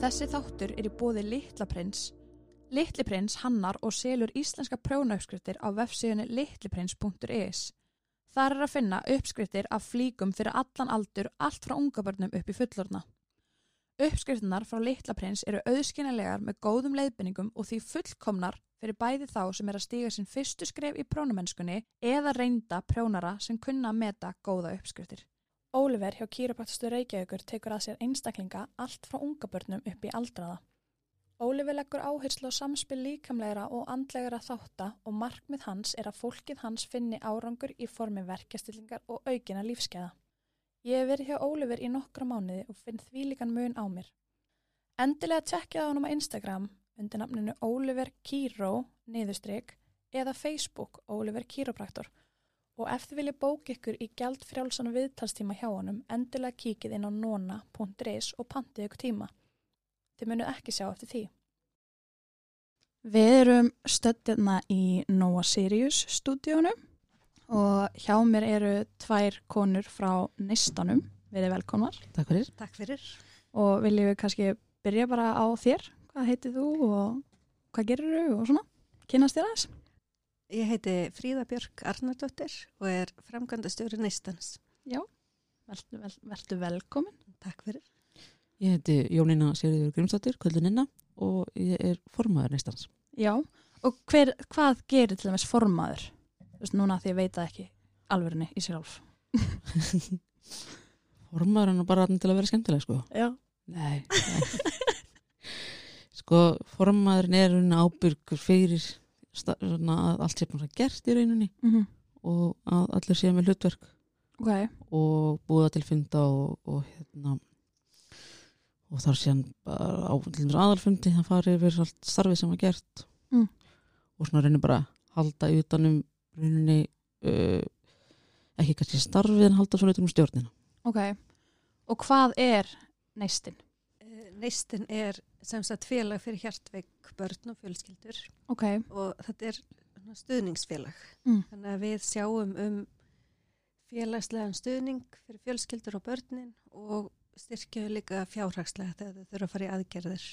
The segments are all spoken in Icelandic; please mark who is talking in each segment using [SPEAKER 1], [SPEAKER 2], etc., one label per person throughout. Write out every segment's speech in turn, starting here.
[SPEAKER 1] Þessi þáttur er í bóði Litla Prins. Litli Prins hannar og selur íslenska prjónauppskriftir á vefsíðunni litliprins.is. Þar er að finna uppskriftir af flíkum fyrir allan aldur allt frá ungabörnum upp í fullorna. Uppskriftinar frá Litla Prins eru auðskynalegar með góðum leiðbyningum og því fullkomnar fyrir bæði þá sem er að stíga sinn fyrstu skref í prjónamennskunni eða reynda prjónara sem kunna að meta góða uppskriftir. Óliver hjá Kýrapaktistu Reykjavíkur tekur að sér einstaklinga allt frá ungabörnum upp í aldraða. Óliver leggur áherslu á samspil líkamlegra og andlegra þátta og markmið hans er að fólkið hans finni árangur í formi verkjastillingar og aukina lífskeiða. Ég hef verið hjá Óliver í nokkra mánuði og finn þvílíkan mun á mér. Endilega tjekkja það honum á Instagram undir nafninu Óliver Kýró niðurstryk eða Facebook Óliver Kýrópraktor og ef þið viljið bók ykkur í gæld frjálsan viðtalstíma hjá honum, endilega kíkið inn á nona.is og pantið ykkur tíma. Þið munu ekki sjá eftir því. Við erum stöddina í Nova Sirius stúdíónu og hjá mér eru tvær konur frá nistanum, við erum velkomar
[SPEAKER 2] Takk fyrir.
[SPEAKER 3] Takk fyrir.
[SPEAKER 1] og viljum við kannski byrja bara á þér, hvað heitir þú og hvað gerir þú og svona, kynast þér aðeins?
[SPEAKER 3] Ég heiti Fríða Björk Arnardóttir og er framkvæmda stjóri neistans.
[SPEAKER 1] Vertu, vel, vertu velkomin.
[SPEAKER 3] Takk fyrir.
[SPEAKER 2] Ég heiti Jónína Sigurður Grimsdóttir, kvöldunina og ég er formaður neistans.
[SPEAKER 1] Já, og hver, hvað gerir til dæmis formaður? Þú veist, núna því ég veit það ekki alvörinni í sér alf.
[SPEAKER 2] Formaður er nú bara þarna til að vera skemmtileg, sko.
[SPEAKER 1] Já.
[SPEAKER 2] Nei. nei. sko, formaðurinn er raunin ábyrgur fyrir sta- svona, að allt sé búin að gert í rauninni og að allir séu með hlutverk
[SPEAKER 1] Mhm, Ok,
[SPEAKER 2] og búða til funda og, og hérna og þar síðan bara á til dæmis aðalfundi það fari yfir allt starfið sem var gert
[SPEAKER 1] Mm.
[SPEAKER 2] og svona reynir bara að halda utanum rauninni uh, ekki kannski starfið en halda svona utanum stjórnina
[SPEAKER 1] ok. Og hvað er neistinn?
[SPEAKER 3] Neistin Eh, er sem sagt félag fyrir hjartveik börn og fjölskyldur
[SPEAKER 1] Ok,
[SPEAKER 3] og þetta er svona stuðningsfélag.
[SPEAKER 1] Mm.
[SPEAKER 3] Þannig að við sjáum um félagslegan stuðning fyrir fjölskyldur og börnin og styrkjum líka fjárhagslega þegar þau þurfa að fara í aðgerðir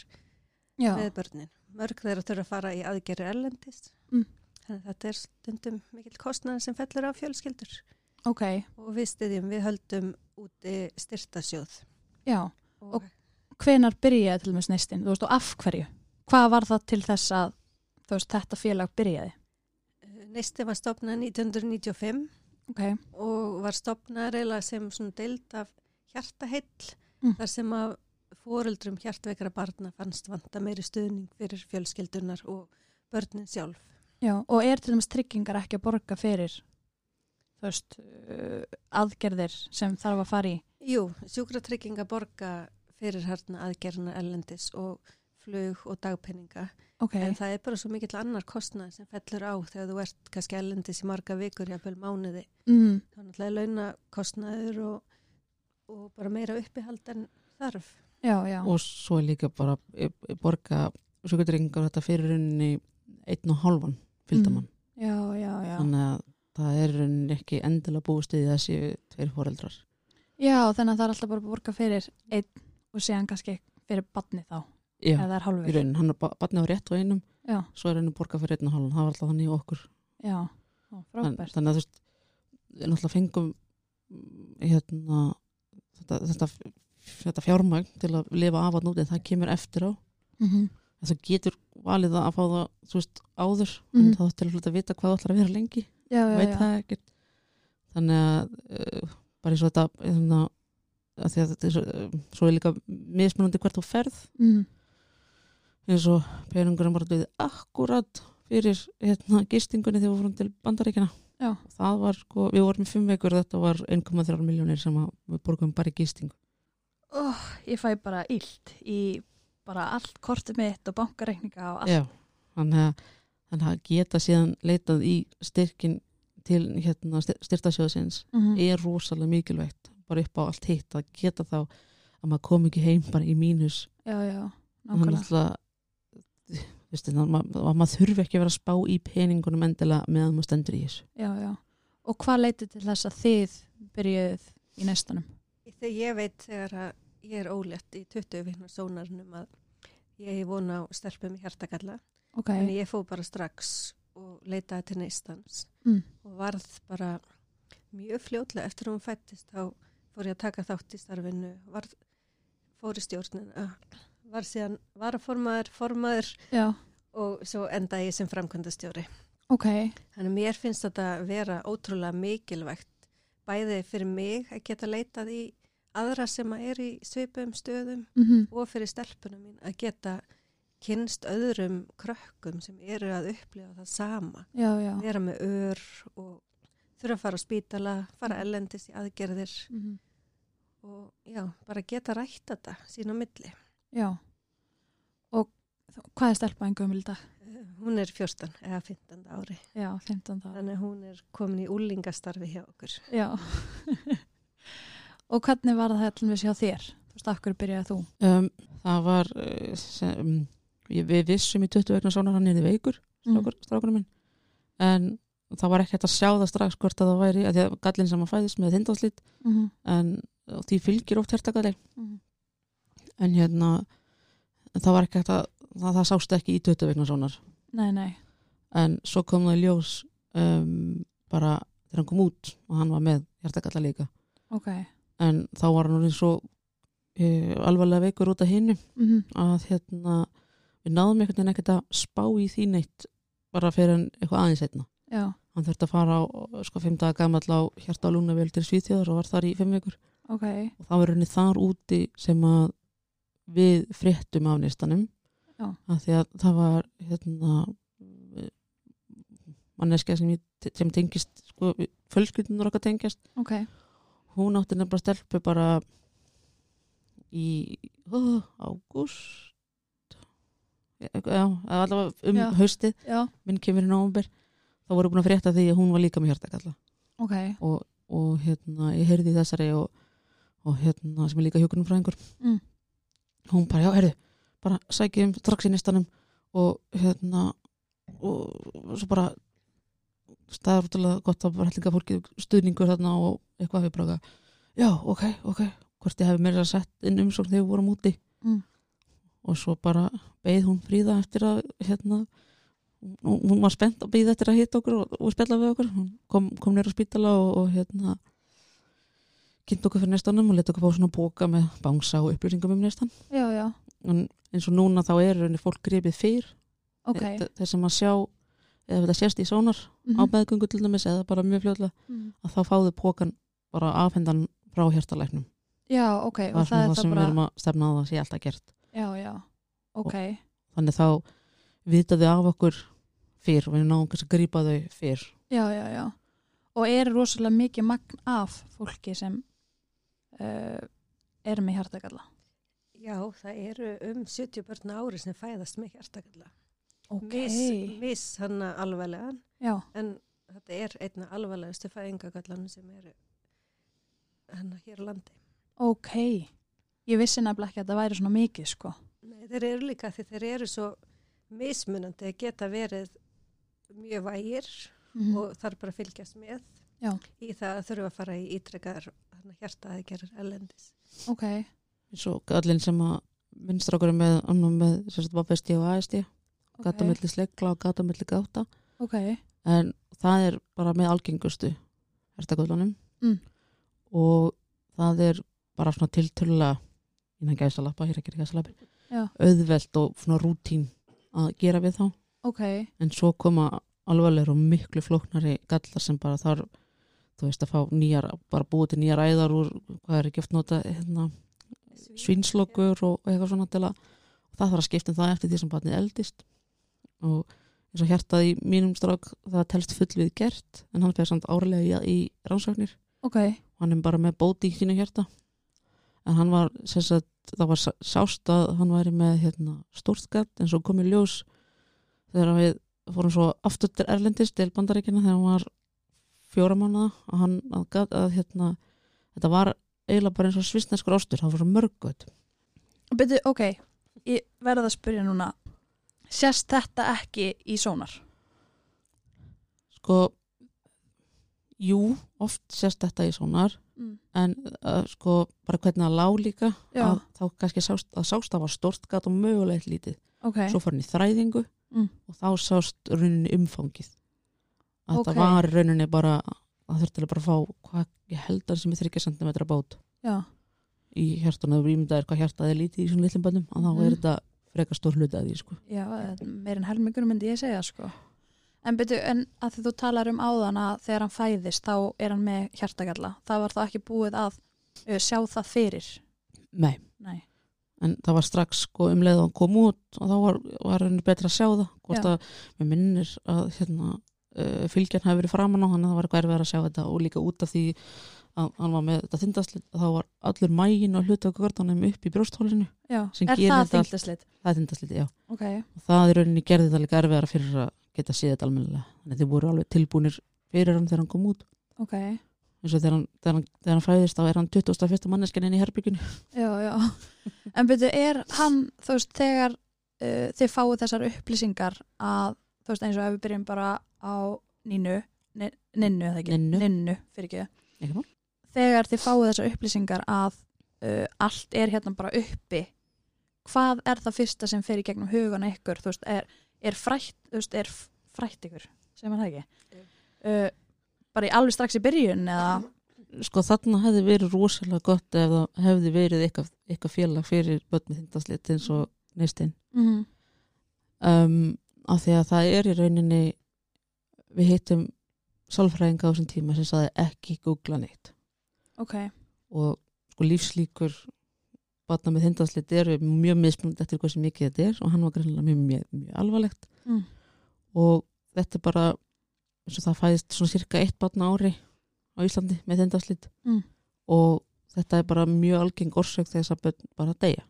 [SPEAKER 1] já,
[SPEAKER 3] með börnin. Mörg þeirra þurfa að fara í aðgerðir erlendis.
[SPEAKER 1] Mm.
[SPEAKER 3] Þannig að þetta er stundum mikil kostnæðan sem fellur á fjölskyldur.
[SPEAKER 1] ok,
[SPEAKER 3] og við stiðjum, við höldum úti styrtasjóð
[SPEAKER 1] já.
[SPEAKER 3] og,
[SPEAKER 1] Og- Hvenar byrjaði til dæmis neistinn? Þú veist, og af hverju? Hvað var það til þess að, þú veist, þetta félag byrjaði?
[SPEAKER 3] og eh, neisti var stopnað 1995
[SPEAKER 1] Ok,
[SPEAKER 3] og var stopnað reyla sem svona deild af hjartaheill
[SPEAKER 1] Mm.
[SPEAKER 3] þar sem að fóreldrum hjartveikra barna fannst vanta meiri stuðning fyrir fjölskyldunar og börnin sjálf.
[SPEAKER 1] já, og er til dæmis tryggingar ekki að borga fyrir, þú veist, uh, aðgerðir sem þarf að fara í?
[SPEAKER 3] Jú, sjúkratrygginga borga fyrir harna aðgerðina ellendis og flug og dagpenninga
[SPEAKER 1] Ok,
[SPEAKER 3] en það er bara svo mikill annar kostnað sem fellur á þegar þú ert kannski ellendis í marga vikur, jáfnvel mánuði
[SPEAKER 1] mm,
[SPEAKER 3] þá náttúrulega er launakostnaður og, og bara meira uppihald en þarf.
[SPEAKER 1] já, já,
[SPEAKER 2] og svo er líka bara e, e, borga sjúkvætringar þetta fyrir rauninni einn og hálfan fylgdamann
[SPEAKER 1] já, já, Mm. já.
[SPEAKER 2] þannig að það er rauninni ekki endilega búist í þessi tveir fóreldrar
[SPEAKER 1] Já, þannig að það er alltaf bara að borga fyrir einn og síðan kannski fyrir badni þá,
[SPEAKER 2] Já,
[SPEAKER 1] ef það er
[SPEAKER 2] í
[SPEAKER 1] hálfur.
[SPEAKER 2] rauninni, hann er batnið á rétt og einum
[SPEAKER 1] Já,
[SPEAKER 2] svo er henni borga fyrir einn og hálfan, það var alltaf þannig í okkur
[SPEAKER 1] já, Ó,
[SPEAKER 2] Þann,
[SPEAKER 1] frábært.
[SPEAKER 2] þannig að þú veist við náttúrulega fengum mm, hérna þetta, þetta, þetta fjármagn til að lifa af að núti en það kemur eftir á
[SPEAKER 1] Mm
[SPEAKER 2] en þú getur valið það að fá það þú veist, áður, en
[SPEAKER 1] Mhm.
[SPEAKER 2] þá til að vita hvað þú ætlar að vera lengi,
[SPEAKER 1] Já, já,
[SPEAKER 2] veit
[SPEAKER 1] já,
[SPEAKER 2] það ekkert þannig að uh, bara eins og þetta þannig að, að því að þetta er svo, eh, svo er líka mismunandi hvert þú ferð
[SPEAKER 1] mm,
[SPEAKER 2] eins og peningurinn bara döði akkurat fyrir hérna, gistingunni þegar við fórum til bandaríkina
[SPEAKER 1] já,
[SPEAKER 2] það var sko, við vorum í fimm vekur þetta var 1,3 miljónir sem að við borgum bara í gistingu
[SPEAKER 1] ég fæ bara illt í bara allt kortið mitt og bankareikninga og allt.
[SPEAKER 2] Já, þannig að þannig að geta síðan leitað í styrkin til hérna, styrtasjóðsins
[SPEAKER 1] Mm. Mhm.
[SPEAKER 2] er rosalega mikilvægt bara upp á allt hitt að geta þá að maður kom ekki heim bara í mínus
[SPEAKER 1] Já, já,
[SPEAKER 2] þannig
[SPEAKER 1] nákvæmlega.
[SPEAKER 2] alltaf veistu, þannig að ma- að maður þurfi ekki að vera að spá í peningunum endilega meðan maður stendur í þessu
[SPEAKER 1] Já, já. Og hvað leiti til þess að þið byrjuð í næstanum?
[SPEAKER 3] Þegar ég veit þegar að ég er ólétt í 20 vinna sónarnum að ég er vona á stelpum í hjartakalla.
[SPEAKER 1] Ok,
[SPEAKER 3] En ég fó bara strax og leitaði til neistans
[SPEAKER 1] mm.
[SPEAKER 3] og varð bara mjög fljótlega eftir að hún fættist þá fór ég að taka þátt í starfinu, varð, fór í stjórnina, var síðan varaformaður, formaður
[SPEAKER 1] já,
[SPEAKER 3] og svo endaði ég sem framkvæmdastjóri.
[SPEAKER 1] ok,
[SPEAKER 3] Þannig að mér finnst þetta vera ótrúlega mikilvægt bæði fyrir mig að geta leitað í aðra sem að er í svipum stöðum
[SPEAKER 1] mm
[SPEAKER 3] og fyrir stelpunum mín að geta kynst öðrum krökkum sem eru að upplifa það sama.
[SPEAKER 1] já, já.
[SPEAKER 3] Vera með ör og þurfa að fara á spítala, fara ellendis í aðgerðir
[SPEAKER 1] Mm
[SPEAKER 3] og já, bara geta rætt þetta sín á milli.
[SPEAKER 1] Já. Og þ- hvað er stelpa en gömul í dag?
[SPEAKER 3] Eh, Hún er 14 eða 15 ári,
[SPEAKER 1] Já, 15 dag.
[SPEAKER 3] þannig að hún er komin í úlingastarfi hjá okkur.
[SPEAKER 1] Já. og hvernig var það allan við séu þér? Þú veist, af hverju byrjaði þú?
[SPEAKER 2] um, það var eh, sem, ég, við vissum í 20 vegna svona hann er veikur,
[SPEAKER 1] Mhm,
[SPEAKER 2] strákur, strákurinn minn en það var ekki hægt að sjá það strax hvort að það væri, að því að gallin sem að fæðist með þindaslit
[SPEAKER 1] Mm -hmm.
[SPEAKER 2] en og því fylgir oft hjartagalli
[SPEAKER 1] Mhm.
[SPEAKER 2] en hérna en það var ekki hægt að, það, það sást ekki í 20 vegna svona
[SPEAKER 1] Nei, nei.
[SPEAKER 2] en svo kom það í ljós um, bara þegar hann kom út og hann var með hjartagalla líka
[SPEAKER 1] Ok.
[SPEAKER 2] en þá var hann orðin svo uh, alvarlega veikur út af hinu
[SPEAKER 1] Mm
[SPEAKER 2] að hérna við náðum einhvern veginn ekkert að spá í því neitt bara fyrir hann eitthvað aðeins einna
[SPEAKER 1] Já.
[SPEAKER 2] hann þurfti að fara á sko fimm daga gamall á hjarta og lungnavél til Svíþjóðar og var þar í fimm vikur
[SPEAKER 1] Ok.
[SPEAKER 2] og það var henni þar úti sem að við fréttum af nýstanum
[SPEAKER 1] Já.
[SPEAKER 2] að því að það var hérna manneskja sem, ég- sem tengist sko, fölskyldunar okkar tengjast
[SPEAKER 1] Ok.
[SPEAKER 2] hún átti nefnilega stelpu bara í ó, ágúst já, já, eða allavega um
[SPEAKER 1] Já.
[SPEAKER 2] haustið
[SPEAKER 1] Já.
[SPEAKER 2] minn kemur í nómber þá voru búin að frétta því að hún var líka með hjartakalla
[SPEAKER 1] Ok.
[SPEAKER 2] og, og hérna, ég heyrði í þessari og, og hérna, sem er líka hjókunum fræðingur
[SPEAKER 1] Mm.
[SPEAKER 2] hún bara, já, heyrðu bara sækjum strax í nistanum og hérna og svo bara staðar útrúlega gott að bara hellinga fólki stuðningur þarna og eitthvað við bara já, ok, ok, hvort ég hefði meira sett inn umsókn þegar við vorum úti
[SPEAKER 1] Mm.
[SPEAKER 2] og svo bara beið hún fríða eftir að hérna hún hún var spennt að býða eftir að hitta okkur og, og spjalla við okkur, hún kom, kom nýra á spítala og, og hérna kynnt okkur fyrir nestanum og leta okkur fá svona bóka með bangsa og upplýsingum um nestan
[SPEAKER 1] Já, já.
[SPEAKER 2] en eins og núna þá er rauninni fólk gripið fyrr Eh,
[SPEAKER 1] Ok.
[SPEAKER 2] Þe- þeir sem að sjá eða þetta sést í sónar
[SPEAKER 1] Mhm.
[SPEAKER 2] á meðgöngu til dæmis eða bara mjög fljóðlega
[SPEAKER 1] Mhm.
[SPEAKER 2] að þá fáðu pókan bara afhendan frá hjartalæknum
[SPEAKER 1] Já, ok.
[SPEAKER 2] það
[SPEAKER 1] Og
[SPEAKER 2] er svona það, sem
[SPEAKER 1] bara...
[SPEAKER 2] við erum að stefna á það sé alltaf gert
[SPEAKER 1] Já, já. Ok.
[SPEAKER 2] þannig þá vitaðu af okkur fyrr og við náum kannski að grípa þau fyrr
[SPEAKER 1] Já, já, já. Og er rosalega mikið magn af fólki sem uh, er með hjartakalla?
[SPEAKER 3] Já, það eru um 70 börn á ári sem fæðast með hjartakalla.
[SPEAKER 1] Ok.
[SPEAKER 3] Miss, miss hann alvarlegan
[SPEAKER 1] Já.
[SPEAKER 3] en þetta er einna alvarlegustu fæðingagallan sem eru hann hér á landi.
[SPEAKER 1] Ok, ég vissi nefnilega ekki að það væri svona mikið sko.
[SPEAKER 3] Nei, þeir eru líka því þeir eru svo mismunandi að geta verið mjög vægir og þarf bara að fylgjast með
[SPEAKER 1] Mhm. Já.
[SPEAKER 3] í það að þurfa að fara í ítrekkaðar hjartaðegerir ellendis.
[SPEAKER 1] Ok,
[SPEAKER 2] eins og gallin sem að vinstra okkur er með, hann var með sérst, vapesti og ASD,
[SPEAKER 1] ok,
[SPEAKER 2] gata milli slegla og gata milli gáta,
[SPEAKER 1] ok,
[SPEAKER 2] en það er bara með algengustu hertaköllunum
[SPEAKER 1] Mm.
[SPEAKER 2] og það er bara svona tiltölulega innan gæsalappa, hér ekki gæsalappi
[SPEAKER 1] Já.
[SPEAKER 2] auðvelt og svona rútín að gera við þá,
[SPEAKER 1] ok,
[SPEAKER 2] en svo koma alvarlegur og miklu flóknari gallar sem bara þarf þú veist að fá nýjar, bara búið til nýjar æðar úr, hvað er ekki oft nota hérna, svinslokur og, og eitthvað svona til að og það þarf að skipta um það eftir því sem barnið eldist og eins og hjartað í mínum strák það telst full við gert en hann fyrir samt árlega í, í rannsóknir
[SPEAKER 1] ok,
[SPEAKER 2] og hann er bara með bóti í sínu hjarta en hann var sem sagt, það var sá- sást að hann væri með hérna, stórt gatt en svo kom í ljós þegar við fórum svo aftur til Erlendis til bandaríkina þegar hún var fjóra mánuða að hann að, gat, að hérna þetta var eiginlega bara eins og svistneskur ástur það var svo mörgut
[SPEAKER 1] Byrju, ok, ég verða að spyrja núna Sérst þetta ekki í sónar?
[SPEAKER 2] sko jú, oft sérst þetta í sonar
[SPEAKER 1] Mm.
[SPEAKER 2] en uh, sko bara hvernig það lá líka
[SPEAKER 1] Já.
[SPEAKER 2] að, þá kannski sást, að sást það var stort gat og mögulegt lítið
[SPEAKER 1] Ok,
[SPEAKER 2] svo fór hann í þræðingu
[SPEAKER 1] Mm.
[SPEAKER 2] og þá sást rauninni umfangið að
[SPEAKER 1] Ok.
[SPEAKER 2] það var í rauninni bara það þurfti alveg bara að fá hvað ég held hann sem er 30 cm bát
[SPEAKER 1] já,
[SPEAKER 2] í hjartuna og ímyndaðir hvað hjartað er lítið í svona litlum bönnum að þá
[SPEAKER 1] Mhm.
[SPEAKER 2] er þetta frekar stór hluti að því sko.
[SPEAKER 1] já meir en helmingur myndi ég segja sko En byrju, en að því þú talar um áðan að þegar hann fæðist þá er hann með hjartagalla það var þá ekki búið að uh, sjá það fyrir
[SPEAKER 2] Nei,
[SPEAKER 1] Nei,
[SPEAKER 2] en það var strax sko, um leið og hann kom út og þá var, var henni betra að sjá það hvort
[SPEAKER 1] Já.
[SPEAKER 2] að mér minnir að hérna, uh, fylgjan hafi verið framan á hann það var hverfið að sjá þetta og líka út af því að hann var með þetta þindaslit þá var allur mægin og hlutu að görðanum upp í brjósthólinu
[SPEAKER 1] já,
[SPEAKER 2] Sem
[SPEAKER 1] er
[SPEAKER 2] gerir
[SPEAKER 1] það
[SPEAKER 2] þetta allt.
[SPEAKER 1] þinglislit?
[SPEAKER 2] það er þindaslit, já
[SPEAKER 1] Ok,
[SPEAKER 2] og það í rauninni gerði það líka erfiðara fyrir að geta séð þetta almennilega þannig að þið voru alveg tilbúnir fyrir hann þegar hann kom út
[SPEAKER 1] ok,
[SPEAKER 2] eins og þegar hann, þegar hann, þegar hann fæðist þá er hann 21. manneskinn inn í herbygginu
[SPEAKER 1] já, já En byrju, er hann, þú veist, þegar uh, þið fáið þessar upplýsingar að, þú veist, eins og ef við byrjum bara á Nínu Ni- Ninnu, eða ekki?
[SPEAKER 2] Ninnu.
[SPEAKER 1] Ninnu, fyrir ekki
[SPEAKER 2] Ekki mál.
[SPEAKER 1] Þegar þið fáið þessar upplýsingar að uh, allt er hérna bara uppi hvað er það fyrsta sem fer í gegnum hugana ykkur, þú veist, er, er frætt, þú veist, er f- frætt ykkur sem hann það ekki? Uh, bara í alveg strax í byrjun eða
[SPEAKER 2] sko þarna hefði verið rosalega gott ef það hefði verið eitthvað, eitthvað félag fyrir börn með þindaslit eins og neistinn
[SPEAKER 1] mm,
[SPEAKER 2] um, af því að það er í rauninni við hittum sálfræðinga á þessum tíma sem saði ekki googla neitt
[SPEAKER 1] ok
[SPEAKER 2] og sko lífslíkur batna með þindaslit eru mjög mismunandi eftir hvað sem mikið þetta er og hann var greinlega mjög, mjög, mjög alvarlegt
[SPEAKER 1] Mm.
[SPEAKER 2] og þetta er bara eins og það fæðist svona cirka eitt batna ári á Íslandi með þindaslit
[SPEAKER 1] Mm.
[SPEAKER 2] og þetta er bara mjög algeng orsök þess að börn bara deyja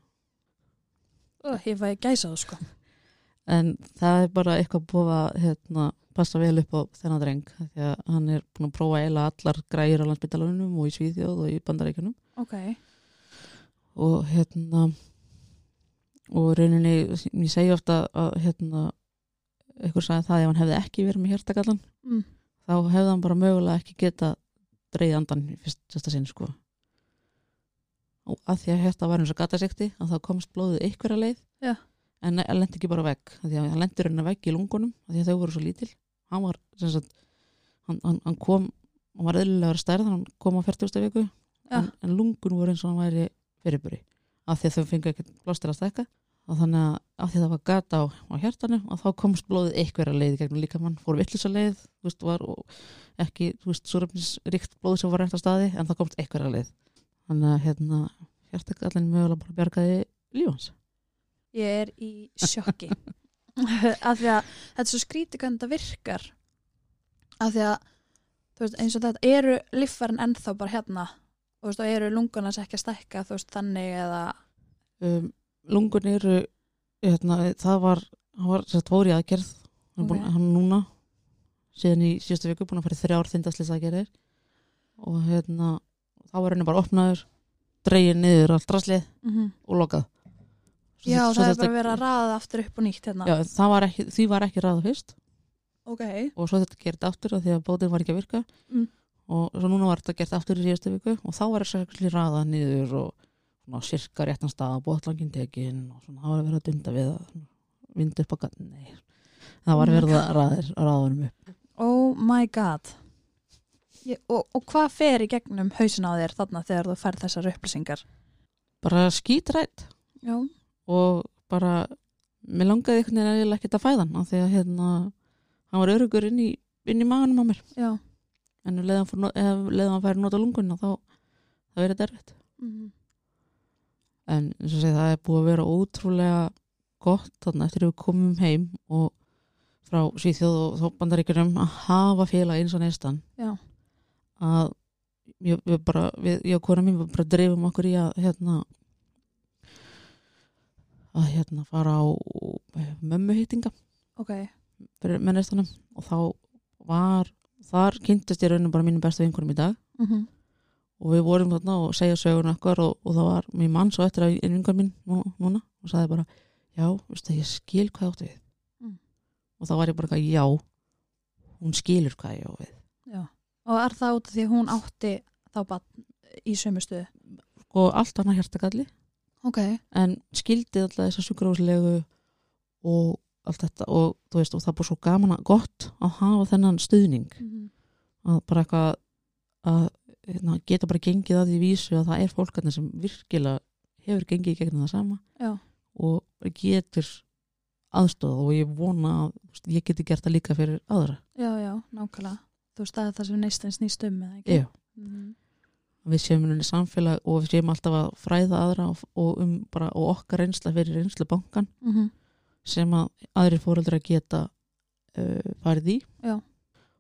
[SPEAKER 1] Oh, ég fæði gæsa þú sko.
[SPEAKER 2] en það er bara eitthvað búið að hérna, passa vel upp á þennan dreng af því að hann er búin að prófa eiginlega allar græjur á landsbytalanum og í Svíðjóð og í Bandaríkjunum
[SPEAKER 1] Ok,
[SPEAKER 2] og hérna og rauninni, ég segi ofta að hérna einhver sagði það ef hann hefði ekki verið með hjartagallan
[SPEAKER 1] mm.
[SPEAKER 2] þá hefði hann bara mögulega ekki geta dreigð andan í fyrst, fyrsta sinn sko og að því að hjarta var eins og gatasekti að þá komst blóðið einhverja leið
[SPEAKER 1] Já.
[SPEAKER 2] en hann lendi ekki bara vekk að því að hann lendur henni vekk í lungunum af því að þau voru svo lítil hann var sem sagt hann, hann, hann kom, hann var eðlilegur stærð hann kom á 40. viku
[SPEAKER 1] Já.
[SPEAKER 2] en, en lungun voru eins og hann væri fyrirburi af því að þau fengu ekkert blástur að stækka og þannig að af því að það var gata á, á hjartanu og þá komst blóðið einhverja leið í gegnum líkamann, fór vitlusa leið þú veist, var og ekki, þú veist, súrefnisríkt blóð sem var rétt á staði en það komst einhverja leið þannig að hérna, hjartakallin mögulega bara bjargaði lífans
[SPEAKER 1] ég er í sjokki af því að þetta er svo skrítið hvernig þetta virkar af því að þú veist, eins og þetta eru líffærin ennþá bara hérna og, veist, og eru lungunars ekki að stækka þú veist, þannig eða
[SPEAKER 2] um, lungun eru hérna, það var, hann var þess að tvóri aðgerð hann, okay. búin,
[SPEAKER 1] Ok.
[SPEAKER 2] hann núna síðan í síðustu viku búin að fara í þrjár þindaslis aðgerðir og hérna þá var henni bara opnaður dreigir niður allt raslið og lokað Svo
[SPEAKER 1] já,
[SPEAKER 2] þetta- Mhm. svo
[SPEAKER 1] það er
[SPEAKER 2] þetta-
[SPEAKER 1] bara verið að raða aftur upp og nýtt hérna
[SPEAKER 2] Já, það var ekki, því var ekki ráða fyrst
[SPEAKER 1] ok,
[SPEAKER 2] og svo þetta gerði aftur af því að bótið var ekki að virka
[SPEAKER 1] Mm.
[SPEAKER 2] og svo núna var þetta gert aftur í síðustu viku og þá var þess að ráða niður og svona, sirka réttan stað bótlangin tekin og svona, það var verið að dunda við að vinda upp á gatt nei, það var verið að ráða ráðunum upp
[SPEAKER 1] oh my god ég, og, og hvað fer í gegnum hausin á þér þarna þegar þú færð þessar upplýsingar
[SPEAKER 2] bara skítrætt
[SPEAKER 1] já,
[SPEAKER 2] og bara mér langaði einhvern veginn eiginlega ekkert að fæða hann af því að hérna, hann var örugur inn í, inn í maganum á mér
[SPEAKER 1] já
[SPEAKER 2] en ef leiðan, fór, ef leiðan færi nota lungunna þá, þá er þetta erfitt
[SPEAKER 1] mm.
[SPEAKER 2] en eins og segja það er búið að vera ótrúlega gott þarna eftir að við komum heim og frá Svíþjóð og þó bandaríkjunum að hafa félag eins og neistan
[SPEAKER 1] Já.
[SPEAKER 2] að ég, við bara, við, ég og kona mín við bara dreifum okkur í að hérna að hérna fara á eh, mömmuhýtinga
[SPEAKER 1] ok,
[SPEAKER 2] fyrir mennistanum og þá var, þar kynntist ég raunum bara mínum bestu vinkunum í dag
[SPEAKER 1] Mm
[SPEAKER 2] Mhm.
[SPEAKER 1] -hmm.
[SPEAKER 2] og við vorum þarna og segja söguna okkar og, og það var mér mann svo eftir að einn vingar minn nú, núna og sagði bara já, veistu, ég skil hvað áttu við
[SPEAKER 1] Mm.
[SPEAKER 2] og þá var ég bara eitthvað já hún skilur hvað ég á við
[SPEAKER 1] Já. Og er það út af því að hún átti þá bara í sömu stöðu?
[SPEAKER 2] sko allt annað hjartagalli
[SPEAKER 1] Ok.
[SPEAKER 2] en skildi alltaf þessa sjúkrahúslegu og allt þetta og þú veist og það búið svo gaman að gott að hafa þennan stuðning
[SPEAKER 1] Mhm.
[SPEAKER 2] að bara eitthvað að hérna, geta bara gengið að því vísu að það er fólkarnir sem virkilega hefur gengið í gegnum það sama
[SPEAKER 1] Já.
[SPEAKER 2] og getur aðstóð og ég vona að þú veist, ég geti gert það líka fyrir aðra
[SPEAKER 1] Já, já, nákvæmlega. Þú veist að það sem neistinn snýst um, eða ekki? Mhm.
[SPEAKER 2] Já. við séum henni samfélag og við séum alltaf að fræða aðra og, og, um bara, og okkar reynsla fyrir reynslu bankan
[SPEAKER 1] Mm
[SPEAKER 2] sem að aðrir fóreldrar geta uh, farið í
[SPEAKER 1] Já.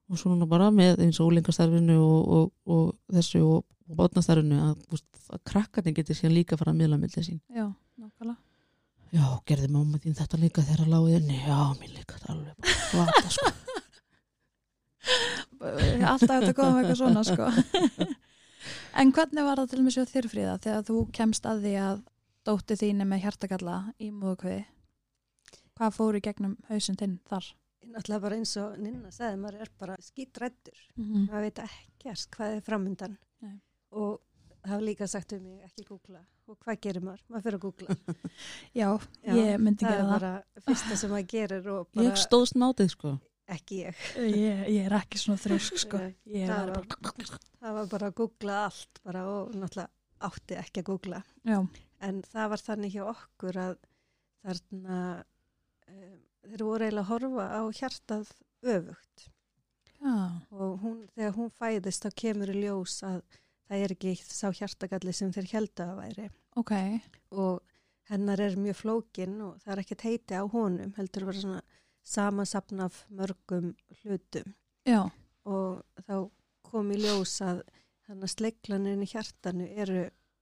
[SPEAKER 2] og svona bara með eins og úlingastarfinu og, og, og þessu og, og bátnastarfinu að, þú veist, að krakkarnir geti síðan líka fara að miðla milli sín
[SPEAKER 1] Já, nákvæmlega.
[SPEAKER 2] já, gerði mamma þín þetta líka þegar að láði henni, já, mín líka þetta alveg bara glata, sko.
[SPEAKER 1] Alltaf Eh, þetta kom eitthvað svona, sko. en hvernig var það til og með sér þér fríða þegar þú kemst að því að dótti þín er með hjartagalla í móðukviði? Hvað fór í gegnum hausinn þinn þar?
[SPEAKER 3] Náttúrulega bara eins og Ninna sagði, maður er bara skítrættur.
[SPEAKER 1] Mm
[SPEAKER 3] Maður veit ekkert hvað er framöndan.
[SPEAKER 1] Nei.
[SPEAKER 3] Og það var líka sagt um mig, ekki googla. Og hvað gerir maður? Maður fyrir að googla.
[SPEAKER 1] Já,
[SPEAKER 3] Já,
[SPEAKER 1] ég myndi
[SPEAKER 3] það
[SPEAKER 1] gera
[SPEAKER 3] er
[SPEAKER 1] það.
[SPEAKER 3] bara fyrsta sem maður gerir og bara
[SPEAKER 2] ég stóðst nátið, sko
[SPEAKER 3] ekki ég.
[SPEAKER 1] Ég, ég er ekki svona þrjósk, sko.
[SPEAKER 3] Nei,
[SPEAKER 1] Ég
[SPEAKER 3] það
[SPEAKER 1] er
[SPEAKER 3] var-
[SPEAKER 1] bara...
[SPEAKER 3] Það var bara að googla allt bara og náttúrulega átti ekki að googla.
[SPEAKER 1] Já,
[SPEAKER 3] En það var þannig hjá okkur að þarna um, þeir voru eiginlega að horfa á hjartað öfugt.
[SPEAKER 1] já.
[SPEAKER 3] og hún, þegar hún fæðist þá kemur í ljós að það er ekki sá hjartagalli sem þeir heldu að væri
[SPEAKER 1] Ok,
[SPEAKER 3] og hennar er mjög flókin og það er ekkert heiti á honum heldur bara svona samansapn af mörgum hlutum
[SPEAKER 1] já.
[SPEAKER 3] og þá kom í ljós að þannig að sleiklanir í hjartanu eru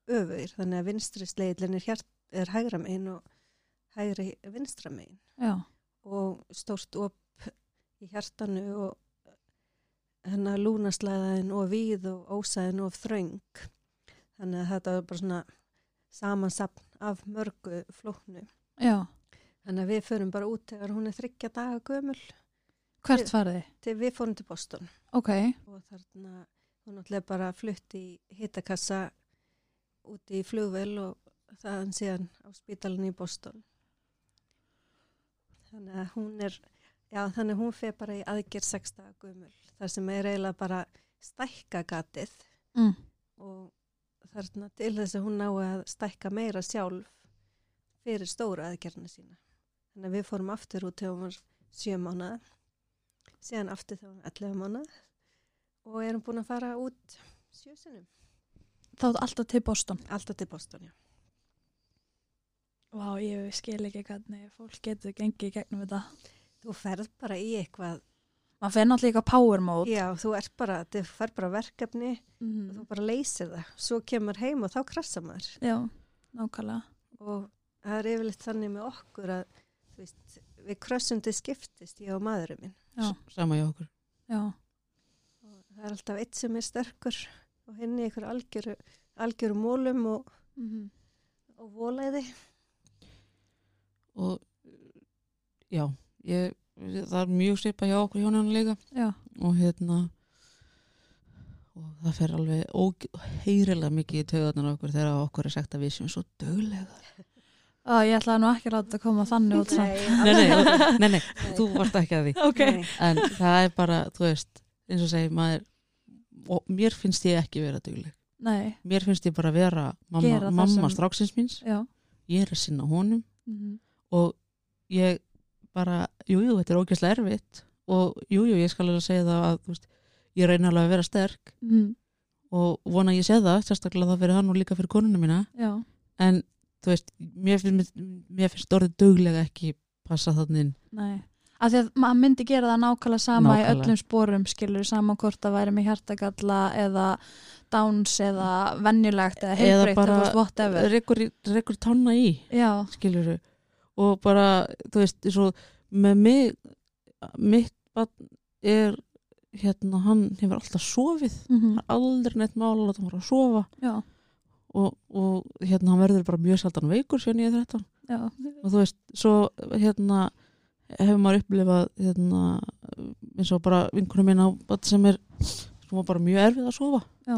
[SPEAKER 3] öfur þannig að vinstri sleiklanir hjart, er hægra megin og hægri vinstra megin
[SPEAKER 1] Já,
[SPEAKER 3] og stórt upp í hjartanu og hennar lúnaslæðin og víð og ósæðin og þröng. Þannig að þetta var bara svona samansapn af mörgu flóknu.
[SPEAKER 1] já.
[SPEAKER 3] Þannig að við förum bara út þegar hún er þryggja daga gömul
[SPEAKER 1] Hvert
[SPEAKER 3] Ég-
[SPEAKER 1] farið þið?
[SPEAKER 3] til við fórum til Boston
[SPEAKER 1] Ok,
[SPEAKER 3] og þarna hún náttúrulega bara flutti í hitakassa úti í flugvel og þaðan síðan á spítalinn í Boston. Þannig að hún er, já þannig að hún fer bara í aðgerð 6 daga gömul þar sem er eiginlega bara stækka gatið
[SPEAKER 1] mm.
[SPEAKER 3] og þarna til þess að hún nái að stækka meira sjálf fyrir stóra aðgerðina sína. Þannig að við fórum aftur út þegar hún var 7 mánuða, síðan aftur þegar hún var 11 mánuða og erum búin að fara út sjösunum.
[SPEAKER 1] þá er alltaf til Boston.
[SPEAKER 3] Alltaf til Boston, já.
[SPEAKER 1] Vá, ég skil ekki hvernig fólk getur gengið í gegnum þetta.
[SPEAKER 3] Þú ferð bara í eitthvað,
[SPEAKER 1] Maður fer náttúrulega líka power mode.
[SPEAKER 3] já, þú er bara, þú ferð bara verkefni og þú
[SPEAKER 1] Mm.
[SPEAKER 3] bara leysir það. Svo kemur heim og þá krassa maður.
[SPEAKER 1] Já, nákvæmlega.
[SPEAKER 3] Og það er yfirleitt þannig með okkur að, þú veist, við krössundi skiptist ég og maðurinn minn.
[SPEAKER 1] Já.
[SPEAKER 2] S- sama hjá okkur
[SPEAKER 1] Já,
[SPEAKER 3] Og það er alltaf eitt sem er sterkur og henni ykkur algjöru, algjöru mólum og,
[SPEAKER 1] mm.
[SPEAKER 3] og volæði.
[SPEAKER 2] og já, ég, það er mjög svipa hjá okkur hjónana líka
[SPEAKER 1] já,
[SPEAKER 2] og hérna og það fer alveg heyrilega mikið í taugarnar á okkur þegar okkur er sagt að við séum svo döglega
[SPEAKER 1] Ó, ég ætlaði nú ekki að láta þetta koma þannig út samt.
[SPEAKER 2] nei,
[SPEAKER 3] alls
[SPEAKER 2] nei,
[SPEAKER 3] ekki.
[SPEAKER 2] nei, nei, þú varst ekki að því
[SPEAKER 1] Ok.
[SPEAKER 3] Nei.
[SPEAKER 2] en það er bara, þú veist eins og segir maður og mér finnst ég ekki vera dugleg
[SPEAKER 1] Nei,
[SPEAKER 2] mér finnst ég bara vera
[SPEAKER 1] Gera
[SPEAKER 2] mamma,
[SPEAKER 1] það
[SPEAKER 2] mamma
[SPEAKER 1] sem-
[SPEAKER 2] stráksins míns
[SPEAKER 1] já.
[SPEAKER 2] ég er að sinna honum
[SPEAKER 1] Mm.
[SPEAKER 2] og ég bara, jújú, jú, þetta er ógæslega erfitt og jújú, jú, ég skal alveg segja það að þú veist, ég reyna alveg að vera sterk
[SPEAKER 1] Mm.
[SPEAKER 2] og vona að ég sé það, sérstaklega það fyrir hann og líka fyrir konuna mína
[SPEAKER 1] Já,
[SPEAKER 2] en þú veist, mér finnst, mér finnst orðið duglega ekki passa þannig
[SPEAKER 1] nei. Af því að maður myndi gera það nákvæmlega sama í
[SPEAKER 2] Nákvæmlega.
[SPEAKER 1] öllum sporum, skilur sama hvort að væri með hjartagalla eða downs eða vennjulegt eða
[SPEAKER 2] Eða
[SPEAKER 1] heilbreytt
[SPEAKER 2] bara-
[SPEAKER 1] eða whatever.
[SPEAKER 2] rekur, í- rekur tanna í,
[SPEAKER 1] Já,
[SPEAKER 2] skilur og bara, þú veist, svo með mig mitt barn er hérna, hann hefur alltaf sofið
[SPEAKER 1] Mhm.
[SPEAKER 2] það er aldrei neitt mál að láta hann fara að sofa
[SPEAKER 1] Já,
[SPEAKER 2] og, og hérna, hann verður bara mjög sjaldan veikur síðan ég er 13
[SPEAKER 1] já,
[SPEAKER 2] og þú veist, svo hérna hefur maður upplifað hérna, eins og bara vinkunum minna á barn sem er sem var bara mjög erfið að sofa
[SPEAKER 1] Já.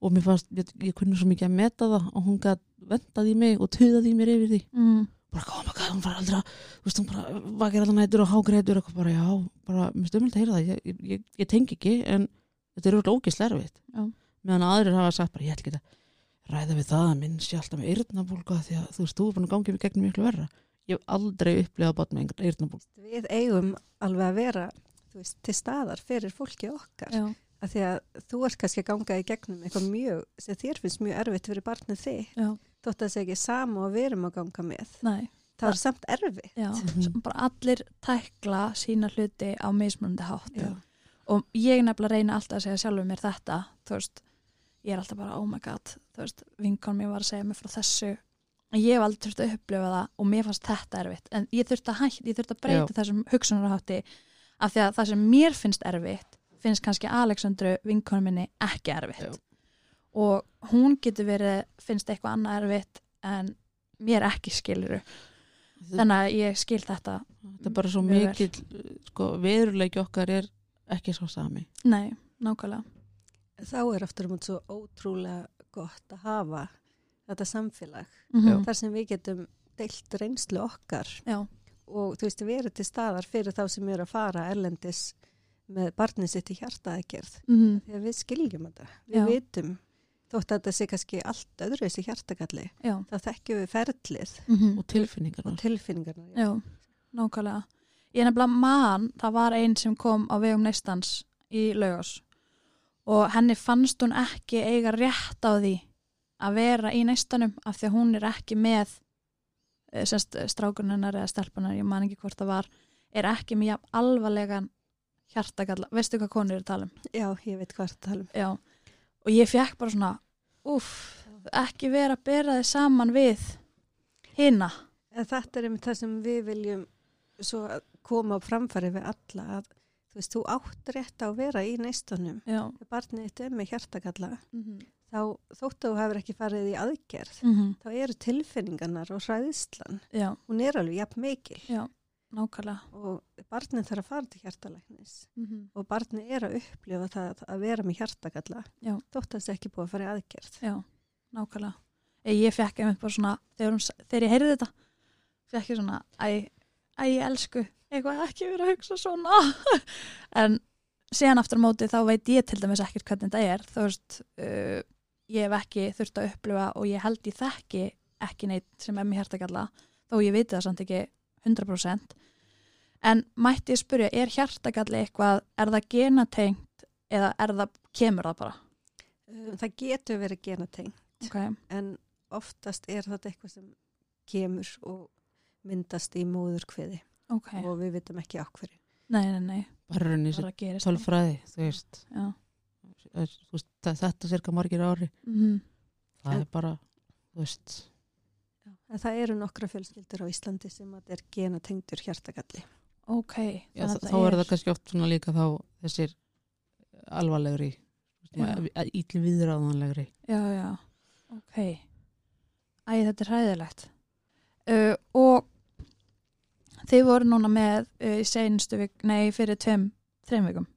[SPEAKER 2] og mér fannst, ég, ég kunni svo mikið að meta það og hún gætt vendað í mig og tuðað í mér yfir því
[SPEAKER 1] mm,
[SPEAKER 2] bara oh my god, hún fara aldrei að þú veist, hún bara vakir allan hættur og hágreitur og bara já, bara, mér stömmelt að heyra það ég, ég- ég, ég tengi ekki, en þetta er öll ógist erfitt,
[SPEAKER 1] Já.
[SPEAKER 2] meðan aðrir hafa sagt bara, ég ætla ekki að ræða við það að minn sé alltaf með eyrnabólga því að þú veist, þú er búin að gangi við gegnum miklu verra ég hef aldrei upplifað bara með einhvern eyrnabólga
[SPEAKER 3] Við eigum alveg að vera þú veist, til staðar fyrir fólki okkar.
[SPEAKER 1] já,
[SPEAKER 3] Af því að þú ert kannski að ganga í gegnum eitthvað mjög, sem þér finnst mjög erfitt fyrir barnið þig.
[SPEAKER 1] já,
[SPEAKER 3] Þótt að það sé ekki sama og við erum að ganga með.
[SPEAKER 1] næ,
[SPEAKER 3] Það er samt erfitt.
[SPEAKER 1] já.
[SPEAKER 2] Mhm.
[SPEAKER 1] Svo Bara allir tækla sína hluti á mismunandi hátt.
[SPEAKER 3] Já.
[SPEAKER 1] Og ég nefnilega reyna alltaf að segja sjálfur mér þetta, þú veist, ég er alltaf bara, oh my god, þú veist, vinkon mér var að segja mér frá þessu. En Ég hef aldrei þurft að upplifa það og mér fannst þetta erfitt. En ég þurft að hægt, ég þurft að breyta þessum hugsunarhátti af því að það sem mér finnst erfitt, finnst kannski Aleksandru vinkonu minni ekki erfitt.
[SPEAKER 2] Já.
[SPEAKER 1] Og hún getur verið, finnst eitthvað annað erfitt en mér ekki skiluru. Þannig að ég skil þetta.
[SPEAKER 2] þetta er bara svo
[SPEAKER 1] Mjög vel.
[SPEAKER 2] mikil sko, veruleiki okkar er ekki svo sami
[SPEAKER 1] Nei, nákvæmlega.
[SPEAKER 3] Þá er aftur um svo ótrúlega gott að hafa þetta samfélag.
[SPEAKER 1] Mhm.
[SPEAKER 3] Þar sem við getum deilt reynslu okkar
[SPEAKER 1] Já.
[SPEAKER 3] og þú veist, verið til staðar fyrir þá sem eru að fara erlendis með barnið sitt í hjartaðgerð.
[SPEAKER 1] Mhm.
[SPEAKER 3] Þegar við skiljum þetta, við
[SPEAKER 1] Já.
[SPEAKER 3] vitum, þótt að þetta sé kannski allt öðru þessi hjartagalli,
[SPEAKER 1] Já.
[SPEAKER 3] þá þekkjum við ferlið
[SPEAKER 1] Mhm.
[SPEAKER 2] og tilfinningarnar
[SPEAKER 3] tilfinningarna.
[SPEAKER 1] Já, nákvæmlega. Ég nefnilega man, það var einn sem kom á vegum neistans í laugás og henni fannst hún ekki eiga rétt á því að vera í neistanum af því að hún er ekki með eh, semst strákuninnar eða stelpunar, ég man ekki hvort það var, er ekki með jafn alvarlegan hjartagalla. Veistu hvað konur eru að tala um?
[SPEAKER 3] Já, ég veit hvað það tala um.
[SPEAKER 1] Já, og ég fekk bara svona uff, ekki vera að bera þið saman við hina
[SPEAKER 3] En þetta er einmitt það sem við viljum svo að koma á framfæri við alla að þú veist, þú átt rétt á að vera í neistunum.
[SPEAKER 1] Já,
[SPEAKER 3] Ef barnið þetta er með hjartagalla,
[SPEAKER 1] mm -hmm.
[SPEAKER 3] þá þótt að þú hefur ekki farið í aðgerð, þá
[SPEAKER 1] Mm.
[SPEAKER 3] eru tilfinningarnar og hræðislan,
[SPEAKER 1] Mhm. já,
[SPEAKER 3] hún er alveg jafn mikil
[SPEAKER 1] já, nákvæmlega
[SPEAKER 3] og barnið þarf að fara til hjartalæknis.
[SPEAKER 1] mm
[SPEAKER 3] og barnið er að upplifa það að vera með hjartagalla
[SPEAKER 1] Já.
[SPEAKER 3] þótt að þessi ekki búið að fara í aðgerð
[SPEAKER 1] Já, nákvæmlega ég, ég fekk einmitt bara svona þegar, hún, s- þegar ég heyrði þetta fekk ég svona, æ, æ, elsku eitthvað ekki vera að hugsa svona en síðan aftur á móti þá veit ég til dæmis ekkert hvernig þetta er þú veist, uh, ég hef ekki þurft að upplifa og ég held ég þekki ekki neitt sem er mér hjartagalla þó ég viti það samt ekki 100% en mætti ég spyrja, er hjartagalli eitthvað, er það genatengt eða er það, kemur það bara
[SPEAKER 3] Um, það getur verið genateng
[SPEAKER 1] okay.
[SPEAKER 3] en oftast er þetta eitthvað sem kemur og myndast í móðurkviði
[SPEAKER 1] Ok,
[SPEAKER 3] og við vitum ekki á hverju
[SPEAKER 1] nei, nei, nei,
[SPEAKER 2] bara
[SPEAKER 1] bara
[SPEAKER 2] raunin þessi
[SPEAKER 1] að gerist það.
[SPEAKER 2] tölfræði þú veist,
[SPEAKER 1] Já,
[SPEAKER 2] þú veist þetta cirka margir á ári
[SPEAKER 1] mhm,
[SPEAKER 2] það
[SPEAKER 3] En-
[SPEAKER 2] er bara, þú veist
[SPEAKER 3] en það eru nokkra fjölskyldur á Íslandi sem að þetta er genatengdur hjartagalli
[SPEAKER 1] ok.
[SPEAKER 2] já,
[SPEAKER 1] þannig
[SPEAKER 2] þá,
[SPEAKER 1] að
[SPEAKER 2] þá er það kannski oft svona líka þá þessir alvarlegri ítlum viðráðanlegri
[SPEAKER 1] Já, já, ok. Æ, þetta er hræðilegt. Uh, og þið voru núna með uh, í seinustu vik, nei, fyrir tveim, þreim vikum,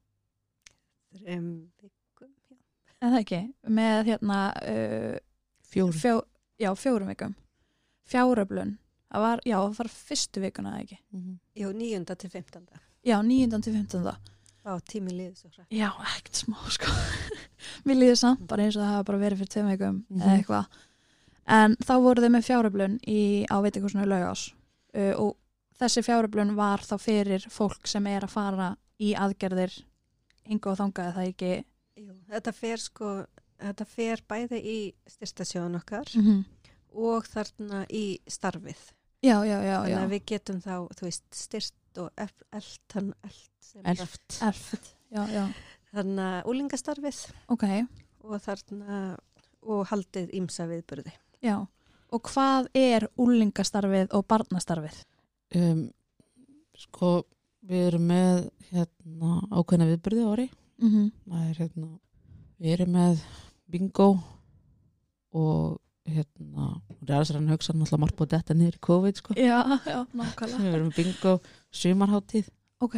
[SPEAKER 3] um, vikum, já.
[SPEAKER 1] en það ekki, með hérna, uh,
[SPEAKER 2] fjóri,
[SPEAKER 1] fjó, já, fjórum vikum, fjáröflun, það var, já, það var fyrstu vikuna, eða ekki?
[SPEAKER 2] Mhm.
[SPEAKER 3] Jú, 9. til 15.
[SPEAKER 1] Já, 9. til 15.
[SPEAKER 3] á tími liðið svo hrætt
[SPEAKER 1] Já, ekkert smá sko Mér líður samt bara eins og það hafa bara verið fyrir tveim vikum eða
[SPEAKER 2] Mhm.
[SPEAKER 1] eitthvað En þá voru þau með fjáröflun í, á veitingúsinu laugás uh, og þessi fjáröflun var þá fyrir fólk sem er að fara í aðgerðir hinga og þangað er það ekki
[SPEAKER 3] þetta fer sko þetta fer bæði í styrtasjóðan okkar
[SPEAKER 1] -hmm.
[SPEAKER 3] og þarna í starfið
[SPEAKER 1] Já, já, já,
[SPEAKER 3] Þannig
[SPEAKER 1] já
[SPEAKER 3] að við getum þá, þú veist, styrt og elt hann elt sem það-
[SPEAKER 2] elft
[SPEAKER 1] Erft, já, já,
[SPEAKER 3] þarna úlingastarfið
[SPEAKER 1] ok
[SPEAKER 3] og þarna og haldið ímsa viðburði.
[SPEAKER 1] Já, og hvað er úlingastarfið og barnastarfið?
[SPEAKER 2] um, sko Við erum með hérna, ákveðna viðbyrði á ári.
[SPEAKER 1] Mm -hmm.
[SPEAKER 2] Það er hérna, við erum með bingo og hérna, og það er þess að hann hugsa náttúrulega margt búið þetta niður í COVID sko.
[SPEAKER 1] Já, já, nákvæmlega.
[SPEAKER 2] Við erum með bingo sumarháttíð
[SPEAKER 1] ok,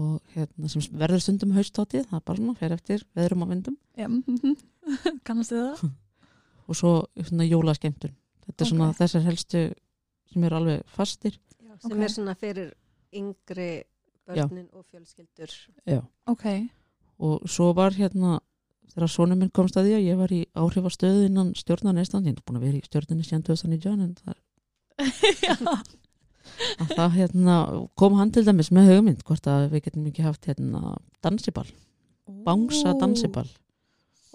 [SPEAKER 2] og hérna sem verður stundum haustáttíð, það er bara svona, fer eftir veðrum og vindum
[SPEAKER 1] já, mhm. kannast þið það?
[SPEAKER 2] og svo svona jólaskemmtun. Þetta er svona
[SPEAKER 1] Ok.
[SPEAKER 2] þessar helstu sem eru alveg fastir.
[SPEAKER 3] sem
[SPEAKER 1] Ok.
[SPEAKER 3] er svona fyrir yngri börnin og fjölskyldur
[SPEAKER 2] Já.
[SPEAKER 1] Ok,
[SPEAKER 2] og svo var hérna þegar sonum minn komst að því að ég var í áhrifastöðu innan stjórnar neistan ég er búin að vera í stjórninni síðan 2019 en það,
[SPEAKER 1] já,
[SPEAKER 2] að það hérna, kom hann til dæmis með hugmynd hvort að við getum ekki haft hérna, dansiball, bangsa
[SPEAKER 1] Ú.
[SPEAKER 2] dansiball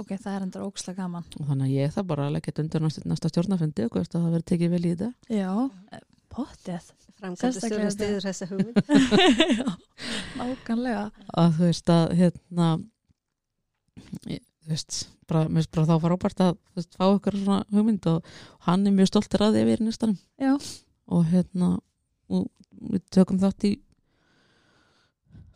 [SPEAKER 1] Ok, það er endur ókslega gaman.
[SPEAKER 2] og þannig að ég það bara að leggja þetta undir næsta, næsta stjórnafundi og hvort að það verið tekið vel í þetta
[SPEAKER 1] Já, eh, pottið.
[SPEAKER 3] framkvæmdu
[SPEAKER 1] Sérstaklega
[SPEAKER 3] stjórn
[SPEAKER 1] þetta.
[SPEAKER 3] stiður þessa hugmynd
[SPEAKER 1] já, nákvæmlega.
[SPEAKER 2] að þú veist að hérna ég- þú veist, bara, mér veist bara þá frábært að þú veist, fá ykkur svona hugmynd og hann er mjög stoltur að því að við erum næstanum
[SPEAKER 1] Já.
[SPEAKER 2] og hérna og við tökum þátt í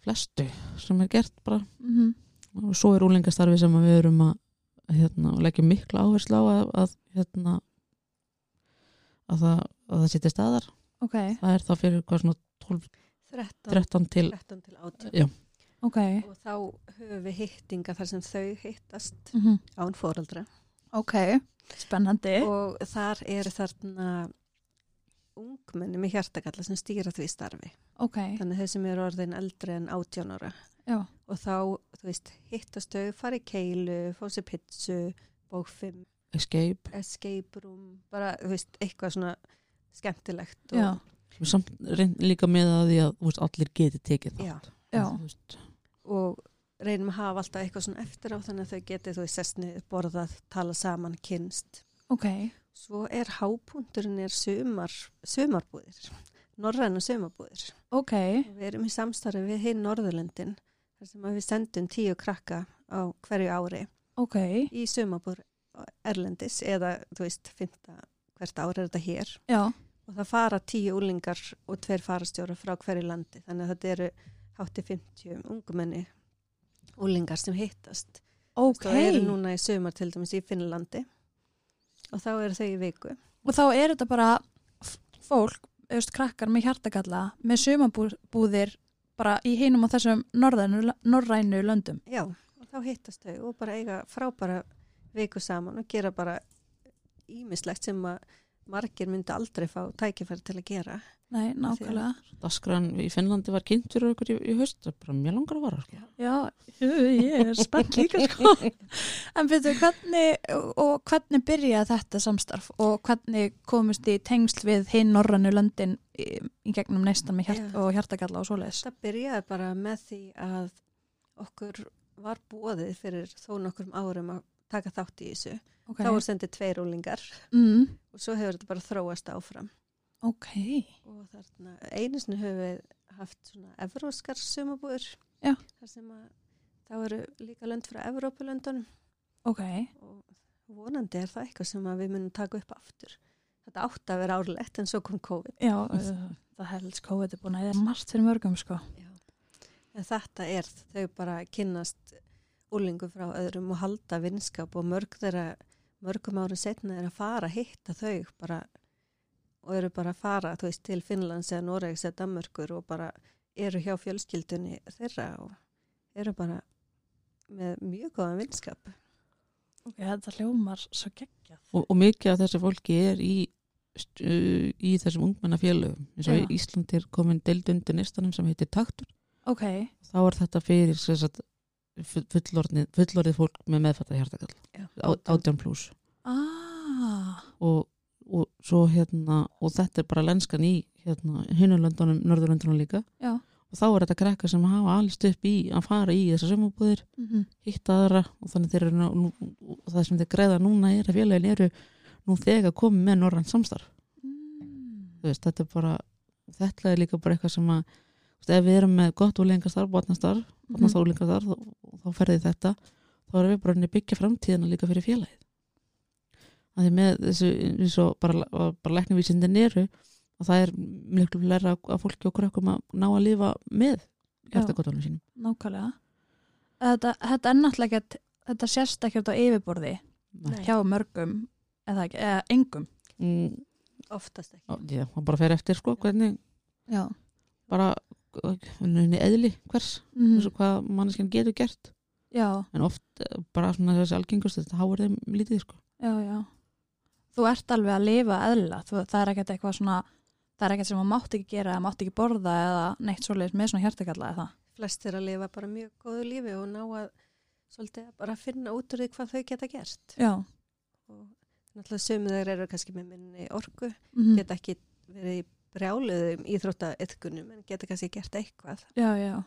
[SPEAKER 2] flestu sem er gert bara
[SPEAKER 1] Mm
[SPEAKER 2] og svo er úlingastarfi sem að við erum að hérna, leggja mikla áherslu á að, að hérna að það, að það setja staðar
[SPEAKER 1] Ok,
[SPEAKER 2] það er það fyrir hvað svona 12,
[SPEAKER 3] 13,
[SPEAKER 2] 13 til
[SPEAKER 3] 13 til 18
[SPEAKER 2] já,
[SPEAKER 1] ok.
[SPEAKER 3] og þá höfum við hittinga þar sem þau hittast
[SPEAKER 1] Mm
[SPEAKER 3] án fóraldra
[SPEAKER 1] Ok, spennandi.
[SPEAKER 3] og þar eru þarna ungmenni með hjartakalla sem stýra því starfi
[SPEAKER 1] ok,
[SPEAKER 3] þannig þau sem eru orðin eldri en 18 ára
[SPEAKER 1] já,
[SPEAKER 3] og þá, þú veist, hittast þau fara í keilu, fá sér pitsu bókfim,
[SPEAKER 2] escape
[SPEAKER 3] escape room bara, þú veist, eitthvað svona skemmtilegt og,
[SPEAKER 1] já,
[SPEAKER 2] samt reynd líka með að því að þú veist, allir geti tekið það
[SPEAKER 3] Já,
[SPEAKER 1] já,
[SPEAKER 3] og reynum að hafa alltaf eitthvað svona eftir á þannig að þau geti, þú veist, sestni borðað, tala saman, kynst
[SPEAKER 1] ok,
[SPEAKER 3] svo er hápunturinn er sumar, sumarbúðir norræna sumarbúðir
[SPEAKER 1] ok,
[SPEAKER 3] Og Við erum í samstarfi við hinn Norðurlöndin þar sem að við sendum tíu krakka á hverju ári
[SPEAKER 1] ok,
[SPEAKER 3] í sumabúr Erlendis eða þú veist, fynda hvert ári er þetta hér
[SPEAKER 1] já,
[SPEAKER 3] og það fara tíu úlingar og tver farastjóra frá hverju landi þannig að þetta eru hátti 50 ungumenni úlingar sem hittast
[SPEAKER 1] ok.
[SPEAKER 3] og eru núna í sumar til dæmis í Finnlandi og þá eru þau í viku
[SPEAKER 1] Og þá er þetta bara f- fólk, eðust, krakkar með hjartagalla, með sumabúðir bara í hinum á þessum norrænu, norrænu löndum.
[SPEAKER 3] Já, og þá hittast þau og bara eiga frábæra viku saman og gera bara ímislegt sem að margir myndi aldrei fá tækifæri til að gera.
[SPEAKER 1] Nei, nákvæmlega.
[SPEAKER 2] Daskran í Finnlandi var kynnt fyrir okkur í, í haust, það er bara mjög langar að vara sko.
[SPEAKER 1] Já, jú, ég er spennt líka sko. en veitu, hvernig, og hvernig byrjaði þetta samstarf og hvernig komist þið í tengsl við hinn norrannu löndin í, í gegnum neistan með hjart
[SPEAKER 3] Já.
[SPEAKER 1] og hjartagalla og svoleiðis?
[SPEAKER 3] Þetta byrjaði bara með því að okkur var bóðið fyrir þó nokkrum árum að taka þátt í þessu.
[SPEAKER 1] Ok,
[SPEAKER 3] Þá voru sendið tveir úlingar
[SPEAKER 1] mm,
[SPEAKER 3] og svo hefur þetta bara þróast áfram.
[SPEAKER 1] ok,
[SPEAKER 3] Og þarna einu sinni höfum við haft svona evróskar sumabúður.
[SPEAKER 1] Já.
[SPEAKER 3] Þar sem að þá eru líka lönd frá Evrópulöndunum.
[SPEAKER 1] ok,
[SPEAKER 3] og vonandi er það eitthvað sem að við munum taka upp aftur. Þetta átti að vera árlegt en svo kom COVID.
[SPEAKER 1] já, uh, það helst COVID er búin að eða margt fyrir mörgum sko.
[SPEAKER 3] En þetta er þau bara kynnast úlingu frá öðrum og halda vinskap og mörg þeirra, mörgum árum setna er að fara að hitta þau bara og eru bara að fara þú veist, til Finnlands eða Noregs eða Danmörkur og bara eru hjá fjölskyldunni þeirra og eru bara með mjög góðan vinskap.
[SPEAKER 1] Ok, þetta hljómar svo geggjað.
[SPEAKER 2] og, og mikið af þessu fólki er í st- uh, í þessum ungmennafélögum eins og
[SPEAKER 1] Já.
[SPEAKER 2] í Ísland er komin deild undir nistanum sem heitir taktur,
[SPEAKER 1] Ok,
[SPEAKER 2] þá er þetta fyrir sem sagt, fu- fullorðnið fullorðið fólk með meðfætta hjartakall
[SPEAKER 3] Já.
[SPEAKER 2] átján pluss
[SPEAKER 1] ah,
[SPEAKER 2] og, og svo hérna og þetta er bara lenskan í hérna, hinulöndunum, norðurlöndunum líka
[SPEAKER 1] já,
[SPEAKER 2] og þá er þetta krakka sem hafa alist upp í að fara í þessar sömubúðir
[SPEAKER 1] mm
[SPEAKER 2] hitta aðra og þannig þeir eru nú, nú, og það sem þeir greiða núna er að félagin eru nú þegar komið með norrann samstarf
[SPEAKER 1] Mm.
[SPEAKER 2] Þú veist, þetta er bara þetta er líka bara eitthvað sem að þú veist, ef við erum með gott úlengastarf, botnastarf
[SPEAKER 1] Mhm.
[SPEAKER 2] botnastarf, mm. þá, þá ferði þetta þá erum við bara henni að byggja framtíðina líka fyrir félagið að því með þessu eins og bara, bara læknavísindin eru og það er miklu læra að fólki og krökkum að ná að lifa með hjartakotanum sínum
[SPEAKER 1] nákvæmlega. Þetta, þetta er náttúrulega ekkert, þetta sérst ekkert á yfirborði
[SPEAKER 2] Nei.
[SPEAKER 1] hjá mörgum, eða, ekki, eða engum.
[SPEAKER 2] mm,
[SPEAKER 3] oftast ekki.
[SPEAKER 2] á- já, og bara fer eftir sko hvernig
[SPEAKER 1] Já.
[SPEAKER 2] bara hvernig eðli hvers
[SPEAKER 1] Mm,
[SPEAKER 2] mm. hvað manneskjan getur gert
[SPEAKER 1] já,
[SPEAKER 2] en oft eh, bara svona þessi algengust þetta háar þeim lítið sko
[SPEAKER 1] já, já. Þú ert alveg að lifa eðla, þú, það er ekkert eitthvað svona, það er ekkert sem maður mátt ekki gera eða mátt ekki borða eða neitt svoleiðis með svona hjartakalla eða það.
[SPEAKER 3] Flestir að lifa bara mjög góðu lífi og ná að svolítið að bara finna út úr því hvað þau geta gert.
[SPEAKER 1] Já.
[SPEAKER 3] Og náttúrulega sömu þeir eru kannski með minni orku,
[SPEAKER 1] Mm,
[SPEAKER 3] geta ekki verið í brjáluðum íþróttaethkunum en geta kannski gert eitthvað.
[SPEAKER 1] já, já.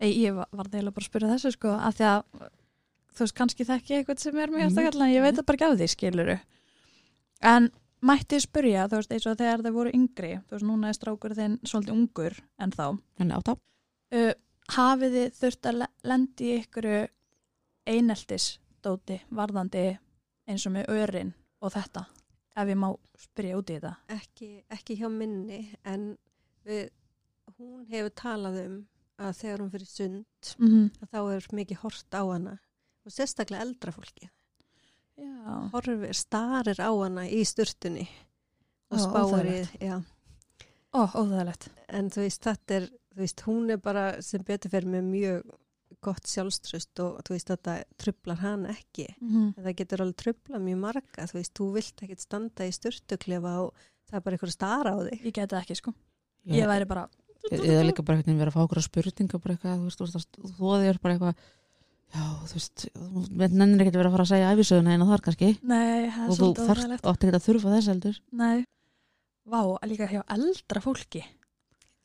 [SPEAKER 1] Ei, ég var, var eiginlega bara að spyrja þessu sko, að því að þú veist kannski þekki ég eitthvað sem er með
[SPEAKER 2] Mhm.
[SPEAKER 1] hjartakalla en ég veit það bara ekki af því skiluru. En mætti ég spyrja, þú veist, eins og þegar þau voru yngri, þú veist, núna er strákur þinn svolítið ungur en þá.
[SPEAKER 2] en átta
[SPEAKER 1] uh, hafið þið þurft að le- lenda í ykkur eineltisdóti varðandi eins og með örin og þetta ef ég má spyrja út í þetta
[SPEAKER 3] Ekki, ekki hjá minni en við, hún hefur talað um að þegar hún fyrir sund
[SPEAKER 1] mm
[SPEAKER 2] Mhm.
[SPEAKER 1] -hmm.
[SPEAKER 3] að þá er mikið hort á hana og sérstaklega eldra fólki.
[SPEAKER 1] Já,
[SPEAKER 3] Horfir, starir á hana í sturtunni og
[SPEAKER 1] Ó,
[SPEAKER 3] spáir í,
[SPEAKER 1] óþægilegt.
[SPEAKER 3] já,
[SPEAKER 1] ó, óþægilegt
[SPEAKER 3] en þú veist, þetta er, þú veist, hún er bara sem betur fyrir með mjög gott sjálfströst og þú veist, þetta trublar hann ekki.
[SPEAKER 1] mm -hmm.
[SPEAKER 2] Mhm.
[SPEAKER 3] En Það getur alveg trublað mjög marga, þú veist, þú vilt ekkit standa í sturtuklefa og það er bara einhver að stara á þig.
[SPEAKER 1] Ég geti það ekki sko Ég væri bara
[SPEAKER 2] E- eða líka bara hvernig vera að fá okkur spurninga bara eitthvað, þú veist, þú veist, þú þóði er bara eitthvað já, þú veist, þú veist nennir ekki að vera að fara að segja æfisöðuna eina þar kannski
[SPEAKER 1] Nei, það er
[SPEAKER 2] og þú
[SPEAKER 1] svolítið
[SPEAKER 2] þarft
[SPEAKER 1] óþægilegt
[SPEAKER 2] átti ekki að þurfa þess heldur
[SPEAKER 1] Nei Vá, að líka hjá eldra fólki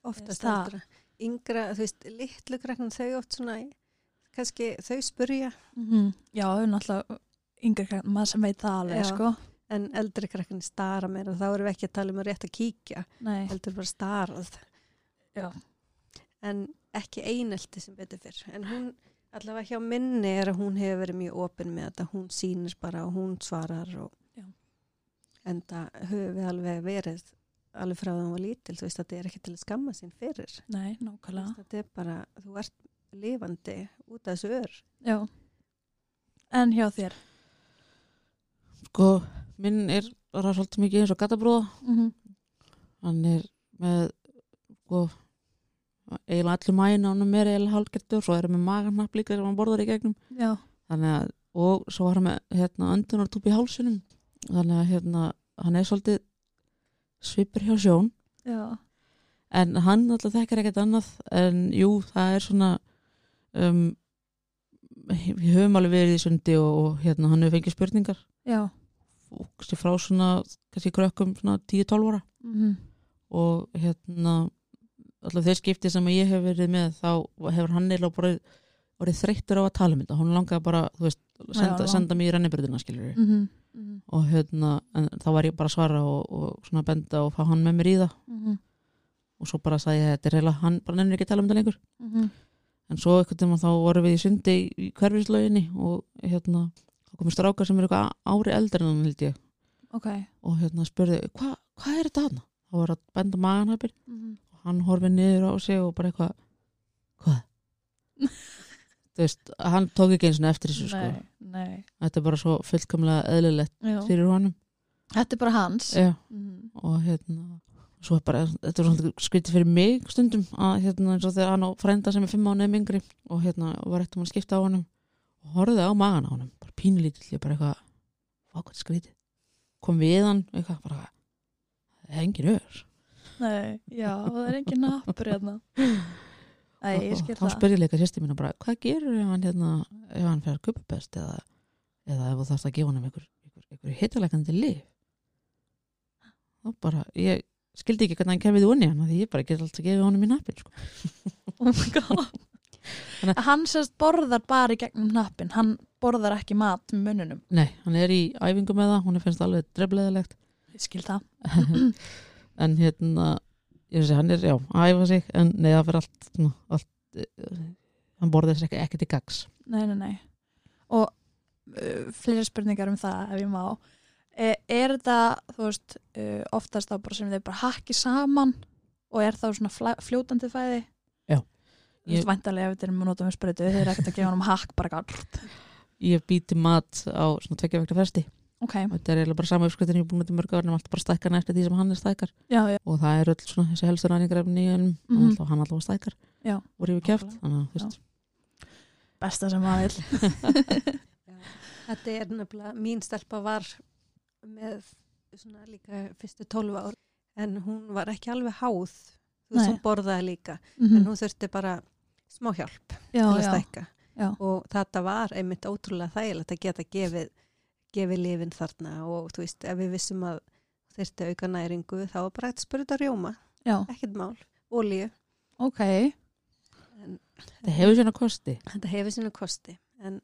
[SPEAKER 3] Oftast
[SPEAKER 1] Það-
[SPEAKER 3] eldra. Yngra, þú veist, litlu krakkan þau oft svona, kannski þau spurja,
[SPEAKER 1] mm Já, þau eru náttúrulega yngri krakk, maður sem veit það alveg
[SPEAKER 3] Já.
[SPEAKER 1] sko
[SPEAKER 3] en eldri krakkan stara meira, þá erum við ekki að tala um að rétt að kíkja,
[SPEAKER 1] Nei,
[SPEAKER 3] heldur bara starað.
[SPEAKER 1] Já.
[SPEAKER 3] En ekki einelti sem betur fyrr. En hún, allavega hjá minni er að hún hefur verið mjög opin með þetta, hún sýnir bara og hún svarar og
[SPEAKER 1] Já.
[SPEAKER 3] en það höfum við alveg verið alveg frá það hún var lítil, þú veist þetta er ekki til að skamma sín fyrir.
[SPEAKER 1] nei,
[SPEAKER 3] Þú
[SPEAKER 1] nákvæmlega
[SPEAKER 3] veist, Þetta er bara, þú ert lifandi út af þessu ör.
[SPEAKER 1] Já En hjá þér
[SPEAKER 2] sko, minn er bara svolítið mikið eins og gattabróða
[SPEAKER 1] mm -hmm.
[SPEAKER 2] hann er með sko, eiginlega allir mæin á hann er eiginlega hálfgertur, svo er hann með magarnapp líka sem hann borðar í gegnum
[SPEAKER 1] Já
[SPEAKER 2] þannig að, og svo var hann með hérna, öndunartúpi í hálsunum þannig að hérna, hann er svolítið svipur hjá sjón
[SPEAKER 1] Já
[SPEAKER 2] en hann alltaf þekkar ekkert annað en jú, það er svona um, við höfum alveg verið í sundi og, og hérna, hann hefur fengið spurningar
[SPEAKER 1] Já
[SPEAKER 2] og kannski frá svona, kannski krökkum svona 10-12 ára
[SPEAKER 1] mm
[SPEAKER 2] og hérna alltaf þeir skipti sem ég hef verið með þá hefur hann eiginlega bara orðið þreyttur á að tala um þetta, hún langaði bara þú veist, senda,
[SPEAKER 1] Já, já.
[SPEAKER 2] senda mig í rennibröðina skilur
[SPEAKER 1] mm -hmm. Mm
[SPEAKER 2] og hérna, en þá var ég bara að svara og, og svona benda og fá hann með mér í það
[SPEAKER 1] -hmm.
[SPEAKER 2] og svo bara sagði ég þetta er heila, hann bara nennir ekki að tala um þetta lengur
[SPEAKER 1] Mm -hmm.
[SPEAKER 2] en svo einhvern tímann þá vorum við í sundi í hverfislauginni og hérna þá komum strákar sem eru eitthvað ári eldri en hann held ég
[SPEAKER 1] Ok
[SPEAKER 2] og hérna spurði, hvað hva er þetta hann? þá var að benda maganhæpir
[SPEAKER 1] mm -hmm.
[SPEAKER 2] og hann horfið niður á sig og bara eitthvað hvað? þú veist, hann tók ekki eins og eftir þessu sko,
[SPEAKER 1] Nei, nei
[SPEAKER 2] þetta er bara svo fullkomlega eðlilegt
[SPEAKER 1] Já.
[SPEAKER 2] fyrir honum
[SPEAKER 1] Þetta er bara hans
[SPEAKER 2] Já,
[SPEAKER 1] mm.
[SPEAKER 2] og hérna svo er bara, þetta er svona skritið fyrir mig stundum að hérna eins og þegar hann á frænda sem er fimm mánuðum yngri og hérna var eftir að skipta á honum og horfði á magan á honum, bara pínulítill ég bara eitthvað, ákvæmt skritið kom við hann, eitthvað bara það er engin ör
[SPEAKER 1] Nei, já, það er engin nappur hérna Nei, ég
[SPEAKER 2] og
[SPEAKER 1] skil
[SPEAKER 2] þá
[SPEAKER 1] það
[SPEAKER 2] spyr ég leika sérstu mín bara, hvað gerur ef hann hérna ef hann fer kuppupest eða, eða ef þú þarfst að gefa honum ykkur, ykkur, ykkur hittalegandi lif þá bara, ég skildi ekki hvernig hann kemur því unni hann því ég bara get alltaf gefið honum í nappin sko.
[SPEAKER 1] Oh my god Hann sérst borðar bara í gegnum nappin Hann borðar ekki mat með mununum
[SPEAKER 2] Nei, hann er í æfingu með það, hún finnst það alveg drefleðilegt
[SPEAKER 1] Ég skil það
[SPEAKER 2] en hérna, ég finnst að hann er, já, að æfa sig en nei, það fyrir allt, svona, allt eh, hann borðið sér ekki, ekki til gags
[SPEAKER 1] Nei, nei, nei Og uh, fleiri spurningar um það ef ég má E, er þetta, þú veist, uh, oftast þá bara sem þau bara hakki saman og er þá svona fla- fljótandi fæði?
[SPEAKER 2] Já.
[SPEAKER 1] Þú veist,
[SPEAKER 2] Ég-
[SPEAKER 1] væntalega ef þetta er munótum spreytu, þau eru ekkert að gefa hann um hakk bara galt.
[SPEAKER 2] Ég býti mat á svona tveggja vekta festi
[SPEAKER 1] Ok,
[SPEAKER 2] og þetta er eiginlega bara sama uppskritin ég er búin að þetta mörg ára en allt bara stækkar eftir því sem hann er stækkar
[SPEAKER 1] já, já,
[SPEAKER 2] og það er öll svona þessi helstu ræningarefni í önum
[SPEAKER 1] Mhm.
[SPEAKER 2] mm -hmm. hann allavega stækkar
[SPEAKER 1] Já,
[SPEAKER 2] og rífi kjæft þannig að þú veist
[SPEAKER 1] besta sem maður vil.
[SPEAKER 3] Þetta er nefnilega, mín stelpa var með svona líka fyrstu 12 ár en hún var ekki alveg háð þú
[SPEAKER 1] Nei.
[SPEAKER 3] veist, hún borðaði líka en hún þurfti bara smá hjálp
[SPEAKER 1] Mhm. Mm. já,
[SPEAKER 3] til að
[SPEAKER 1] já,
[SPEAKER 3] stækka
[SPEAKER 1] já,
[SPEAKER 3] og þetta var einmitt ótrúlega þægilegt að geta gefið, gefið lifin þarna og þú veist, ef við vissum að þurfti auka næringu þá var bara hægt að spurta rjóma,
[SPEAKER 1] já,
[SPEAKER 3] ekkert mál olíu,
[SPEAKER 1] ok,
[SPEAKER 3] en
[SPEAKER 2] þetta hefur sérna kosti
[SPEAKER 3] þetta hefur sínu kosti en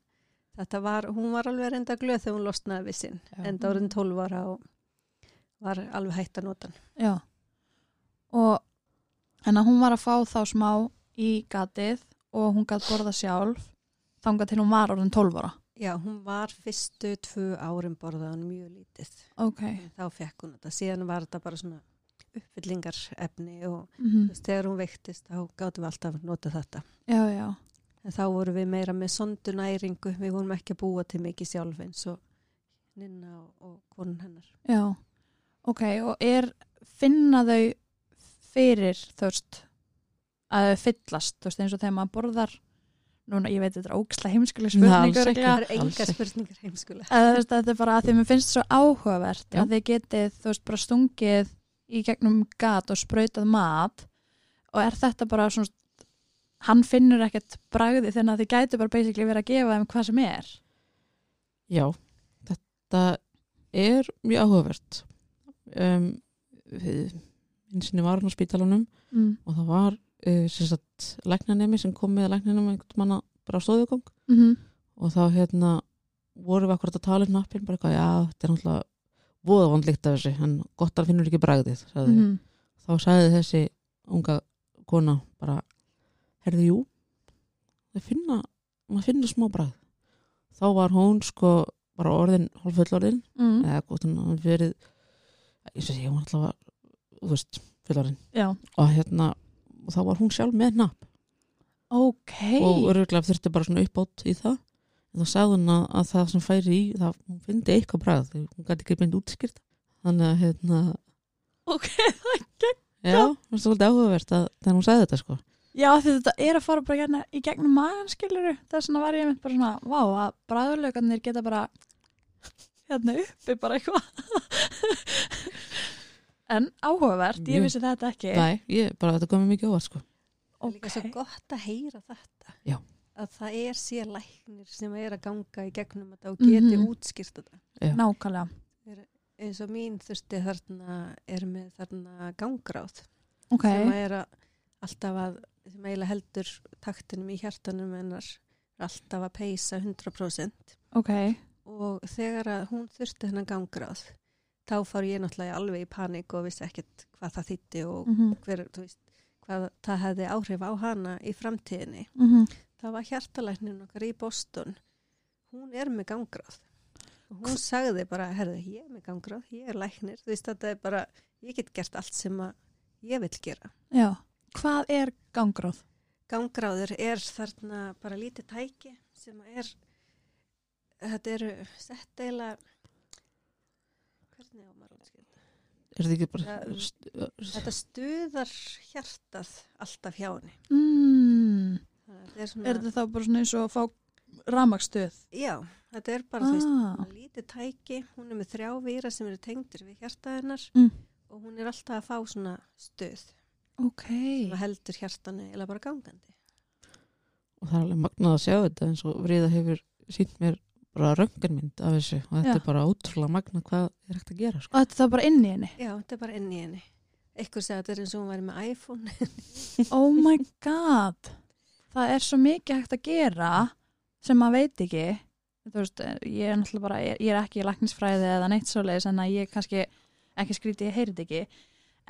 [SPEAKER 3] þetta var, hún var alveg reynda glöð þegar hún losnaði við sinn
[SPEAKER 2] Já.
[SPEAKER 3] enda
[SPEAKER 1] Mm.
[SPEAKER 3] orðin 12 ára og var alveg hægt að nota hann
[SPEAKER 1] já. Og en að hún var að fá þá smá í gatið og hún gætt borða sjálf þangað til hún var orðin 12 ára.
[SPEAKER 3] Já, hún var fyrstu tvö árin borðað hann mjög lítið
[SPEAKER 1] Ok,
[SPEAKER 3] þá fekk hún þetta, síðan var þetta bara svona uppfyllingarefni og
[SPEAKER 1] mm
[SPEAKER 3] Þú veist, þegar hún veiktist þá gáttum við alltaf að nota þetta
[SPEAKER 1] já, já,
[SPEAKER 3] en þá vorum við meira með sondunæringu við vorum ekki að búa til mikið sjálf eins og Ninna og, og konun hennar
[SPEAKER 1] já. Ok, og er finna þau fyrir þú veist að þau fyllast, þú veist eins og þegar maður borðar núna, ég veit þetta er óksla heimskuleg
[SPEAKER 2] Nei,
[SPEAKER 1] spurning
[SPEAKER 2] alls
[SPEAKER 1] örugglega.
[SPEAKER 2] Já,
[SPEAKER 3] það eru
[SPEAKER 2] alls
[SPEAKER 3] enga
[SPEAKER 2] ekki.
[SPEAKER 3] spurningar heimskulega
[SPEAKER 1] eða þú veist að þetta er bara að því mér finnst svo áhugavert
[SPEAKER 2] Já.
[SPEAKER 1] að þið getið þú veist bara stungið í gegnum gat og sprautað mat og er þetta bara svona hann finnur ekkert bragði þannig að þið gætu bara basically verið að gefa þeim hvað sem er
[SPEAKER 2] Já, þetta er mjög áhugavert um, við- einu sinni var hann á spítalanum
[SPEAKER 1] mm.
[SPEAKER 2] og það var uh, sem sagt læknanemi sem kom með læknanemi einhvern manna bara á stóðugöng
[SPEAKER 1] Mm -hmm.
[SPEAKER 2] og þá hérna vorum við akkurat að tala um nappin bara eitthvað, já, þetta er náttúrulega voða vondlíkt af þessu, en gott að finnur ekki bragðið sagði.
[SPEAKER 1] Mm
[SPEAKER 2] Mm þá sagði þessi unga kona bara, herðu jú það finna, maður finna smá bragð þá var hún sko bara orðin, hálffullorðin
[SPEAKER 1] -hmm.
[SPEAKER 2] eða gott hún hafi verið ég sé, hún alltaf var, þú veist fullorðin,
[SPEAKER 1] Já,
[SPEAKER 2] og hérna og þá var hún sjálf með napp
[SPEAKER 1] ok
[SPEAKER 2] og öruglega þurfti bara svona uppátt í það en þá sagði hún að, að það sem færi í það hún fyndi eitthvað bragð því hún gæti ekki beint útskýrt þannig að hérna
[SPEAKER 1] Ok,
[SPEAKER 2] já, það er svolítið áhugavert að þegar hún sagði þetta sko
[SPEAKER 1] Já, því þetta er að fara bara hérna í gegnum magan, skiluru. Þess vegna var ég mynd bara svona, vá, að bræðurlaugarnir geta bara hérna uppi bara eitthvað. en áhugavert, ég
[SPEAKER 2] Mjög.
[SPEAKER 1] vissi þetta ekki.
[SPEAKER 2] nei, ég, bara þetta komið mikið óvart sko
[SPEAKER 3] það er líka svo gott að heyra þetta
[SPEAKER 2] Já.
[SPEAKER 3] að það er sér læknir sem er að ganga í gegnum þetta og geti
[SPEAKER 1] Mhm.
[SPEAKER 3] útskýrt þetta
[SPEAKER 1] Nákvæmlega.
[SPEAKER 3] eins og mín þurfti þarna er með þarna gangráð
[SPEAKER 1] Ok,
[SPEAKER 3] sem að er að alltaf að sem eiginlega heldur taktinum í hjartanum hennar alltaf að peysa 100%
[SPEAKER 1] ok,
[SPEAKER 3] og þegar að hún þurfti hennar gangráð þá fór ég náttúrulega alveg í panik og vissi ekkert hvað það þýtti og
[SPEAKER 1] mm -hmm.
[SPEAKER 3] hver, þú veist, hvað það hefði áhrif á hana í framtíðinni.
[SPEAKER 1] mhm.
[SPEAKER 3] Það var hjartalæknin okkar í Boston. Hún er með gangráð. Og Hún sagði bara, herðu, ég er með gangráð, ég er læknir. Þú veist, þetta er bara, ég get gert allt sem að ég vil gera.
[SPEAKER 1] já. Hvað er gangróð?
[SPEAKER 3] gangráður er þarna bara lítið tæki sem er þetta eru sett eiginlega hvernig á maður að útskýra þetta?
[SPEAKER 2] er þetta ekki bara
[SPEAKER 3] Það-
[SPEAKER 2] st-
[SPEAKER 3] þetta stuðar hjartað alltaf hjá henni
[SPEAKER 1] Mm.
[SPEAKER 3] Þannig að þetta er
[SPEAKER 1] Er
[SPEAKER 3] svona,
[SPEAKER 1] þetta þá bara svona eins og að fá ramakstöð?
[SPEAKER 3] já, þetta er bara þú veist,
[SPEAKER 1] Ah,
[SPEAKER 3] svona lítið tæki hún er með þrjá víra sem eru tengdir við hjartað hennar
[SPEAKER 1] Mm.
[SPEAKER 3] og hún er alltaf að fá svona stuð
[SPEAKER 1] ok.
[SPEAKER 3] og heldur hjartanu eða bara gangandi
[SPEAKER 2] og það er alveg magnað að sjá þetta eins og Vríða hefur sínt mér bara röngarmynd af þessu og þetta
[SPEAKER 1] Já.
[SPEAKER 2] er bara ótrúlega magnað hvað er hægt að gera sko
[SPEAKER 1] Og þetta er þá bara inn í henni?
[SPEAKER 3] já, þetta er bara inn í henni eitthvað segja að þetta er eins og hún væri með iPhone
[SPEAKER 1] Oh my god Það er svo mikið hægt að gera sem maður veit ekki þú veist, ég er náttúrulega bara ég ég er ekki í læknisfræði eða neitt svoleiðis en að ég kannski ekki skrítið, ég heyri þetta ekki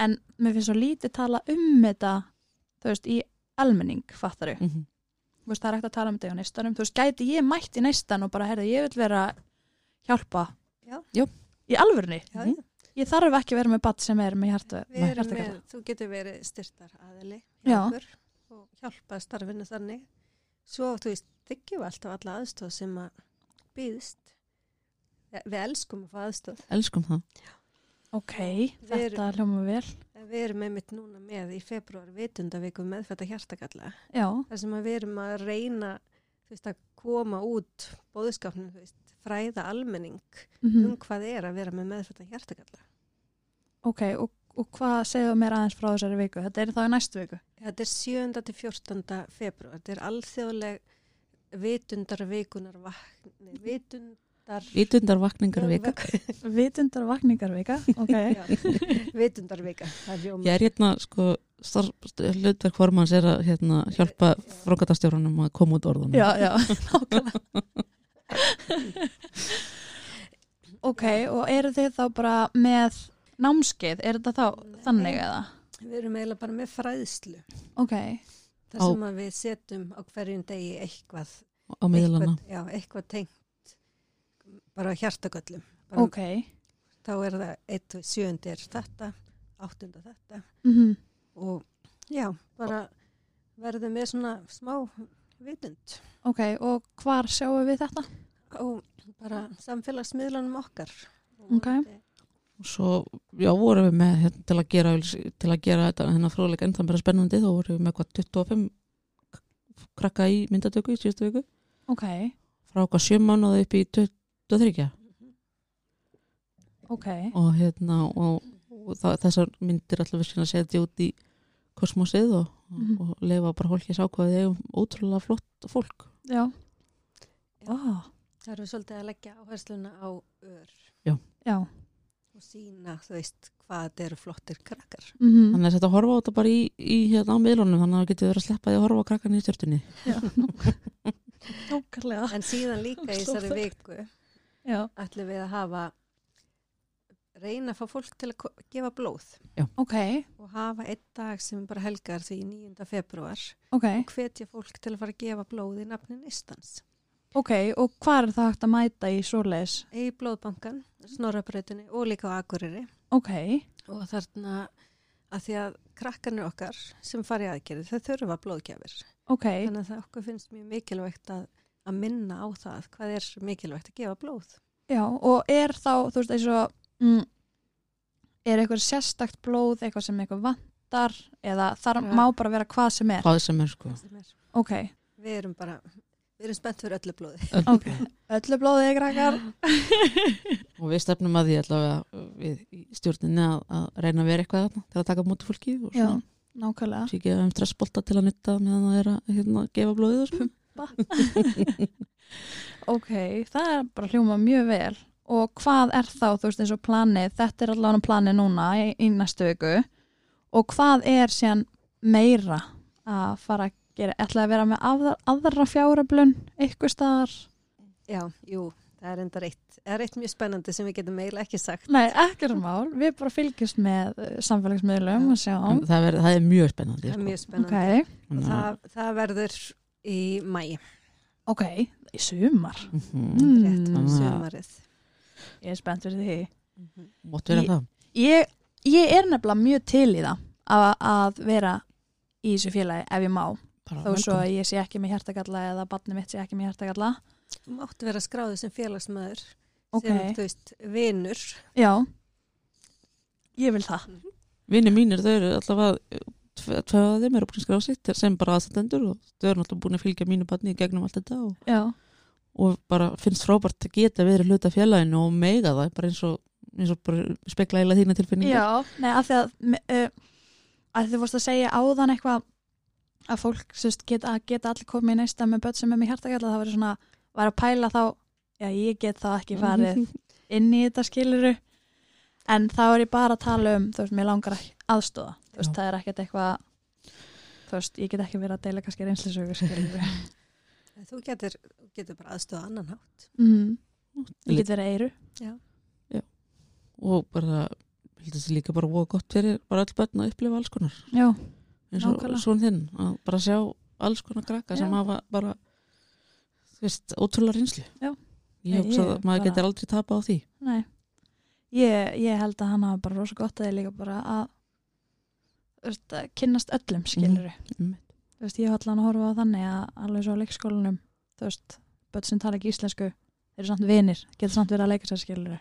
[SPEAKER 1] en mér finnst svo lítið tala um þetta þú veist, í almenning fattaru,
[SPEAKER 2] mm -hmm.
[SPEAKER 1] þú veist, það er hægt að tala um þetta í neistanum, þú veist, gæti ég mætt í neistan og bara, herðu, ég vil vera hjálpa
[SPEAKER 3] Já.
[SPEAKER 2] Jú.
[SPEAKER 1] Í alvörni?
[SPEAKER 3] Já,
[SPEAKER 2] Mhm.
[SPEAKER 3] já.
[SPEAKER 1] Ég þarf ekki að vera með bat sem er með hjarta,
[SPEAKER 3] Við
[SPEAKER 1] með
[SPEAKER 3] erum með,
[SPEAKER 1] hjartakalla.
[SPEAKER 3] þú getur verið styrtar aðili
[SPEAKER 1] Já.
[SPEAKER 3] okkur og hjálpa starfinu þannig. Svo, þú veist, þykjum við alltaf alla aðstof sem að býðst. Ja, við elskum að fá aðstof.
[SPEAKER 2] elskum það.
[SPEAKER 1] Ok,
[SPEAKER 3] Við
[SPEAKER 1] þetta hljóma vel.
[SPEAKER 3] En Við erum einmitt núna með í februar vitundavíku meðfætta hjartakalla.
[SPEAKER 1] Já,
[SPEAKER 3] þar sem að við erum að reyna þú veist, að koma út bóðskapnum, þú veist, fræða almenning
[SPEAKER 1] mhm.
[SPEAKER 3] um hvað er að vera með meðfætta hjartakalla.
[SPEAKER 1] ok, og, og hvað segðu mér aðeins frá þessari viku? Þetta er þá í næstu viku.
[SPEAKER 3] Þetta er 7. til 14. februar, þetta er alþjóðleg vitundarvikunar vakni, vitundar...
[SPEAKER 2] Ítundarvakningar vika.
[SPEAKER 1] Vitundar vakningarvika, ok.
[SPEAKER 3] Já, vitundarvika, það er
[SPEAKER 2] Ég
[SPEAKER 3] ljóma.
[SPEAKER 2] er hérna, sko, starf, hlutverk formans er að hérna, hjálpa frókatastjórunum að koma út orðunum.
[SPEAKER 1] já, já, nákvæmlega. ok, og eru þið þá bara með námskeið? Er þetta þá þannig eða?
[SPEAKER 3] Við erum eiginlega bara með fræðslu,
[SPEAKER 1] Ok,
[SPEAKER 3] þar sem að við setjum á hverjum degi eitthvað,
[SPEAKER 2] Á miðlana.
[SPEAKER 3] eitthvað, já, eitthvað tengt, bara hjartagöllum. Bara
[SPEAKER 1] ok.
[SPEAKER 3] þá er það eitt og sjöndi er þetta, áttunda þetta
[SPEAKER 1] Mm
[SPEAKER 3] og já, bara verðum með svona smá vitund
[SPEAKER 1] Ok, og hvar sjáum við þetta?
[SPEAKER 3] og bara samfélagsmiðlanum okkar.
[SPEAKER 1] Ok.
[SPEAKER 2] Og svo, já, vorum við með hérna, til að gera, til að gera þetta hérna fróðleika ennþá bara spennandi, þá vorum við með hvað 25 k- krakka í myndatöku í síðustu viku.
[SPEAKER 1] Ok,
[SPEAKER 2] Frá okkar sjö mánuði upp í 23.
[SPEAKER 1] ok,
[SPEAKER 2] Og hérna, og, og það, þessar myndir alltaf við sinna setja út í kosmosið og,
[SPEAKER 1] Mhm.
[SPEAKER 2] og leifa bara hólki sákvæði um ótrúlega flott fólk.
[SPEAKER 1] já.
[SPEAKER 3] Já.
[SPEAKER 1] Oh,
[SPEAKER 3] Það eru svolítið að leggja áhersluna á ör
[SPEAKER 1] já,
[SPEAKER 3] og sína, þú veist, hvað þetta eru flottir krakkar.
[SPEAKER 1] mm
[SPEAKER 2] Þannig að þetta horfa á þetta bara í, í hérna á miðlunum, þannig að það getur verið að sleppa því að horfa á krakkan í stjórnunni.
[SPEAKER 1] nákvæmlega.
[SPEAKER 3] En síðan líka í þessari viku
[SPEAKER 1] Já,
[SPEAKER 3] ætlum við að hafa reyna að fá fólk til að ko- gefa blóð
[SPEAKER 1] ok,
[SPEAKER 3] og hafa einn dag sem er bara helgar því 9. februar
[SPEAKER 1] ok,
[SPEAKER 3] og hvetja fólk til að fara að gefa blóð í nafnin Ístans.
[SPEAKER 1] ok, og hvað er það hægt að mæta í svoleiðis?
[SPEAKER 3] í blóðbankan, snorrabrautinni og líka á Akureyri
[SPEAKER 1] Ok,
[SPEAKER 3] og þarna að því að krakkanir okkar sem fari aðgerði þau þurfa blóðgjafir
[SPEAKER 1] ok,
[SPEAKER 3] þannig að það okkur finnst mjög mikilvægt að, að minna á það hvað er mikilvægt að gefa blóð
[SPEAKER 1] já, og er þá, þú veist, eins og, mm, er eitthvað sérstakt blóð, eitthvað sem eitthvað vantar, eða þar
[SPEAKER 3] Já.
[SPEAKER 1] má bara vera hvað sem er?
[SPEAKER 2] Hvað sem er sko.
[SPEAKER 3] sem er.
[SPEAKER 1] Ok,
[SPEAKER 3] við erum bara, við erum spennt fyrir öllu blóði
[SPEAKER 1] ok, öllu blóðið krakkar.
[SPEAKER 2] Og við stefnum að því allavega við í stjórninni að, að reyna að vera eitthvað þarna til að taka á móti fólki og
[SPEAKER 1] Já,
[SPEAKER 2] svona.
[SPEAKER 1] nákvæmlega.
[SPEAKER 2] Sér gefa um stressbolta til að nutta meðan það er að hérna, gefa blóðið og svona.
[SPEAKER 1] Ok, það er bara hljóma mjög vel og hvað er þá, þú veist, eins og planið þetta er allavega planið núna í, í næstu viku og hvað er síðan meira að fara að gera, ætlaði að vera með aðra, aðra fjáröflun eitthvað staðar
[SPEAKER 3] já, jú, það er enda reitt það er reitt mjög spennandi sem við getum eiginlega ekki sagt
[SPEAKER 1] Nei, ekkert mál, við bara fylgjumst með eh, samfélagsmiðlum og sjáum
[SPEAKER 2] En Það, ver, það er mjög spennandi. Sko.
[SPEAKER 3] það er mjög
[SPEAKER 1] Ok, Mm.
[SPEAKER 2] Þannig
[SPEAKER 3] spennandi og
[SPEAKER 2] að-
[SPEAKER 3] það, það verður í mæ
[SPEAKER 1] ok, í sumar
[SPEAKER 2] Mhm.
[SPEAKER 3] rétt
[SPEAKER 1] mm,
[SPEAKER 2] Þannig
[SPEAKER 3] um
[SPEAKER 2] að-
[SPEAKER 3] sömarið
[SPEAKER 1] Ég er spennt fyrir því
[SPEAKER 3] Mhm.
[SPEAKER 2] Mótt vera
[SPEAKER 1] Í-
[SPEAKER 2] það.
[SPEAKER 1] ég, ég er nefnilega mjög til í það að, að vera í þessu félagi ef ég má
[SPEAKER 2] Bara
[SPEAKER 1] þó svo
[SPEAKER 2] velkomin.
[SPEAKER 1] að ég sé ekki með hjartagalla eða barni mitt sé ekki með hjartagalla
[SPEAKER 3] þú máttu vera skráðu sem félagsmaður
[SPEAKER 1] ok,
[SPEAKER 3] sem, þú veist, vinur
[SPEAKER 1] já ég vil það
[SPEAKER 2] Vinni mínir, þau eru allavega tve tvö af þeim eru búin að skrá sitt sem bara aðstandendur og þau eru náttúrulega búin að fylgja mínu barni í gegnum allt þetta og
[SPEAKER 1] já,
[SPEAKER 2] og bara finnst frábært að geta verið hluta af félaginu og mega það bara eins og, eins og bara spekla eila þína tilfinningar
[SPEAKER 1] já. Nei, að því að, me- uh, að þið vorst að segja áðan eitthvað að fólk sérst, geta, að geta allir komið í næsta með börn sem er með hjartagalla það verður svona, var að pæla þá já, ég get það ekki farið inn í þetta skiluru en þá er ég bara að tala um þú veist, mér langar að aðstóða þú veist,
[SPEAKER 2] Já.
[SPEAKER 1] það er ekkert eitthvað þú veist, ég get ekki verið að deila kannski reynslisögur skiluru
[SPEAKER 3] Þú getur, þú getur bara aðstöða annan hátt.
[SPEAKER 1] mm. ég get verið eiru
[SPEAKER 2] og bara heldur þessi líka bara voða gott fyrir bara öll börn að upplifa alls konar
[SPEAKER 1] já,
[SPEAKER 2] eins og
[SPEAKER 1] Nákvæmlega.
[SPEAKER 2] svona þinn að bara sjá alls konar krakka sem
[SPEAKER 1] Já.
[SPEAKER 2] hafa bara þú veist, ótrúlega reynslu
[SPEAKER 1] Já.
[SPEAKER 2] ég
[SPEAKER 1] Nei,
[SPEAKER 2] hugsa
[SPEAKER 1] ég
[SPEAKER 2] að maður
[SPEAKER 1] bara-
[SPEAKER 2] getur aldrei tapa á því
[SPEAKER 1] nei ég, ég held að hann hafa bara rosa gott að ég líka bara að, þú veist, að kynnast öllum skilur
[SPEAKER 2] Mhm. einmitt.
[SPEAKER 1] þú veist, ég ætla hann að horfa á þannig að alveg svo á leikskólanum þú veist, börn sem tala ekki íslensku eru samt vinir, getur samt verið að leika sér skilur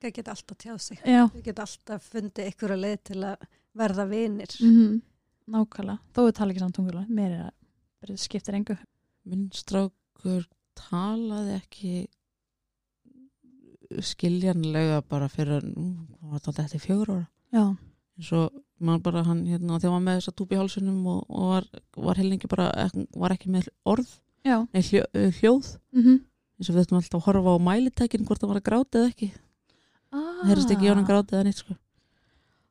[SPEAKER 3] Krakka geta alltaf tjáð sig.
[SPEAKER 1] já,
[SPEAKER 3] Þau geta alltaf fundið einhverja leið til að verða vinir.
[SPEAKER 1] mm -hmm. nákvæmlega þó við tala ekki samt tungulega, mér er að bara skiptir engu
[SPEAKER 2] minn strákur talaði ekki skiljanlega bara fyrir að nú, hann var þetta eftir fjögur ára
[SPEAKER 1] já,
[SPEAKER 2] eins og mann bara hann hérna þegar hann var með þess að túpi hálsunum og, og var, var hellingi bara ek- var ekki með orð,
[SPEAKER 1] já,
[SPEAKER 2] nei hljó, eh, hljóð
[SPEAKER 1] mm
[SPEAKER 2] eins og við ættum alltaf að horfa á mælitækin hvort það var að gráta eða ekki
[SPEAKER 1] ah.
[SPEAKER 2] það heyrist ekki í honum gráta eða neitt sko.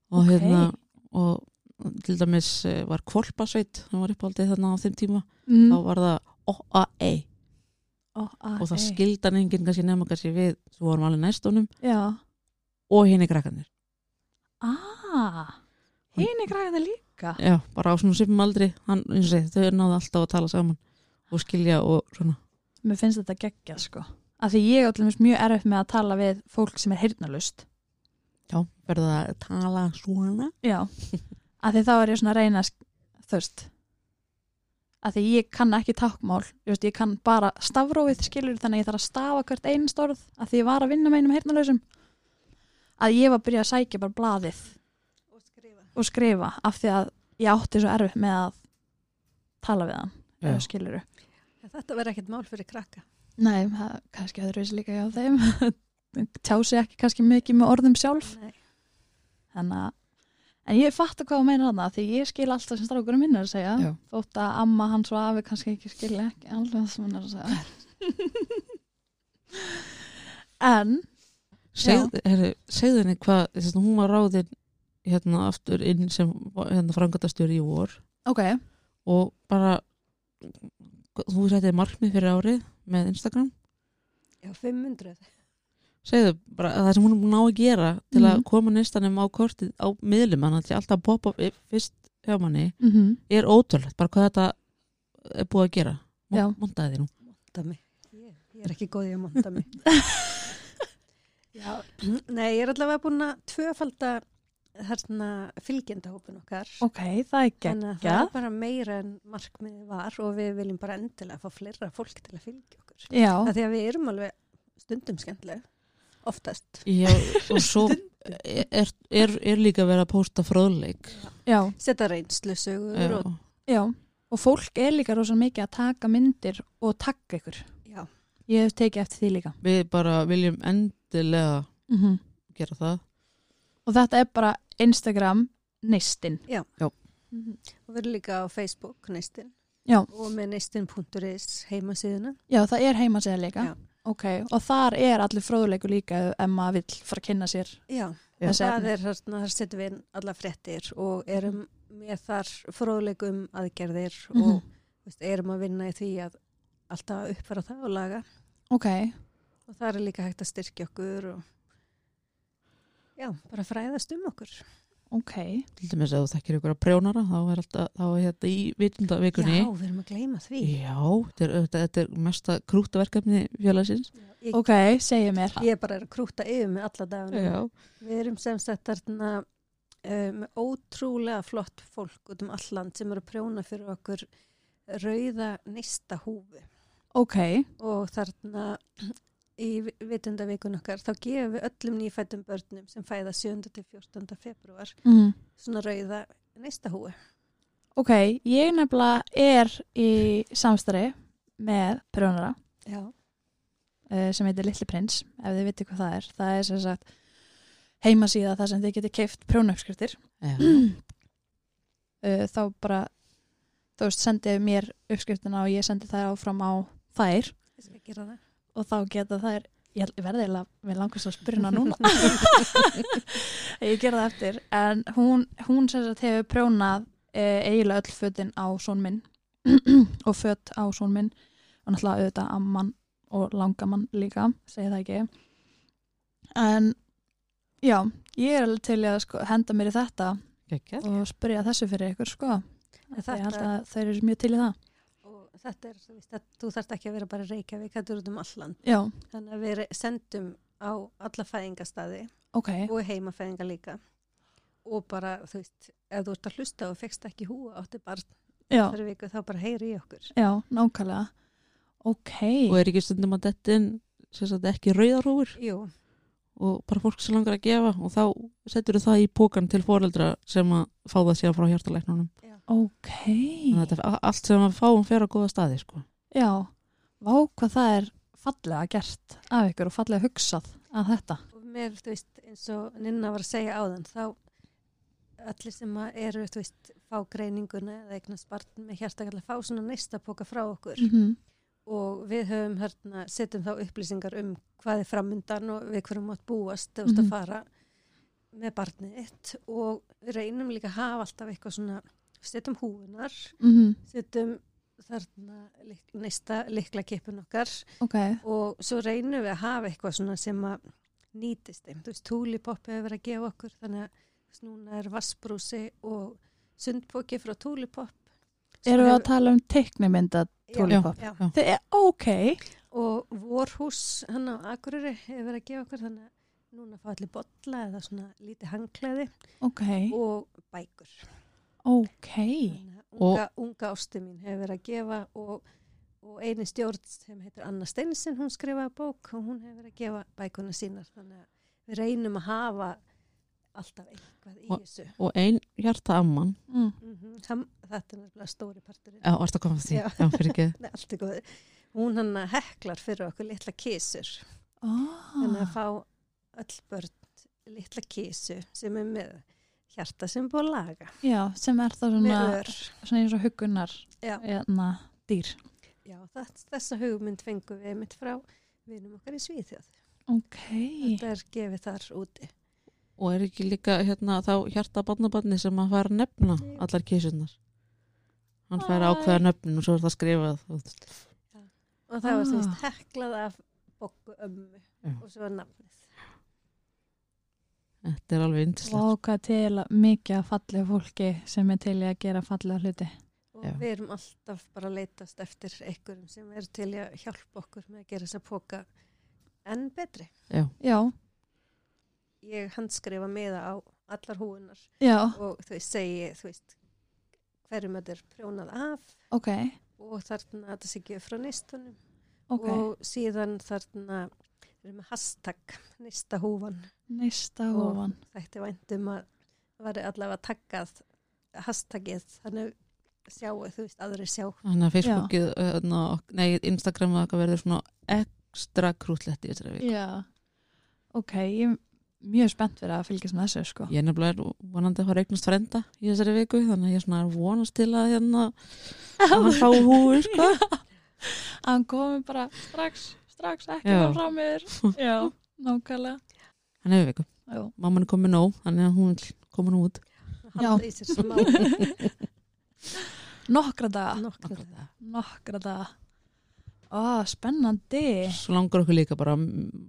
[SPEAKER 2] og
[SPEAKER 1] Ok.
[SPEAKER 2] hérna og til dæmis eh, var kvolpasveit hann var uppáldið þarna á þeim tíma þá
[SPEAKER 1] mm.
[SPEAKER 2] var það E. O-A-E
[SPEAKER 1] oh, ah,
[SPEAKER 2] og það
[SPEAKER 1] ei.
[SPEAKER 2] skildi hann enginn kannski nema kannski við svo varum alveg næstunum
[SPEAKER 1] já,
[SPEAKER 2] og henni krakkanir
[SPEAKER 1] ah hinn er græðið líka
[SPEAKER 2] já, bara á svona sifum aldri hann, eins og segi, þau náðu alltaf að tala saman og skilja og svona
[SPEAKER 1] mér finnst þetta geggja sko af því ég er allir mjög erfitt með að tala við fólk sem er heyrnalust
[SPEAKER 2] já, verða að tala svona
[SPEAKER 1] já, af því þá er ég svona að reyna þörst af því ég kann ekki tákmál ég, veist, ég kann bara stafrófið skilur þannig að ég þarf að stafa hvert einst orð af því ég var að vinna með einum heyrnalausum að ég var að byrja að sækja bara blaðið
[SPEAKER 3] Og skrifa.
[SPEAKER 1] og skrifa af því að ég átti svo erfitt með að tala við hann
[SPEAKER 2] Já.
[SPEAKER 1] ef skilur
[SPEAKER 3] Þetta verður ekkert mál fyrir krakka.
[SPEAKER 1] Nei, það, kannski öðruvísi líka hjá þeim tjá sig ekki kannski mikið með orðum sjálf
[SPEAKER 3] Nei.
[SPEAKER 1] þannig að En ég fatt að hvað þú meinar þarna, því ég skil alltaf sem strákurum minn er að segja,
[SPEAKER 2] Já.
[SPEAKER 1] þótt að amma hans og afi kannski ekki skilja ekki alveg það sem hann er að segja. en,
[SPEAKER 2] Segð- herru, segðu henni hvað þess að hún var ráðin hérna aftur inn sem hérna frangatastjóri í vor
[SPEAKER 1] ok,
[SPEAKER 2] og bara þú setið markmið fyrir árið með Instagram
[SPEAKER 3] Já, 500.
[SPEAKER 2] segðu bara að það sem hún ná að gera til að
[SPEAKER 1] Mhm.
[SPEAKER 2] koma nistanum á kortið á miðlum hann til alltaf að poppa upp eh, fyrst hjá manni
[SPEAKER 1] mm
[SPEAKER 2] er ótrúlegt bara hvað þetta er búið að gera
[SPEAKER 1] Já.
[SPEAKER 2] montaði þér nú
[SPEAKER 3] Monta mig. Ég, ég er ekki góð í að monta mig. Já, nei, ég er allavega búin að tvöfalda þarna fylgjendahópin okkar.
[SPEAKER 1] ok, það er gegn.
[SPEAKER 3] Þannig að það er bara meira en markmiði var og við viljum bara endilega fá fleira fólk til að fylgja okkur.
[SPEAKER 1] Já,
[SPEAKER 3] Það því að við erum alveg stundum skemmtileg, oftast.
[SPEAKER 2] Já, og svo er, er, er líka verið að pósta fróðleik
[SPEAKER 1] já,
[SPEAKER 3] Setta reynslu sögur
[SPEAKER 2] Já.
[SPEAKER 3] og
[SPEAKER 1] já. Og fólk er líka rosa mikið að taka myndir og tagga ykkur.
[SPEAKER 3] já,
[SPEAKER 1] Ég hef tekið eftir því líka.
[SPEAKER 2] við bara viljum endilega
[SPEAKER 1] Mm
[SPEAKER 2] gera það
[SPEAKER 1] Og þetta er bara Instagram neistinn.
[SPEAKER 3] Já.
[SPEAKER 2] Já.
[SPEAKER 1] Mhm.
[SPEAKER 3] og við erum líka á Facebook neistinn
[SPEAKER 1] Já.
[SPEAKER 3] og með neistinn.is heimasíðuna.
[SPEAKER 1] Já, það er heimasíða líka.
[SPEAKER 3] Já.
[SPEAKER 1] Ok, og þar er allir fróðuleikur líka ef maður vill fara að kynna sér
[SPEAKER 3] Já,
[SPEAKER 2] Já.
[SPEAKER 1] þessi
[SPEAKER 3] það
[SPEAKER 1] efni.
[SPEAKER 3] er þarna, þar setjum við inn alla fréttir og erum með þar fróðleikum aðgerðir og
[SPEAKER 1] Mhm.
[SPEAKER 3] veist, erum að vinna í því að alltaf uppfara það og laga
[SPEAKER 1] Ok,
[SPEAKER 3] og það er líka hægt að styrkja okkur og já, bara fræðast um okkur.
[SPEAKER 1] ok.
[SPEAKER 2] til dæmis að þú þekkir ykkur að prjónara þá er alltaf, þá er þetta í vitundavikunni
[SPEAKER 3] Já, við erum að gleyma því.
[SPEAKER 2] Já, þetta er, þetta, þetta er mesta krútaverkefni fjölaðsins
[SPEAKER 3] Ég,
[SPEAKER 1] Ok, segja mér.
[SPEAKER 3] ég bara er að krúta yfir með alla dagana.
[SPEAKER 2] Já,
[SPEAKER 3] Við erum sem sagt þarna eh, með ótrúlega flott fólk út um alland sem eru að prjóna fyrir okkur rauða nista húfu
[SPEAKER 1] Ok,
[SPEAKER 3] og þarna í vitundavikun okkar þá gefum við öllum nýfættum börnum sem fæða 7. til 14. februar
[SPEAKER 1] mm.
[SPEAKER 3] svona rauða nista húfu.
[SPEAKER 1] ok, ég nefnilega er í samstari með prjónara
[SPEAKER 3] Já.
[SPEAKER 1] uh, sem heitir Little Prince, ef þið viti hvað það er. Það er sem sagt heimasíða þar sem þið getið keift prjónaupskriftir.
[SPEAKER 2] já.
[SPEAKER 1] uh, þá bara þú veist, sendið mér uppskriftina og ég sendi þær áfram á þær
[SPEAKER 3] Ég skal gera það.
[SPEAKER 1] og þá geta þær ég held- ég verði eiginlega, mér langast að spyrna núna ég gera það eftir en hún, hún sem sagt hefur prjónað uh, eiginlega öll fötin á són minn og fött á són minn og náttúrulega auðvitað amman og langamann líka, segi það ekki en já, ég er alveg til í að sko, henda mér í þetta
[SPEAKER 2] Geggjað.
[SPEAKER 1] og spyrja þessu fyrir ykkur sko
[SPEAKER 3] En
[SPEAKER 1] Þetta... Ég
[SPEAKER 3] þetta-
[SPEAKER 1] held að þeir eru mjög til í það
[SPEAKER 3] Og þetta er, þú veist, að þú þarft ekki að vera bara í Reykjavík, þetta er út um alland.
[SPEAKER 1] Já,
[SPEAKER 3] Þannig að við re- sendum á alla fæðingastaði
[SPEAKER 1] Ok,
[SPEAKER 3] og heimafæðinga líka og bara þú veist, ef þú ert að hlusta og fegst ekki húa átti barn
[SPEAKER 1] já,
[SPEAKER 3] þar viku þá bara heyri í okkur
[SPEAKER 1] já, nákvæmlega. Ok,
[SPEAKER 2] og er ekki stundum að detta inn sem sagt ekki rauðarúfur
[SPEAKER 3] Jú,
[SPEAKER 2] og bara fólk sem langar að gefa og þá setur það í pókan til foreldra sem að fá það síðan frá hjartalæknunum
[SPEAKER 1] ok.
[SPEAKER 2] þannig að þetta- a- allt sem að fáum fer á góða staði sko.
[SPEAKER 1] Já, vá hvað það er fallega gert af ykkur og fallega hugsað að þetta.
[SPEAKER 3] og mér, þú veist, eins og Ninna var að segja áðan, þá allir sem að eru, þú veist, fá greininguna eða eignast barn með hjartakalla fá svona neista póka frá okkur
[SPEAKER 1] -hmm.
[SPEAKER 3] og við höfum hérna, setjum þá upplýsingar um hvað er framundan og við hverjum átt búast eða mm -hmm.
[SPEAKER 1] Mhm.
[SPEAKER 3] að fara með barnið eitt og við reynum líka að hafa alltaf eitthvað svona, setjum húfunar, mhm. setjum þarna lik, neista likla okkar
[SPEAKER 1] Ok,
[SPEAKER 3] og svo reynum við að hafa eitthvað svona sem að nýtist þeim, þú veist, túlipopp hefur verið að gefa okkur, þannig að þú veist, núna er vassbrúsi og sundpóki frá túlipopp
[SPEAKER 1] eru við að tala um teiknumynda túlipopp?
[SPEAKER 3] Já, já.
[SPEAKER 1] Þið er e- ok.
[SPEAKER 3] og vorhús hann á Akureyri hefur verið að gefa okkur þannig að núna fá allir bolla eða svona lítið hangklæði
[SPEAKER 1] Ok,
[SPEAKER 3] og bækur
[SPEAKER 1] ok.
[SPEAKER 3] Þannig að unga, unga ástu mín hefur verið að gefa og, og eini stjórn sem heitir Anna Steinsin, hún skrifaði bók og hún hefur verið að gefa bækuna sínar þannig að við reynum að hafa alltaf eitthvað í
[SPEAKER 2] Og-
[SPEAKER 3] þessu
[SPEAKER 2] og ein hjarta amman
[SPEAKER 1] Mm.
[SPEAKER 3] mm -hmm. þetta er nefnilega stóri parturinn
[SPEAKER 2] já, varst að koma að því,
[SPEAKER 3] Já.
[SPEAKER 2] já, fyrir ekki
[SPEAKER 3] Nei, allt er góður. hún hann heklar fyrir okkur litla kísur þannig
[SPEAKER 1] Ah.
[SPEAKER 3] að fá öll börn litla kísu sem er með hjarta sem er búið að laga
[SPEAKER 1] Já, sem er það svona,
[SPEAKER 3] með ör.
[SPEAKER 1] svona eins og hugunar
[SPEAKER 3] Já.
[SPEAKER 1] eðna, dýr.
[SPEAKER 3] Já, þess, þessa hugmynd fengum við einmitt frá vinum okkar í Svíþjóð.
[SPEAKER 1] Ok,
[SPEAKER 3] Þetta er gefið þar úti.
[SPEAKER 2] og er ekki líka hérna þá hjarta barnabarni sem að fara að nefna allar kísunar hann fær
[SPEAKER 1] Æ.
[SPEAKER 2] ákveða nöfnin og svo er það skrifað þú veist.
[SPEAKER 3] Og það var
[SPEAKER 1] Ah.
[SPEAKER 3] þú veist heklað af bokku ömmu
[SPEAKER 2] Já.
[SPEAKER 3] og svo er nafnið.
[SPEAKER 2] þetta er alveg yndislegt
[SPEAKER 1] og ákvað til að- mikið að fallega fólki sem er til í að gera fallega hluti.
[SPEAKER 3] Og
[SPEAKER 2] Já.
[SPEAKER 3] við erum alltaf bara að leitast eftir einhverjum sem er til í að hjálpa okkur með að gera þessa póka enn betri.
[SPEAKER 1] Já,
[SPEAKER 3] Ég handskrifa meða á allar húunar
[SPEAKER 1] já,
[SPEAKER 3] og þú veist segi, þú veist, hverjum þetta er prjónað af
[SPEAKER 1] ok,
[SPEAKER 3] og þarna þetta sé gefið frá neistunum
[SPEAKER 1] ok.
[SPEAKER 3] og síðan þarna erum við hashtag neistahúfan
[SPEAKER 1] Næsta
[SPEAKER 3] og-
[SPEAKER 1] ofan.
[SPEAKER 3] þætti væntum að það væri allavega taggað hashtagið þannig sjáu, þú veist, aðri sjá
[SPEAKER 2] þannig að Facebookið, eh, hérna, ok- nei Instagram og eitthvað verður svona ekstra krútlegt í þessari viku
[SPEAKER 1] Já, ok, ég er mjög spennt fyrir að fylgjast með þessu sko.
[SPEAKER 2] Ég er nefnilega er vonandi að fara að eignast frenda í þessari viku, þannig að ég er svona að vonast til að hérna, að hann fá húi, sko.
[SPEAKER 1] Að hann komi bara strax, strax, ekki
[SPEAKER 2] Já.
[SPEAKER 1] bara frá mér. Já, nákvæmlega.
[SPEAKER 2] Hann hefur viku.
[SPEAKER 1] Já.
[SPEAKER 2] Mamman er komin nóg, þannig að hún vil koma nú út.
[SPEAKER 3] halda í sér smá
[SPEAKER 1] Nokkra daga,
[SPEAKER 3] nokkra daga.
[SPEAKER 1] nokkra daga. Ó, spennandi.
[SPEAKER 2] Svo langar okkur líka bara,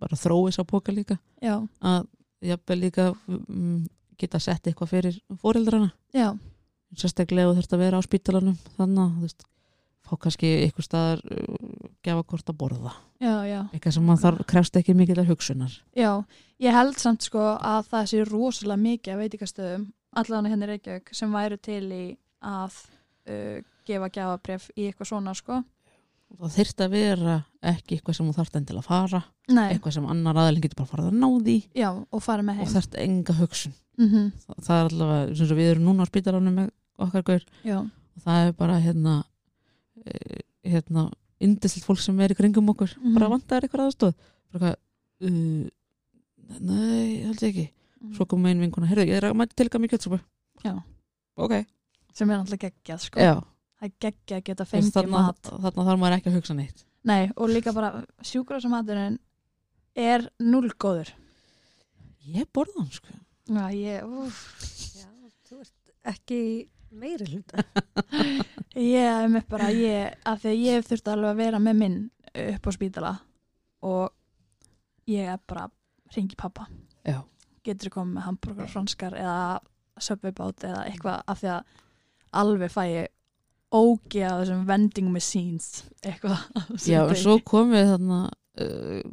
[SPEAKER 2] bara þróis á póka líka,
[SPEAKER 1] Já,
[SPEAKER 2] að jafnvel líka mm, geta sett eitthvað fyrir fóreldrana.
[SPEAKER 1] já,
[SPEAKER 2] Sérstaklega þú þurft að vera á spítalanum, þannig að þú veist, fá kannski eitthvað staðar uh, gefa hvort að borða.
[SPEAKER 1] já, já.
[SPEAKER 2] Eitthvað sem maður þarf, krefst ekki mikillar hugsunar.
[SPEAKER 1] Já, ég held samt sko að það sé rosalega mikið að veitikastöðum allan henni hérna Reykjavík sem væru til í að uh, gefa gjafabref í eitthvað svona sko
[SPEAKER 2] Og Það þyrft að vera ekki eitthvað sem þú þarft enn til að fara.
[SPEAKER 1] Nei,
[SPEAKER 2] eitthvað sem annar aðeins getur bara farið að ná því
[SPEAKER 1] já, og fara með
[SPEAKER 2] og
[SPEAKER 1] heim
[SPEAKER 2] þarft enga hugsun
[SPEAKER 1] mm
[SPEAKER 2] það, það er allavega, sem svo við erum núna á spítalanum með okkar gaur
[SPEAKER 1] Já,
[SPEAKER 2] og það er bara hérna eh, hérna, indislegt fólk sem er í kringum okkur
[SPEAKER 1] Mhm.
[SPEAKER 2] bara vantar eitthvað aðstóð bara eitthvað uh, nei, held ég ekki
[SPEAKER 1] mhm.
[SPEAKER 2] svo kom einn vinkona, heyrðu, ég er að mæta tilga mikið kjötsúpu
[SPEAKER 1] Já.
[SPEAKER 2] ok,
[SPEAKER 1] sem er alltaf geggjað sko
[SPEAKER 2] já,
[SPEAKER 1] Það er geggjað að geta
[SPEAKER 2] þess,
[SPEAKER 1] fengið
[SPEAKER 2] þarna,
[SPEAKER 1] mat
[SPEAKER 2] þarna þarf maður ekki að hugsa neitt
[SPEAKER 1] Nei, og líka bara sjúkrásamaturinn er núlgóður
[SPEAKER 2] ég borða hann sko
[SPEAKER 1] Já, ég, úf,
[SPEAKER 3] Já, þú ert ekki í meiri hluta
[SPEAKER 1] ég er með bara ég, af því að ég hef þurft alveg að vera með minn upp á spítala og ég er bara ringi pappa
[SPEAKER 2] já,
[SPEAKER 1] getur komið með hambúrgar franskar eða söpveibát eða eitthvað af því að alveg fæ ég ógi að þessum vending machines eitthvað á þessum
[SPEAKER 2] já en
[SPEAKER 1] degi.
[SPEAKER 2] svo komum við þarna uh,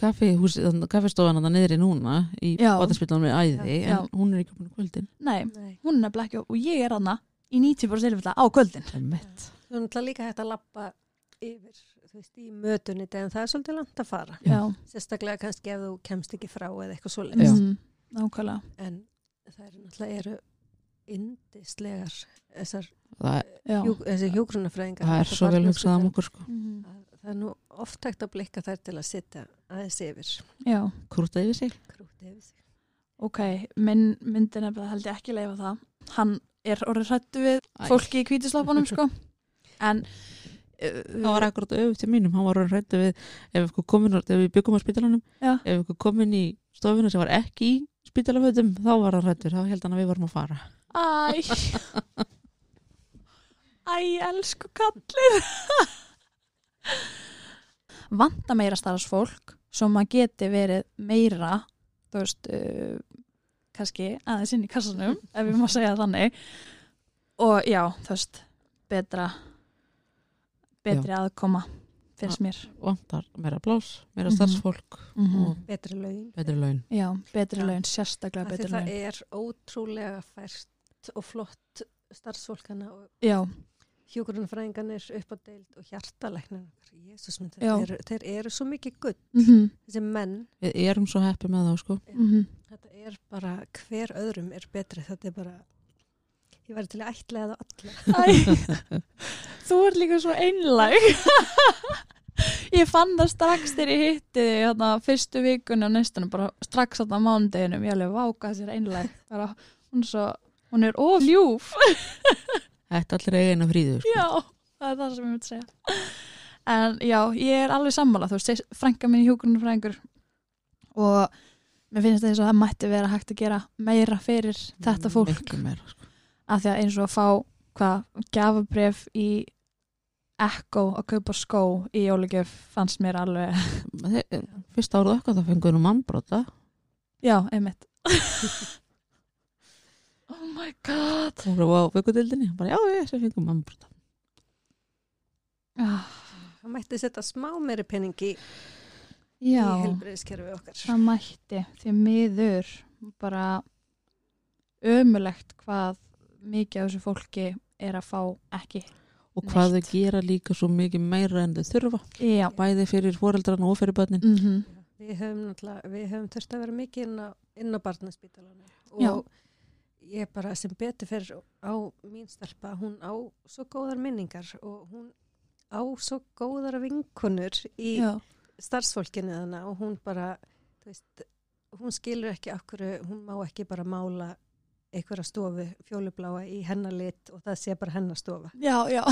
[SPEAKER 2] kaffistofan kaffistofan hann niðri núna í
[SPEAKER 1] Já.
[SPEAKER 2] bataspillanum með æði
[SPEAKER 1] Já.
[SPEAKER 2] en hún er ekki komin í kvöldin
[SPEAKER 1] Nei,
[SPEAKER 3] Nei.
[SPEAKER 1] hún er nefnilega ekki og ég er hana í 90% tilfella á kvöldin.
[SPEAKER 2] Einmitt.
[SPEAKER 3] Þú er náttúrulega líka hægt að lappa yfir, þú veist, í mötunni en það er svolítið langt að fara.
[SPEAKER 2] Já.
[SPEAKER 3] Sérstaklega kannski ef þú kemst ekki frá eða eitthvað svo
[SPEAKER 1] Já. Mhm, nákvæmlega.
[SPEAKER 3] En það eru náttúrulega eru indislegar þessar
[SPEAKER 2] það,
[SPEAKER 1] Já.
[SPEAKER 3] hjú, þessi hjúgrunafræðingar.
[SPEAKER 2] það er svo vel hugsað um okkur sko
[SPEAKER 1] Mhm,
[SPEAKER 3] Það er nú oft hægt að blikka þær til að sitja aðeins yfir
[SPEAKER 1] Já,
[SPEAKER 2] krúta yfir sig
[SPEAKER 1] Uh,
[SPEAKER 3] krúti yfir sig.
[SPEAKER 1] ok, minn myndi nefnilega held ég ekki leifa það. Hann er orðið hrættu við
[SPEAKER 2] Æ.
[SPEAKER 1] fólki í kvítislappunum, sko. En,
[SPEAKER 2] það var akkurat auðvitað til mínum, hann var orðin rættu við ef eitthvað komin, ef við byggum á spítalanum
[SPEAKER 1] Já.
[SPEAKER 2] ef eitthvað komin í stofinu sem var ekki í spítalafötum, þá var hann rættur þá held hann að við varum að fara
[SPEAKER 1] æ, æ, elsku kallið. Vanda meira starfsfólk svo maður geti verið meira, þú veist, uh, kannski aðeins inn í kassanum, ef við má segja það þannig. Og já, þú veist, betra, betri aðkoma, finnst mér.
[SPEAKER 2] vantar meira blás, meira
[SPEAKER 1] Mhm.
[SPEAKER 2] starfsfólk
[SPEAKER 1] Mm
[SPEAKER 2] og
[SPEAKER 3] Betri laun.
[SPEAKER 2] betri laun
[SPEAKER 1] Já, betri
[SPEAKER 3] Já.
[SPEAKER 1] laun, sérstaklega
[SPEAKER 3] Af því
[SPEAKER 1] betri
[SPEAKER 3] það
[SPEAKER 1] laun.
[SPEAKER 3] er ótrúlega fært og flott starfsfólkana og
[SPEAKER 1] Já,
[SPEAKER 3] hjúgrunafræðingarnir upp á deild og hjartalæknar Jésús minn,
[SPEAKER 1] Já.
[SPEAKER 3] þeir eru, þeir eru svo mikið gull
[SPEAKER 1] mm
[SPEAKER 3] þessi menn,
[SPEAKER 2] við erum svo heppi með þá sko
[SPEAKER 1] mhm.
[SPEAKER 3] þetta er bara hver öðrum er betri, þetta er bara ég væri til að ætla það alla
[SPEAKER 1] Æ, þú ert líka svo einlæg. ég fann það strax þegar ég hitti þig hérna, fyrstu vikunni á næstunum, bara strax þarna á mánudeginum, ég alveg váka sér einlæg. Bara, hún, er svo, hún er ofljúf.
[SPEAKER 2] þetta allir eiga eina fríðu sko.
[SPEAKER 1] já, það er það sem ég myndi segja. En já, ég er alveg sammála, þú veist, frænka mín í hjúkurinn frængur og mér finnst þess að það mætti vera hægt að gera meira fyrir þetta fólk.
[SPEAKER 2] Miklu meira, sko.
[SPEAKER 1] af því að eins og að fá hvað, gafabref í Echo að kaupa skó í jólugjöf fannst mér alveg
[SPEAKER 2] Þe- fyrst eh, árið okkar það fengur nú mannbrota
[SPEAKER 1] Oh já, einmitt oh my god
[SPEAKER 2] hún var á vökkudildinni, bara já ég sem fengur mannbrota
[SPEAKER 1] ah,
[SPEAKER 3] það mætti setja smá meiri peningi í
[SPEAKER 1] já,
[SPEAKER 3] helbriðiskerfi okkar
[SPEAKER 1] það mætti því miður bara ömulegt hvað mikið af þessu fólki er að fá ekki
[SPEAKER 2] og hvað
[SPEAKER 1] Neitt.
[SPEAKER 2] þau gera líka svo mikið meira en þau þurfa
[SPEAKER 1] já,
[SPEAKER 2] bæði fyrir foreldrarna og fyrir börnin
[SPEAKER 1] mm
[SPEAKER 3] við höfum náttúrulega, við höfum þurft að vera mikið inn á, inn á barnaspítalunum og
[SPEAKER 1] Já.
[SPEAKER 3] ég bara sem betur fyrir á mín stelpa, hún á svo góðar minningar og hún á svo góðar vinkunur í
[SPEAKER 1] já,
[SPEAKER 3] starfsfólkinu þarna og hún bara, þú veist, hún skilur ekki okkur, hún má ekki bara mála einhverja stofu fjólubláa í hennar lit og það sé bara hennar stofa.
[SPEAKER 1] já, já.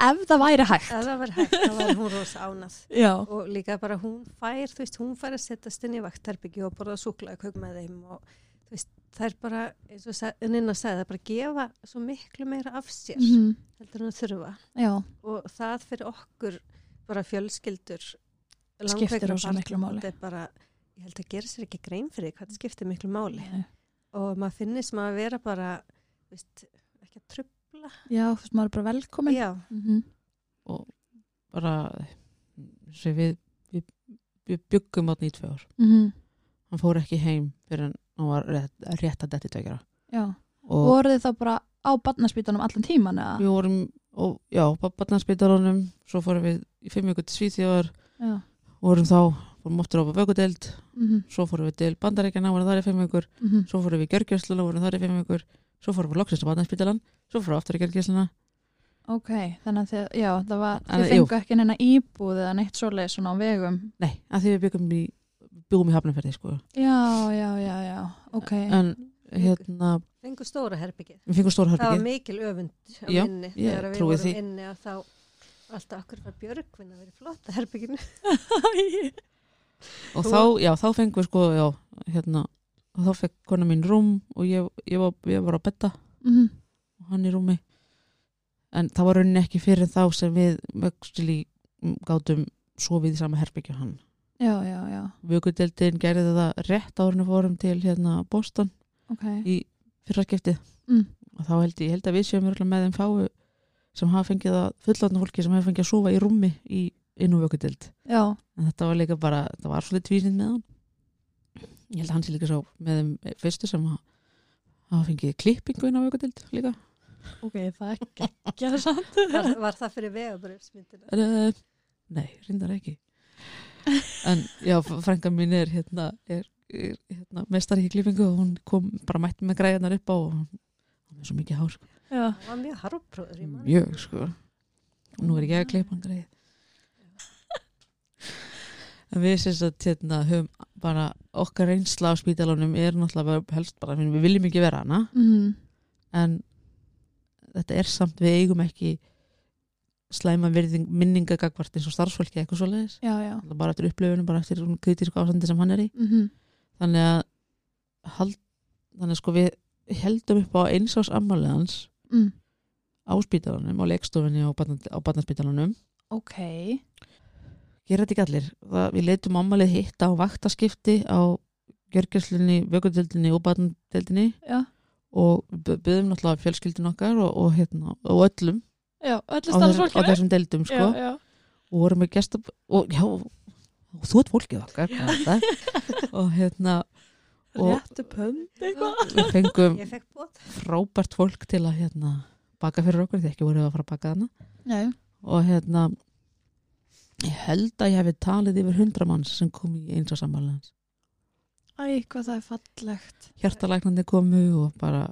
[SPEAKER 1] ef það væri hægt
[SPEAKER 3] Ef það var hægt, þá var hún rosa ánað.
[SPEAKER 1] já,
[SPEAKER 3] Og líka bara hún fær, þú veist, hún fær að setjast inn í vaktarbyggju og borða súklaði kauk með þeim og þú veist, það er bara, eins og sa- Ninna sagði, það er bara að gefa svo miklu meira af sér
[SPEAKER 1] mm -hmm.
[SPEAKER 3] heldur en að þurfa.
[SPEAKER 1] já
[SPEAKER 3] og það fyrir okkur bara fjölskyldur
[SPEAKER 1] Skiptir
[SPEAKER 3] langveikra
[SPEAKER 1] rosa
[SPEAKER 3] barna,
[SPEAKER 1] miklu máli.
[SPEAKER 3] þetta er bara, ég held að gera sér ekki grein fyrir því hvað það skiptir miklu máli
[SPEAKER 1] Nei.
[SPEAKER 3] og maður finnist maður að vera bara veist, ekki að trubla
[SPEAKER 1] Já, þú veist, maður er bara velkomin.
[SPEAKER 3] já,
[SPEAKER 1] Mm
[SPEAKER 2] og bara sem við, við, við byggum átni í tvö ár
[SPEAKER 1] Mhm.
[SPEAKER 2] hann fór ekki heim fyrir en hann var rétt, rétt að detti tvekjara
[SPEAKER 1] Já. Og
[SPEAKER 2] og
[SPEAKER 1] voruð þið þá bara á barnaspítanum allan tíman eða?
[SPEAKER 2] við vorum og, já, barnarspítalunum svo fórum við í fimm vikur til Svíþjóðar
[SPEAKER 1] Já.
[SPEAKER 2] vorum þá, fórum óttur á vökkudeld
[SPEAKER 1] Mm -hmm.
[SPEAKER 2] svo fórum við til Bandaríkjana, vorum þar í fimm vikur
[SPEAKER 1] Mm -hmm.
[SPEAKER 2] svo fórum við í Gjörgjörsluna, vorum þar í fimm vikur svo fórum við loksist á barnarspítalan svo fórum við aftur í Gjörgjörsluna
[SPEAKER 1] Ok, þannig að þið, já, það var,
[SPEAKER 2] En-
[SPEAKER 1] þið
[SPEAKER 2] jú.
[SPEAKER 1] fengu ekki neina íbúð eða neitt svoleið svona á vegum.
[SPEAKER 2] nei, að því við byggum í, byggum í hafnaferði sko.
[SPEAKER 1] Já, já, já, já, ok.
[SPEAKER 2] en hérna,
[SPEAKER 3] fengu stóra herbyggið
[SPEAKER 2] við fengum stóra
[SPEAKER 3] það var
[SPEAKER 2] herbyggi
[SPEAKER 3] mikil öfund á
[SPEAKER 2] Já,
[SPEAKER 3] minni
[SPEAKER 2] ég
[SPEAKER 3] þegar við
[SPEAKER 2] trúi
[SPEAKER 3] vorum
[SPEAKER 2] því.
[SPEAKER 3] inni og þá alltaf okkur var björgvinn að vera flotta herbygginu
[SPEAKER 2] og þá, já, þá fengum við sko, já, hérna og þá fekk kona mín rúm og ég, ég, var, ég var á betta
[SPEAKER 1] mm -hmm.
[SPEAKER 2] og hann í rúmi en það var rauninni ekki fyrir þá sem við vöxtil í gátum sofið í sama herbyggju hann
[SPEAKER 1] Já, já, já,
[SPEAKER 2] vökudeldin gerði það rétt árinu fórum til hérna Boston
[SPEAKER 1] ok.
[SPEAKER 2] í fyrraskiptið
[SPEAKER 1] Mm.
[SPEAKER 2] og þá held ég, ég held að við séum örugglega með þeim fáu sem hafa fengið að fullotna fólki sem hafa fengið að sofa í rúmi í inn á vökkudild
[SPEAKER 1] já,
[SPEAKER 2] en þetta var líka bara, þetta var svolítið tvísind með hann ég held að hann sé líka svo með þeim fyrstu sem að hafa fengið klippingu inn á vökkudild líka
[SPEAKER 1] ok, það er geggja samt.
[SPEAKER 3] Var, var það fyrir vegabröfsmyndina?
[SPEAKER 2] uh, nei, reyndar ekki en já, frænka mín er hérna, er, er hérna mestari í klippingu og hún kom bara mætti með græðanar upp á og hann hann er svo mikið hár sko.
[SPEAKER 1] Já,
[SPEAKER 3] Það var mjög harfbróður í mann.
[SPEAKER 2] mjög sko og nú er ég að klippa hann greið en við sérst að hérna, höfum bara okkar reynsla á spítalunum er náttúrulega bara helst bara, við viljum ekki vera hana
[SPEAKER 1] mm,
[SPEAKER 2] en þetta er samt við eigum ekki slæma virðing minningagagvart eins og starfsfólki eitthvað svo leiðis
[SPEAKER 1] já, já.
[SPEAKER 2] bara eftir upplifunum, bara eftir svona kritísku ásandi sem hann er í
[SPEAKER 1] mhm,
[SPEAKER 2] þannig að hald, þannig að sko við heldum upp á eins ás ammáliðans
[SPEAKER 1] mm,
[SPEAKER 2] á spítalunum, á leikstofinni og barna- á barnaspítalunum
[SPEAKER 1] ok,
[SPEAKER 2] gera þetta ekki allir. Það, við leitum ammalið hitta á vaktaskipti á gjörgjörslunni, vökundildinni og batnundildinni
[SPEAKER 1] já,
[SPEAKER 2] og byggðum náttúrulega fjölskyldin okkar og, og, hérna, og öllum
[SPEAKER 1] já, öllu
[SPEAKER 2] á, þess, á
[SPEAKER 1] starfsfólkinu.
[SPEAKER 2] þessum deildum sko.
[SPEAKER 1] Já, já,
[SPEAKER 2] og vorum við gesta og já, og þú ert fólkið okkar hvað er þetta? og hérna og
[SPEAKER 1] réttu pönd eitthvað.
[SPEAKER 2] við fengum
[SPEAKER 3] Ég fekk bótt.
[SPEAKER 2] frábært fólk til að hérna, baka fyrir okkur því ekki voru að fara að baka þarna
[SPEAKER 1] Já,
[SPEAKER 2] og hérna ég held að ég hefði talið yfir hundra manns sem kom í eins og sammálaðans
[SPEAKER 1] æ, hvað það er fallegt.
[SPEAKER 2] hjartalæknandi komu og bara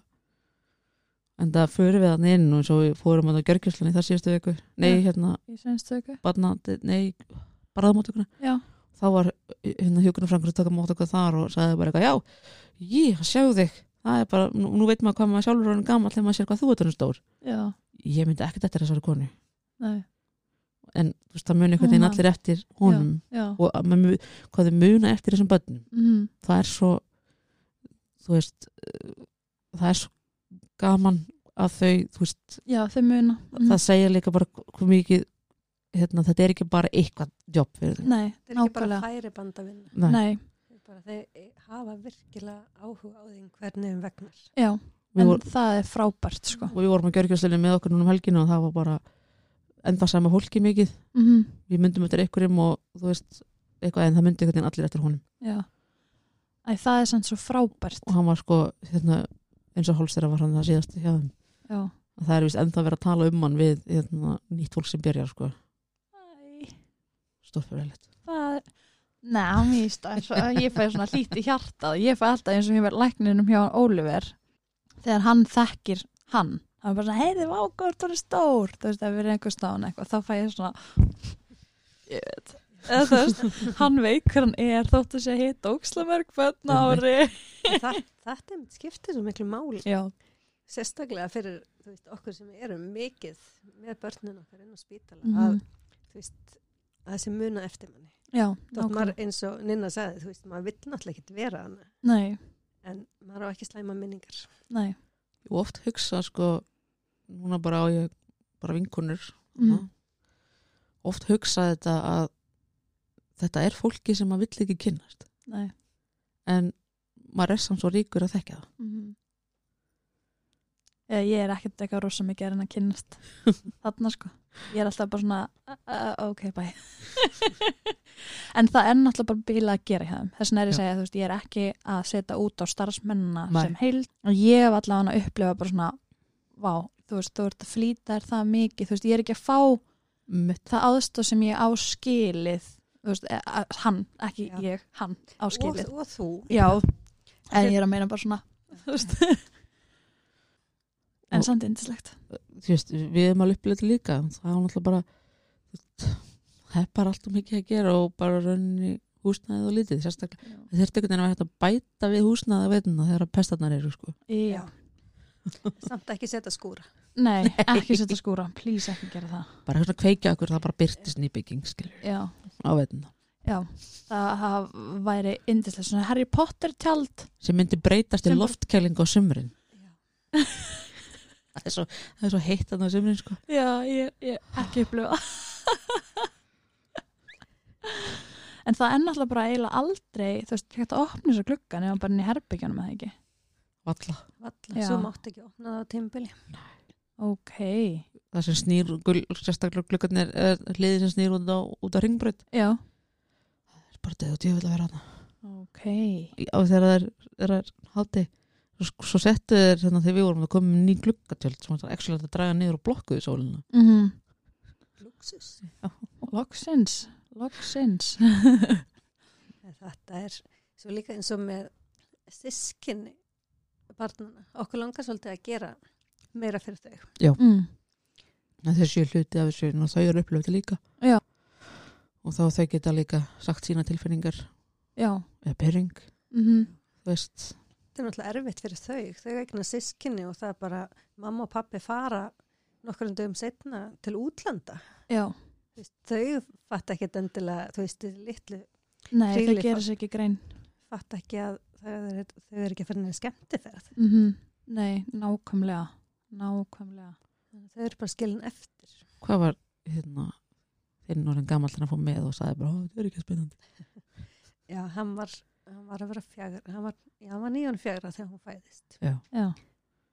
[SPEAKER 2] en það fyrir við hann inn og svo við fórum að það gjörgjuslan í þar síðustu viku nei,
[SPEAKER 1] Já.
[SPEAKER 2] hérna,
[SPEAKER 1] Í sveinstöku.
[SPEAKER 2] barna, nei barðamóttökuna,
[SPEAKER 1] Já,
[SPEAKER 2] þá var hérna hjókunum frangur að taka mót okkur þar og sagði bara eitthvað, já, ég, sjáðu þig það er bara, nú, nú veit maður hvað maður sjálfur hann gamall þegar maður sér hvað þú ert hann stór
[SPEAKER 1] já,
[SPEAKER 2] ég myndi ekkert eftir þessari konu
[SPEAKER 1] nei,
[SPEAKER 2] en þú veist, það muni einhvern veginn
[SPEAKER 1] Hún
[SPEAKER 2] allir eftir honum
[SPEAKER 1] já.
[SPEAKER 2] og að maður, mu- hvað þau muna eftir þessum börnum
[SPEAKER 1] Mm,
[SPEAKER 2] það er svo þú veist eh, það er svo gaman að þau, þú veist,
[SPEAKER 1] já, þau muna. Mm.
[SPEAKER 2] það segja líka bara hvað mikið, hérna, þetta er ekki bara eitthvað jobb fyrir þau.
[SPEAKER 1] Nei,
[SPEAKER 3] Það er ekki bara
[SPEAKER 1] nákvæmlega.
[SPEAKER 3] færi bandavinna.
[SPEAKER 2] Nei,
[SPEAKER 1] Nei,
[SPEAKER 3] Bara þeir hafa virkilega áhuga á því hvernig um vegnar.
[SPEAKER 1] já,
[SPEAKER 2] við,
[SPEAKER 1] en
[SPEAKER 2] vor,
[SPEAKER 1] það er frábært, sko.
[SPEAKER 2] og við vorum að gjörgjörslega með okkur núna um helginu og það var bara enda sama hólki mikið,
[SPEAKER 1] Mhm,
[SPEAKER 2] við myndum eftir einhverjum og þú veist, eitthvað en það myndi einhvern veginn allir eftir honum
[SPEAKER 1] já. Æ, það er samt svo frábært.
[SPEAKER 2] og hann var sko, hérna, eins og hólstera var hann það síðast hjá þeim
[SPEAKER 1] Já.
[SPEAKER 2] og það er vist ennþá verið að tala um hann við hérna, nýtt fólk sem byrjar sko,
[SPEAKER 1] Æ,
[SPEAKER 2] stórfyrirlegt
[SPEAKER 1] það er... Nei, hann víst að svo, ég fæði svona lítið hjartað. Ég fæði alltaf eins og ég verið lækninum hjá Oliver þegar hann þekkir hann. Hann er bara svona, heyrðu, vágur, þú er stór. Þú veist, ef við erum einhver stáðan eitthvað, þá fæði ég svona, ég veit, eða þú veist, hann veit hver hann er, þóttu sé að hitta ókslamörg bönn á ári.
[SPEAKER 3] En það- Þetta einmitt skiptir svo miklu máli.
[SPEAKER 1] Já,
[SPEAKER 3] Sérstaklega fyrir þú veist, okkur sem erum mikið með börnin okkar inn á spítala.
[SPEAKER 1] Mhm.
[SPEAKER 3] Að þú veist, að þessi muna eftir manni.
[SPEAKER 1] já,
[SPEAKER 3] Þú veist, maður eins og Ninna sagði, þú veist, maður vill náttúrulega ekkert vera hana.
[SPEAKER 1] Nei,
[SPEAKER 3] En maður á ekki slæma minningar.
[SPEAKER 1] nei.
[SPEAKER 2] og oft hugsa sko núna bara á ég bara vinkunur
[SPEAKER 1] Mm.
[SPEAKER 2] Mhm. oft hugsa þetta að þetta er fólki sem maður vill ekki kynnast
[SPEAKER 1] Nei.
[SPEAKER 2] en maður er samt svo ríkur að þekka það
[SPEAKER 1] Mm. Ég, ég er ekkert eitthvað rosa mikið að reyna að kynnast þarna sko. Ég er alltaf bara svona uh, uh, ok, bye. en það er náttúrulega bara bíla að gera hjá þeim. Þess vegna er ég
[SPEAKER 2] Já.
[SPEAKER 1] að segja, þú veist, ég er ekki að setja út á starfsmennina
[SPEAKER 2] Nei.
[SPEAKER 1] sem heild og ég hef allavega að upplifa bara svona vá, þú veist, þú ert að flýta þér það mikið, þú veist, ég er ekki að fá
[SPEAKER 2] Mitt.
[SPEAKER 1] það aðstof sem ég áskilið þú veist, eh, að- hann, ekki
[SPEAKER 3] Já.
[SPEAKER 1] ég, hann áskilið.
[SPEAKER 3] Og, og þú.
[SPEAKER 1] Já, en ég er að meina bara svona þú veist En samt indislegt
[SPEAKER 2] Þú veist, við erum alveg upplega þetta líka það er náttúrulega bara þú veist, það er bara allt um mikið að gera og bara rauninni húsnæðið og lítið sérstaklega, það þurfti einhvern veginn að vera hægt að bæta við húsnæðið að veitna þegar að pestarnar eru sko.
[SPEAKER 1] Já,
[SPEAKER 3] Samt ekki setja skúra.
[SPEAKER 1] nei, ekki setja skúra Please ekki gera það
[SPEAKER 2] bara hérna kveikja okkur, það bara byrtist nýbygging skilur,
[SPEAKER 1] Já,
[SPEAKER 2] á veitna
[SPEAKER 1] já Það, það væri indislegt Svona Harry Potter tjald
[SPEAKER 2] sem myndi breytast í
[SPEAKER 1] Sem-
[SPEAKER 2] loftkælingu á sumrin það er svo, það er svo heitt að á sumrin sko.
[SPEAKER 1] Já, ég, ég ekki upplifa En það er náttúrulega bara eiginlega aldrei, þú veist, hægt að opna þessu gluggan ef hann bara inn í herbyggjanum eða ekki.
[SPEAKER 2] Valla.
[SPEAKER 3] Valla.
[SPEAKER 1] Já.
[SPEAKER 3] Svo mátt ekki opna það á tímbili.
[SPEAKER 1] Ok,
[SPEAKER 2] það sem snýr, gul, sérstaklega glukkarnir er hliðið sem snýr út á, út á ringbröð
[SPEAKER 1] Já.
[SPEAKER 2] það er bara döð og djöfull að vera hana
[SPEAKER 1] Ok.
[SPEAKER 2] Í- á þegar það er, er, er háti svo, svo settu þeir þannig þegar við vorum að koma með ný glukkartjöld sem var ekki að draga niður og blokkuðu sólina
[SPEAKER 1] Mm
[SPEAKER 3] Luxus.
[SPEAKER 1] Loksins. Loksins.
[SPEAKER 3] Þetta er svo líka eins og með sískinni barnana. Okkur langar svolítið að gera meira fyrir þau.
[SPEAKER 1] Mm.
[SPEAKER 2] að þeir séu hluti af þessu og þau eru upplöfði líka
[SPEAKER 1] Já.
[SPEAKER 2] og þá þau geta líka sagt sína tilfinningar
[SPEAKER 1] Já.
[SPEAKER 2] eða bering,
[SPEAKER 1] Mm
[SPEAKER 2] þú veist
[SPEAKER 3] Þetta er náttúrulega erfitt fyrir þau. Þau eigna sískinni og það er bara mamma og pappi fara nokkur um dögum setna til útlanda.
[SPEAKER 1] Já.
[SPEAKER 3] Þú veist, Þau fatt ekki endilega, þú veist, þið litlu
[SPEAKER 1] Nei, það
[SPEAKER 3] Hríðlíf.
[SPEAKER 1] gerir sér ekki grein.
[SPEAKER 3] fatt ekki að þau eru, þau eru ekki að fyrir neina skemmtiferð.
[SPEAKER 1] Mm Nei, nákvæmlega. Nákvæmlega.
[SPEAKER 3] Þau eru bara skilin eftir.
[SPEAKER 2] hvað var hérna þinn orðin gamall hann að fá með og sagði bara, "Ó, þetta er ekki spennandi
[SPEAKER 3] Já, hann var, hann var að vera fjagra, hann var, já, hann var nýjón fjagra þegar hún fæðist.
[SPEAKER 1] Já.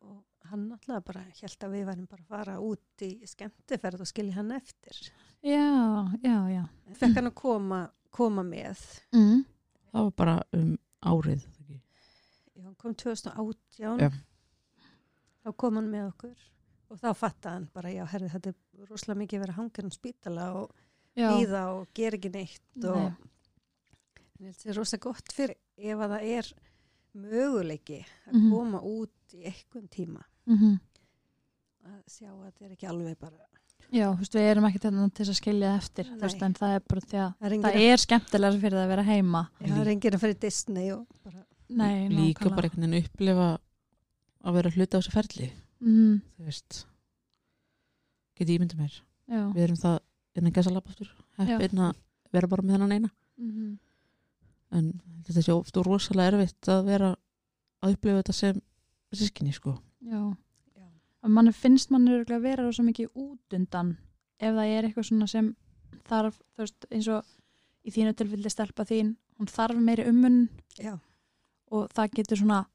[SPEAKER 3] og hann náttúrulega bara held að við værum bara að fara út í skemmtiferð og skilja hann eftir.
[SPEAKER 1] Já, já, já.
[SPEAKER 3] Fekk hann að koma, koma með.
[SPEAKER 1] Mm.
[SPEAKER 2] það var bara um árið ekki?
[SPEAKER 3] Já, hann kom 2018,
[SPEAKER 2] Já.
[SPEAKER 3] þá kom hann með okkur og þá fattaði hann bara, já, herði, þetta er rosalega mikið að vera hangin á spítala og
[SPEAKER 1] Já.
[SPEAKER 3] býða og gera ekki neitt og
[SPEAKER 1] Nei.
[SPEAKER 3] Ég held að það er rosalega gott fyrir ef að það er möguleiki að
[SPEAKER 1] Mhm.
[SPEAKER 3] koma út í eitthvað tíma
[SPEAKER 1] Mm
[SPEAKER 3] að sjá að þetta er ekki alveg bara
[SPEAKER 1] Já, þú veist, við erum ekki til þess að skilja það eftir, þú veist,
[SPEAKER 3] Nei.
[SPEAKER 1] en það er bara því að
[SPEAKER 3] það er enginn
[SPEAKER 1] það
[SPEAKER 3] að-
[SPEAKER 1] er skemmtilega fyrir það að vera heima.
[SPEAKER 3] Já, það er enginn að fara í Disney og bara
[SPEAKER 1] Nei,
[SPEAKER 2] líka bara einhvern veginn upplifa að vera hluti á þessu ferli
[SPEAKER 1] Mm,
[SPEAKER 2] þú veist geti ímyndið mér,
[SPEAKER 1] já.
[SPEAKER 2] við erum það innan gæsa lapp aftur, heppin að vera bara með hennan eina,
[SPEAKER 1] Mm,
[SPEAKER 2] en þetta sé ofta rosalega erfitt að vera að upplifa þetta sem sískinni sko
[SPEAKER 1] já.
[SPEAKER 3] Já.
[SPEAKER 1] Að mann finnst mann örgulega að vera svo mikið út undan ef það er eitthvað svona sem þarf, þú veist, eins og í þínu tilfelli stelpa þín, hún þarf meiri ummun
[SPEAKER 3] Já.
[SPEAKER 1] og það getur svona,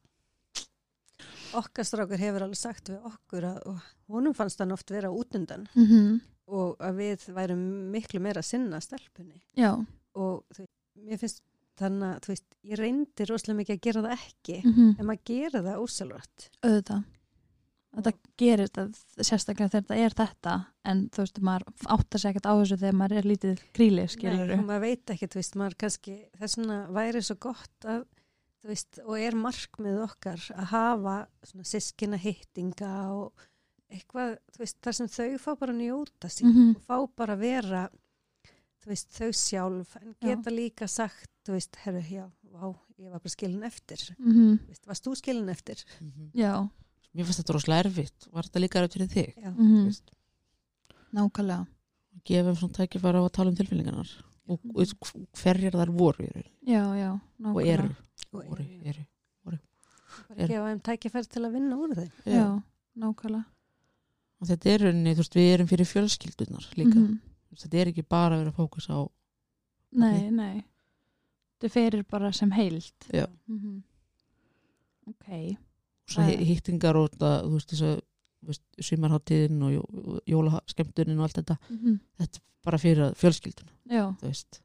[SPEAKER 3] okkar strákur hefur alveg sagt við okkur að og honum fannst hann oft vera útundan
[SPEAKER 1] mm
[SPEAKER 3] og að við værum miklu meira að sinna stelpunni
[SPEAKER 1] já,
[SPEAKER 3] og þú veist, mér finnst þannig að þú veist, ég reyndi rosalega mikið að gera það ekki
[SPEAKER 1] mm -hmm.
[SPEAKER 3] en maður gera það ósjálfrætt
[SPEAKER 1] auðvitað. Þetta gerist að sérstaklega þegar þetta er þetta en þú veist, maður áttar sig ekkert á þessu þegar maður er lítið kríli, skilur
[SPEAKER 3] Nei, og maður veit ekki, þú veist, maður kannski þess vegna væri svo gott að þú veist, og er markmið okkar að hafa svona sískina hittinga og eitthvað, þú veist, þar sem þau fá bara að njóta sín
[SPEAKER 1] Mhm.
[SPEAKER 3] og fá bara að vera þú veist, þau sjálf en
[SPEAKER 1] Já.
[SPEAKER 3] geta líka sagt, þú veist, herru, já, vá, ég var bara skilin eftir
[SPEAKER 1] Mm -hmm.
[SPEAKER 3] Þú veist, varst þú skilin eftir?
[SPEAKER 1] Já,
[SPEAKER 2] mér fannst þetta rosalega erfitt, var þetta líka erfitt fyrir þig
[SPEAKER 3] Já,
[SPEAKER 1] mm
[SPEAKER 2] þú veist
[SPEAKER 1] nákvæmlega.
[SPEAKER 2] gefum svona tækifæra á að tala um tilfinningarnar og,
[SPEAKER 1] Mhm.
[SPEAKER 2] og hverjar þar voru í raun
[SPEAKER 1] Já, já, nákvæmlega.
[SPEAKER 2] og eru,
[SPEAKER 3] og
[SPEAKER 2] voru,
[SPEAKER 3] ég,
[SPEAKER 2] eru
[SPEAKER 3] bara
[SPEAKER 2] eru.
[SPEAKER 3] gefa þeim tækifæri til að vinna úr þeim
[SPEAKER 1] Já, nákvæmlega.
[SPEAKER 2] og þetta er rauninni, þú veist, við erum fyrir fjölskyldunar líka,
[SPEAKER 1] Mhm.
[SPEAKER 2] þetta er ekki bara að vera fókus á,
[SPEAKER 1] Nei, nei. Þetta ferir bara sem heilt.
[SPEAKER 2] Já.
[SPEAKER 1] Mhm. Ok.
[SPEAKER 2] svo
[SPEAKER 1] Það-
[SPEAKER 2] hittingar og þetta, þú veist, þess að þú veist, sumarháttíðin og jó- jólaskemmtunin og allt þetta,
[SPEAKER 1] Mhm.
[SPEAKER 2] bara fyrir að- fjölskylduna,
[SPEAKER 1] Já.
[SPEAKER 2] þú veist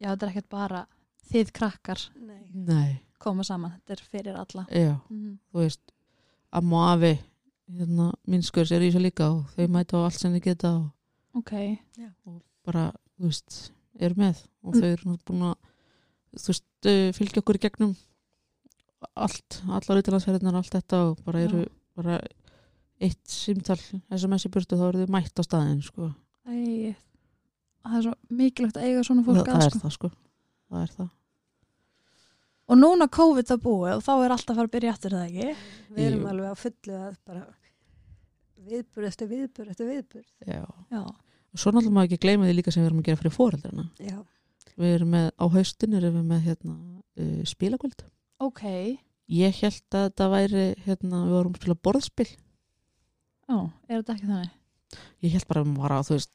[SPEAKER 1] já, þetta er ekkert bara þið krakkar
[SPEAKER 3] Nei,
[SPEAKER 2] nei,
[SPEAKER 1] koma saman. Þetta er ferir alla.
[SPEAKER 2] já,
[SPEAKER 1] Mhm.
[SPEAKER 2] þú veist amma og afi, hérna minnskurs er í þessu líka og þau mæta á allt sem þau geta og
[SPEAKER 1] Ok.
[SPEAKER 2] bara, þú veist, eru með og
[SPEAKER 1] Mm.
[SPEAKER 2] þau eru nú búin að þú veist, eh, fylgja okkur í gegnum allt, allar utilandsferðinar allt þetta og bara eru
[SPEAKER 1] Já.
[SPEAKER 2] bara eitt símtal SMS í burtu, þá eru þau mætt á staðin sko.
[SPEAKER 1] Æ, það er svo mikilvægt að eiga svona
[SPEAKER 2] það,
[SPEAKER 1] fólk
[SPEAKER 2] það
[SPEAKER 1] að
[SPEAKER 2] er
[SPEAKER 1] sko.
[SPEAKER 2] það sko það er það
[SPEAKER 1] Og núna COVID að búið og þá er alltaf að fara að byrja aftur er það ekki.
[SPEAKER 3] við erum
[SPEAKER 2] Jú.
[SPEAKER 3] alveg á fullu að bara viðbur eftir viðbur eftir viðbur
[SPEAKER 2] Já.
[SPEAKER 1] Já.
[SPEAKER 2] Svo náttúrulega maður ekki gleyma því líka sem við erum að gera fyrir foreldrana.
[SPEAKER 3] Já,
[SPEAKER 2] Við erum með, á haustin erum við með hérna, uh, spilakvöld.
[SPEAKER 1] Ok.
[SPEAKER 2] Ég held að þetta væri, hérna, við vorum að spila borðspil.
[SPEAKER 1] Já, er þetta ekki þannig?
[SPEAKER 2] Ég held bara að maður var að, þú veist,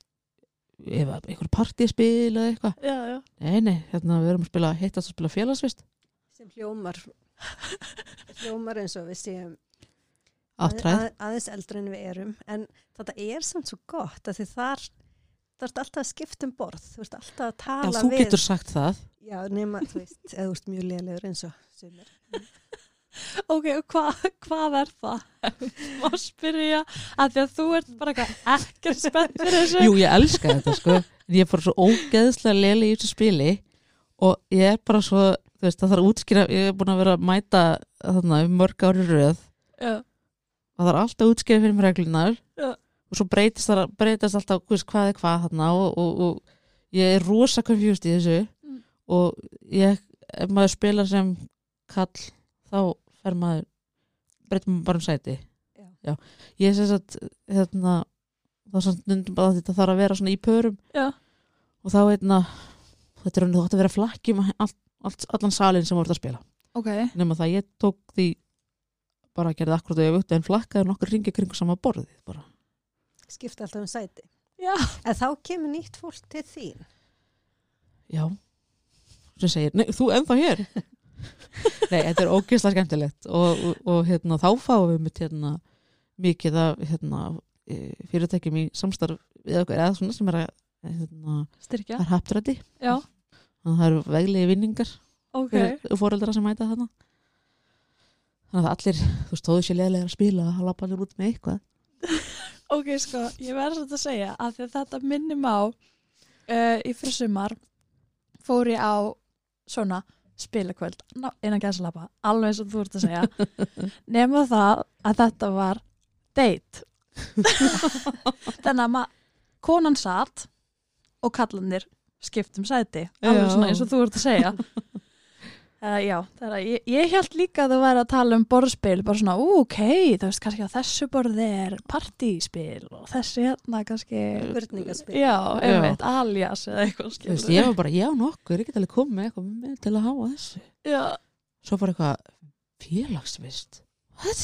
[SPEAKER 2] ef að einhver partíspil eða eitthvað.
[SPEAKER 1] Já, já.
[SPEAKER 2] Nei, nei, hérna, við erum að spila, hittast að spila félagsvist.
[SPEAKER 3] sem hljómar hljómar eins og við séum
[SPEAKER 2] áttræð,
[SPEAKER 3] Að- aðeins eldri en við erum en þetta er samt svo gott að því þar þú ert alltaf að skipta um borð þú ert alltaf að
[SPEAKER 2] já
[SPEAKER 3] tala
[SPEAKER 2] þú
[SPEAKER 3] við
[SPEAKER 2] getur sagt það
[SPEAKER 3] já nema þú veist eða þú ert mjög lélegur eins og sumir
[SPEAKER 1] ok, og hva, hvað er það? Má spyrja að því að þú ert bara eitthvað ekkert spennt fyrir þessu.
[SPEAKER 2] Jú, ég elska þetta sko en ég er bara svo ógeðslega leli í þessu spili og ég er bara svo þú veist, það þarf að útskýra, ég er búin að vera að mæta þarna um mörg ári röð
[SPEAKER 1] Já,
[SPEAKER 2] og það er alltaf að útskýra fyrir mér reglunar
[SPEAKER 1] Já.
[SPEAKER 2] og svo breytist, það, breytist alltaf þú veist, hvað er hvað þarna og, og, og ég er rosa confused í þessu
[SPEAKER 1] Mm.
[SPEAKER 2] og ég, ef maður spilar sem kall þá fer maður breytum maður bara um sæti
[SPEAKER 3] Já.
[SPEAKER 2] ég sé satt hérna, það er samt nundum bara að þetta þarf að vera svona í pörum
[SPEAKER 1] já,
[SPEAKER 2] og þá einna þetta er hann, þú átt að vera flakki um all, all, allan salin sem þú ert að spila
[SPEAKER 1] ok.
[SPEAKER 2] nema það ég tók því bara að gera það akkurat auðvitað en flakkaði nokkur ringi kringu sama borðið bara.
[SPEAKER 3] skipta alltaf um sæti
[SPEAKER 1] Já.
[SPEAKER 3] en þá kemur nýtt fólk til þín
[SPEAKER 2] já sem segir, nei, þú ennþá hér nei, þetta er ógeðslega skemmtilegt og, og, og hérna, þá fáum við mitt hérna, mikið af hérna, eh, fyrirtækjum í samstarf við okkur eða svona sem er að hérna,
[SPEAKER 1] Styrkja.
[SPEAKER 2] það er haptrætti
[SPEAKER 1] Já,
[SPEAKER 2] þannig að það eru veglegi vinningar
[SPEAKER 1] ok.
[SPEAKER 2] fyrir fóreldra sem mæta þarna þannig að allir, þú stóðu sér leðilega að spila að lappa allir út með eitthvað
[SPEAKER 1] Ok, sko, ég verður svolítið að segja að því að þetta minnum á uh, í fyrir sumar fór ég á svona spilakvöld ná, innan gæslappa, alveg eins og þú ert að segja nema það að þetta var date þannig að ma- konan satt og kallanir skiptum sæti, alveg
[SPEAKER 2] Já.
[SPEAKER 1] svona eins og þú ert að segja Uh, já, það er að ég, ég held líka að þú væri að tala um borðspil, bara svona, ú, ok, þú veist kannski að þessu borði er partíspil og þessi hérna kannski,
[SPEAKER 3] spurningaspil
[SPEAKER 1] já, einmitt, alias eða eitthvað
[SPEAKER 2] Eh, þú veist,
[SPEAKER 1] skilur.
[SPEAKER 2] ég var bara, já nokkur, ég get alveg komið með eitthvað með til að háa þessu
[SPEAKER 1] Já,
[SPEAKER 2] svo bara eitthvað, félagsvist what?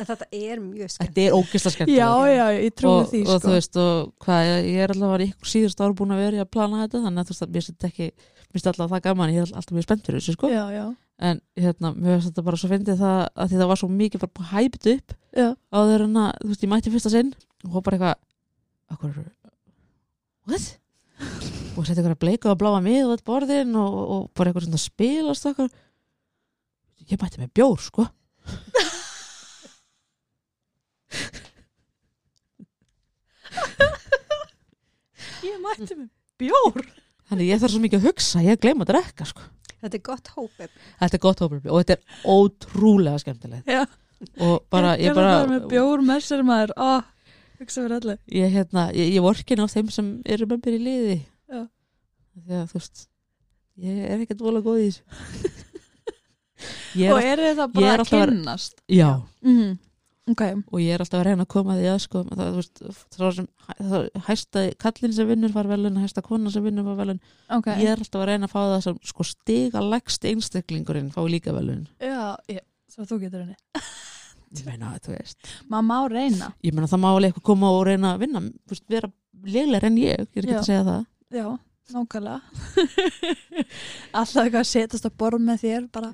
[SPEAKER 3] en þetta er mjög skemmt
[SPEAKER 2] Þetta er ógislega skemmt
[SPEAKER 1] já, já, ég trúi
[SPEAKER 2] og,
[SPEAKER 1] því,
[SPEAKER 2] og þú
[SPEAKER 1] sko.
[SPEAKER 2] veist, og hvað, ég- ég er allavega í ykkur síðust ára búin að vera í að plana þetta þannig að þú veist, að mér finnst þetta ekki mér finnst alltaf það gaman, ég er alltaf mjög spennt fyrir þessu sko.
[SPEAKER 1] Já, já,
[SPEAKER 2] en hérna, mér finnst þetta bara svo fyndið það að því það var svo mikið bara búið hæpt upp
[SPEAKER 1] já,
[SPEAKER 2] áður en að, þú veist, ég mætti fyrsta sinn og hún bara eitthvað akkur, what? og setti eitthvað bleika og bláa mið og borðin og, og bara eitthvað svona spilast og okkur ég mætti með bjór, sko
[SPEAKER 1] ég mætti með bjór.
[SPEAKER 2] þannig ég þarf svo mikið að hugsa, ég gleyma að drekka, sko
[SPEAKER 3] þetta er gott hópef
[SPEAKER 2] þetta er gott hópurblí og þetta er ótrúlega skemmtilegt
[SPEAKER 1] Já,
[SPEAKER 2] og bara, ég
[SPEAKER 1] gerði það
[SPEAKER 2] bara
[SPEAKER 1] með bjór með sér maður, ó, hugsa fyrir allir.
[SPEAKER 2] ég, hérna, ég, ég vorkin á þeim sem eru með mér í liði
[SPEAKER 1] Já.
[SPEAKER 2] því að, þú veist ég er ekkert vola góð í þessu ég
[SPEAKER 1] Og
[SPEAKER 2] er,
[SPEAKER 1] eru það
[SPEAKER 2] ég
[SPEAKER 1] bara
[SPEAKER 2] er
[SPEAKER 1] að
[SPEAKER 2] alltaf að-
[SPEAKER 1] kynnast?
[SPEAKER 2] já
[SPEAKER 1] Mm, ok,
[SPEAKER 2] og ég er alltaf að reyna að koma því að sko, það, þú veist, það sem það- hæsta kallin sem vinnur var velun hæsta konan sem vinnur var velun
[SPEAKER 1] ok.
[SPEAKER 2] ég er alltaf að reyna að fá það sem sko, stiga leggst einstaklingurinn fá líka velun
[SPEAKER 1] Já, ég, svo þú getur henni.
[SPEAKER 2] ég meina, þú veist
[SPEAKER 1] Maður má reyna,
[SPEAKER 2] ég meina það má alveg eitthvað koma og reyna að vinna þú veist, vera leglar en ég, ég er ekki
[SPEAKER 1] Já.
[SPEAKER 2] að segja það
[SPEAKER 1] já, nákvæmlega. Alltaf eitthvað að setast að borð með þér, bara,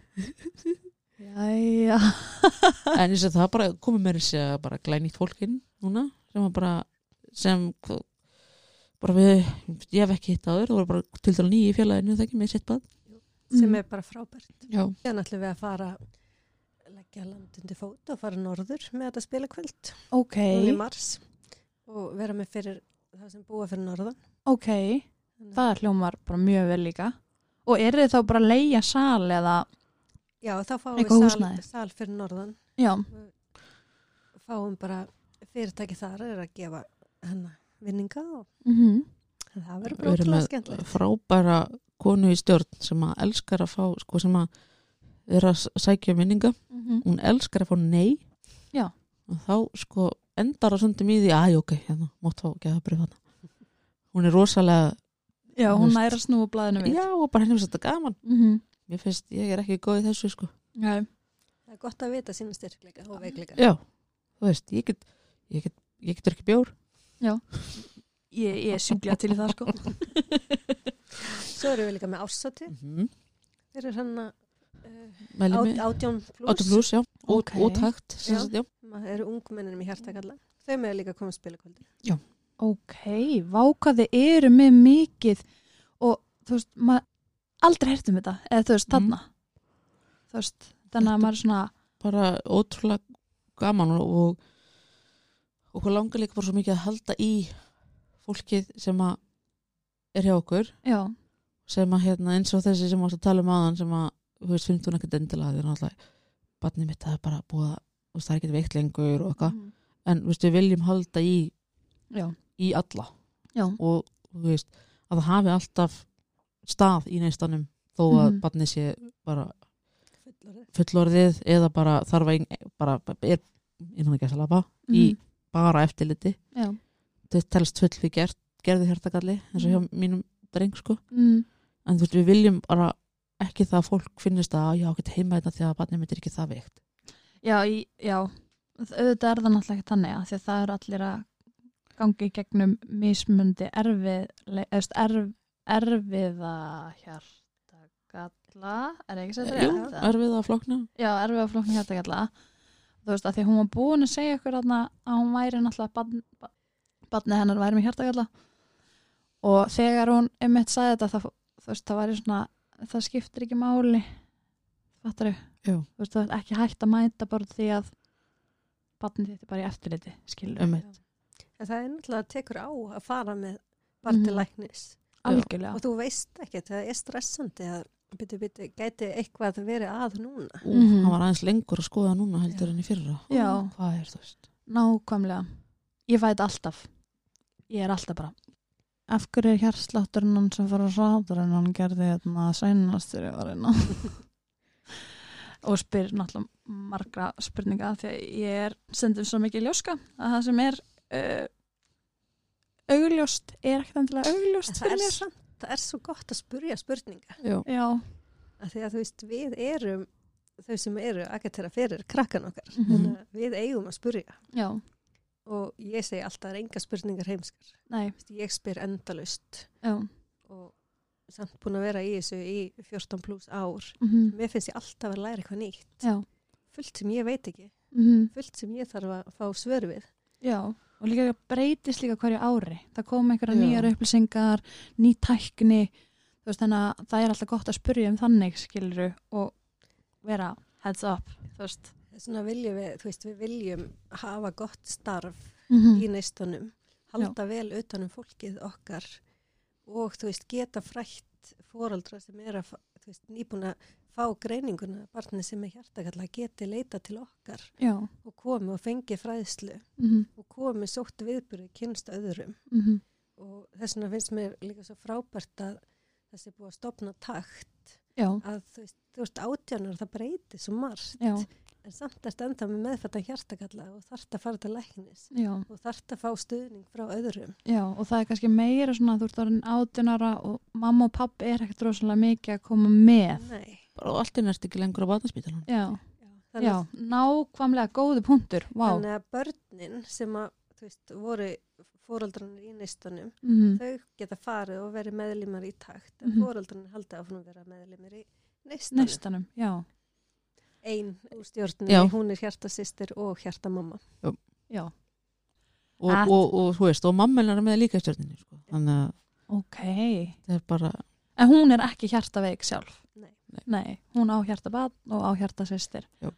[SPEAKER 1] jæja.
[SPEAKER 2] en eins og það bara komið mér þessi að bara glænýtt fólkinn núna sem var bara sem bara við, ég hef ekki hitt áður það voru bara til dæla nýju í félaginu það ekki með sitt bad
[SPEAKER 3] sem
[SPEAKER 1] Mm.
[SPEAKER 3] er bara frábært
[SPEAKER 2] já,
[SPEAKER 3] þannig ætlum við að fara leggja landundi fót og fara norður með þetta spila kvöld
[SPEAKER 1] Ok,
[SPEAKER 3] í mars og vera með fyrir það sem búa fyrir norðan
[SPEAKER 1] ok, það hljómar bara mjög vel líka. Og eru þið þá bara að leia sal eða,
[SPEAKER 3] já, þá
[SPEAKER 1] Eitthvað
[SPEAKER 3] fáum við sal,
[SPEAKER 1] húsnæði.
[SPEAKER 3] sal fyrir norðan
[SPEAKER 1] já,
[SPEAKER 3] fáum bara fyrirtæki þar er að gefa hennar vinninga og
[SPEAKER 1] mhm.
[SPEAKER 3] það
[SPEAKER 2] Við
[SPEAKER 3] verður
[SPEAKER 2] erum
[SPEAKER 3] brókulega
[SPEAKER 2] með-
[SPEAKER 3] skemmtilegt
[SPEAKER 2] frábæra konu í stjórn sem að elskar að fá sko sem að vera að sækja um minninga,
[SPEAKER 1] mhm.
[SPEAKER 2] hún elskar að fá nei
[SPEAKER 1] Já.
[SPEAKER 2] og þá sko endar að sundum í því, aðjó ok hérna, mátt fá ekki að brifa hana hún er rosalega,
[SPEAKER 1] Já, hún
[SPEAKER 2] Veist.
[SPEAKER 1] næri að snúa blæðinu við.
[SPEAKER 2] já og bara henni finnst þetta gaman
[SPEAKER 1] Mhm.
[SPEAKER 2] mér finnst, ég er ekki góð í þessu sko
[SPEAKER 1] Já,
[SPEAKER 3] það er gott að vita sína styrkleika og veikleika
[SPEAKER 2] Já, þú veist, ég get, ég get, ég get ekki bjór.
[SPEAKER 1] ég, ég syngla til í það sko.
[SPEAKER 3] svo erum við líka með ársati
[SPEAKER 2] Mm -hmm.
[SPEAKER 3] fyrir hennar uh,
[SPEAKER 2] Mæli mig,
[SPEAKER 3] átjón
[SPEAKER 2] áttu
[SPEAKER 3] pluss
[SPEAKER 2] pluss, já. út,
[SPEAKER 1] Ókei.
[SPEAKER 2] útækt sem
[SPEAKER 3] Já.
[SPEAKER 2] sagt, já.
[SPEAKER 3] Það eru ungmenninum í hjartakalla. Þau með líka koma að spila kvöldi.
[SPEAKER 1] Ok, vákaði eru með mikið og þú veist, maður aldrei heyrt um þetta, eða þú veist,
[SPEAKER 2] Mm.
[SPEAKER 1] þarna. Þú veist, þannig að
[SPEAKER 2] Þetta-
[SPEAKER 1] maður er svona,
[SPEAKER 2] bara ótrúlega gaman og, og okkur langar líka bara svo mikið að halda í fólkið sem að er hjá okkur
[SPEAKER 1] já,
[SPEAKER 2] sem að hérna eins og þessi sem varst að tala um aðan sem að, þú veist, 15 ekkert endilega því er náttúrulega, barnið mitt það er bara búið að, þú veist, það er ekkert veikt lengur og eitthvað,
[SPEAKER 1] Mhm.
[SPEAKER 2] en þú veist, við viljum halda í,
[SPEAKER 1] já,
[SPEAKER 2] í alla
[SPEAKER 1] já,
[SPEAKER 2] og, þú veist, að það hafi alltaf stað í neistanum þó að
[SPEAKER 1] Mhm.
[SPEAKER 2] barnið sé bara fullorðið eða bara þarf að, ein- bara er innan ekki að salaba í
[SPEAKER 1] Mhm.
[SPEAKER 2] bara eftirliti
[SPEAKER 1] Mm, já,
[SPEAKER 2] þetta telst full við gert, gerði hjartagalli eins og hjá
[SPEAKER 1] Mhm.
[SPEAKER 2] mínum dreng sko
[SPEAKER 1] mm,
[SPEAKER 2] en þú veist við viljum bara ekki það að fólk finnist að já, get heima þetta því að barnið mitt er ekki það veikt
[SPEAKER 1] já, í, já, auðvitað er það náttúrulega ekki þannig að því að það eru allir að gangi gegnum mismundi erfið, eða þú veist, erf, erfiða hjartagalla, er ekki sér
[SPEAKER 2] Jú, er við að flókna
[SPEAKER 1] Já, erfiða flókn hjartakalla þú veist, að því að hún var búin að segja ykkur þarna að hún væri náttúrulega barn, ba- barnið hennar væri með hjartakalla og þegar hún einmitt sagði þetta, það, þú veist, það væri svona það skiptir ekki máli fattar
[SPEAKER 2] Já.
[SPEAKER 1] þú veist, það er ekki hægt að mæta bara því að barnið þitt er bara í eftirliti skilur,
[SPEAKER 2] um
[SPEAKER 3] En það er náttúrulega að tekur á að fara með bara til
[SPEAKER 1] Mhm.
[SPEAKER 3] læknis.
[SPEAKER 1] algjörlega
[SPEAKER 3] Og þú veist ekki, það er stressandi að byttu, byttu, gæti eitthvað að vera að núna.
[SPEAKER 2] Ú,
[SPEAKER 1] Mhm.
[SPEAKER 2] hann var aðeins lengur að skoða núna heldur enn í fyrra
[SPEAKER 1] Já.
[SPEAKER 2] hvað er þú veist
[SPEAKER 1] Nákvæmlega. Ég fæ þetta alltaf. Ég er alltaf bara. Af hverju er hjartslátturinn hann sem fara sáður en hann gerði hérna þetta sænastur ég var hérna? einn og spyr náttúrulega margra spurninga af því að ég er sendum svo mikið ljóska að það sem er uh, augljóst er ekkert endilega
[SPEAKER 3] En
[SPEAKER 1] augljóst
[SPEAKER 3] Það
[SPEAKER 1] fyrir
[SPEAKER 3] er,
[SPEAKER 1] mér.
[SPEAKER 3] samt, það er svo gott að spurja spurninga.
[SPEAKER 2] já,
[SPEAKER 1] Já.
[SPEAKER 3] Af Því að þú veist, við erum, þau sem eru agatera fyrir krakkan okkar,
[SPEAKER 1] Mm
[SPEAKER 3] þannig að við eigum að spurja.
[SPEAKER 1] Já.
[SPEAKER 3] Og ég segi alltaf, það er enga spurningar heimskar.
[SPEAKER 1] Nei.
[SPEAKER 3] Þú veist, Ég spyr endalust
[SPEAKER 1] Já.
[SPEAKER 3] og samt búin að vera í þessu í 14 pluss ár.
[SPEAKER 1] Mm
[SPEAKER 3] Mér finnst ég alltaf að læra eitthvað nýtt.
[SPEAKER 1] Já.
[SPEAKER 3] Fullt sem ég veit ekki,
[SPEAKER 1] Mm
[SPEAKER 3] fullt sem ég þarf að fá svör við.
[SPEAKER 1] Já, og líka breytist líka hverju ári. Það kom einhverja
[SPEAKER 2] Já.
[SPEAKER 1] nýjar upplýsingar, ný tækni, þú veist þannig að það er alltaf gott að spurja um þannig, skiluru, og vera heads up, þú veist.
[SPEAKER 3] Þess vegna viljum við, þú veist, við viljum hafa gott starf
[SPEAKER 1] Mm
[SPEAKER 3] í neistunum, halda vel utanum fólkið okkar og þú veist, geta frætt fóraldra sem er að, fa- þú veist, nýbúin að fá greininguna, barni sem er hjartakalla geti leita til okkar
[SPEAKER 1] Já,
[SPEAKER 3] og komi og fengi fræðslu
[SPEAKER 1] mm -hmm.
[SPEAKER 3] og komi sótt viðbyrði kynst öðrum
[SPEAKER 1] Mm -hmm.
[SPEAKER 3] og þess vegna finnst mér líka svo frábært að þessi búið að stopna takt
[SPEAKER 1] já,
[SPEAKER 3] að þú veist, þú veist átjánar það breyti svo margt
[SPEAKER 1] já,
[SPEAKER 3] en samt ertu enda með meðfættan hjartakalla og þarft að fara til læknis
[SPEAKER 1] já,
[SPEAKER 3] og þarft að fá stuðning frá öðrum
[SPEAKER 1] já, og það er kannski meira svona að þú ert orðin átjónara og mamma og pappi er ekkert rosalega mikið að koma með.
[SPEAKER 3] Nei.
[SPEAKER 2] bara og allt er nært ekki lengur á barnaspítalan
[SPEAKER 1] Já,
[SPEAKER 3] Þannig,
[SPEAKER 1] já,
[SPEAKER 3] að-
[SPEAKER 1] nákvæmlega góði punktur, vá. Wow.
[SPEAKER 3] þannig að börnin sem að, þú veist, voru fóraldrarnir í neistunum,
[SPEAKER 1] Mm
[SPEAKER 3] þau geta farið og verið meðlimar í takt en
[SPEAKER 1] Mhm.
[SPEAKER 3] mm. fóraldrarnir halda áfram að vera meðlimar í neistunum.
[SPEAKER 1] Næstanum, já,
[SPEAKER 3] Ein úr stjórnum,
[SPEAKER 2] Já.
[SPEAKER 3] hún er hjartasýstir og hjartamamma.
[SPEAKER 1] já,
[SPEAKER 2] og,
[SPEAKER 1] Allt.
[SPEAKER 2] og, og, þú veist, og mamma hennar er með líka í stjörninni sko. þannig að
[SPEAKER 1] ok.
[SPEAKER 2] það er bara
[SPEAKER 1] En hún er ekki hjartaveik sjálf?
[SPEAKER 3] Nei.
[SPEAKER 1] Nei, hún á hjartabann og á hjartasystir.
[SPEAKER 2] Jú.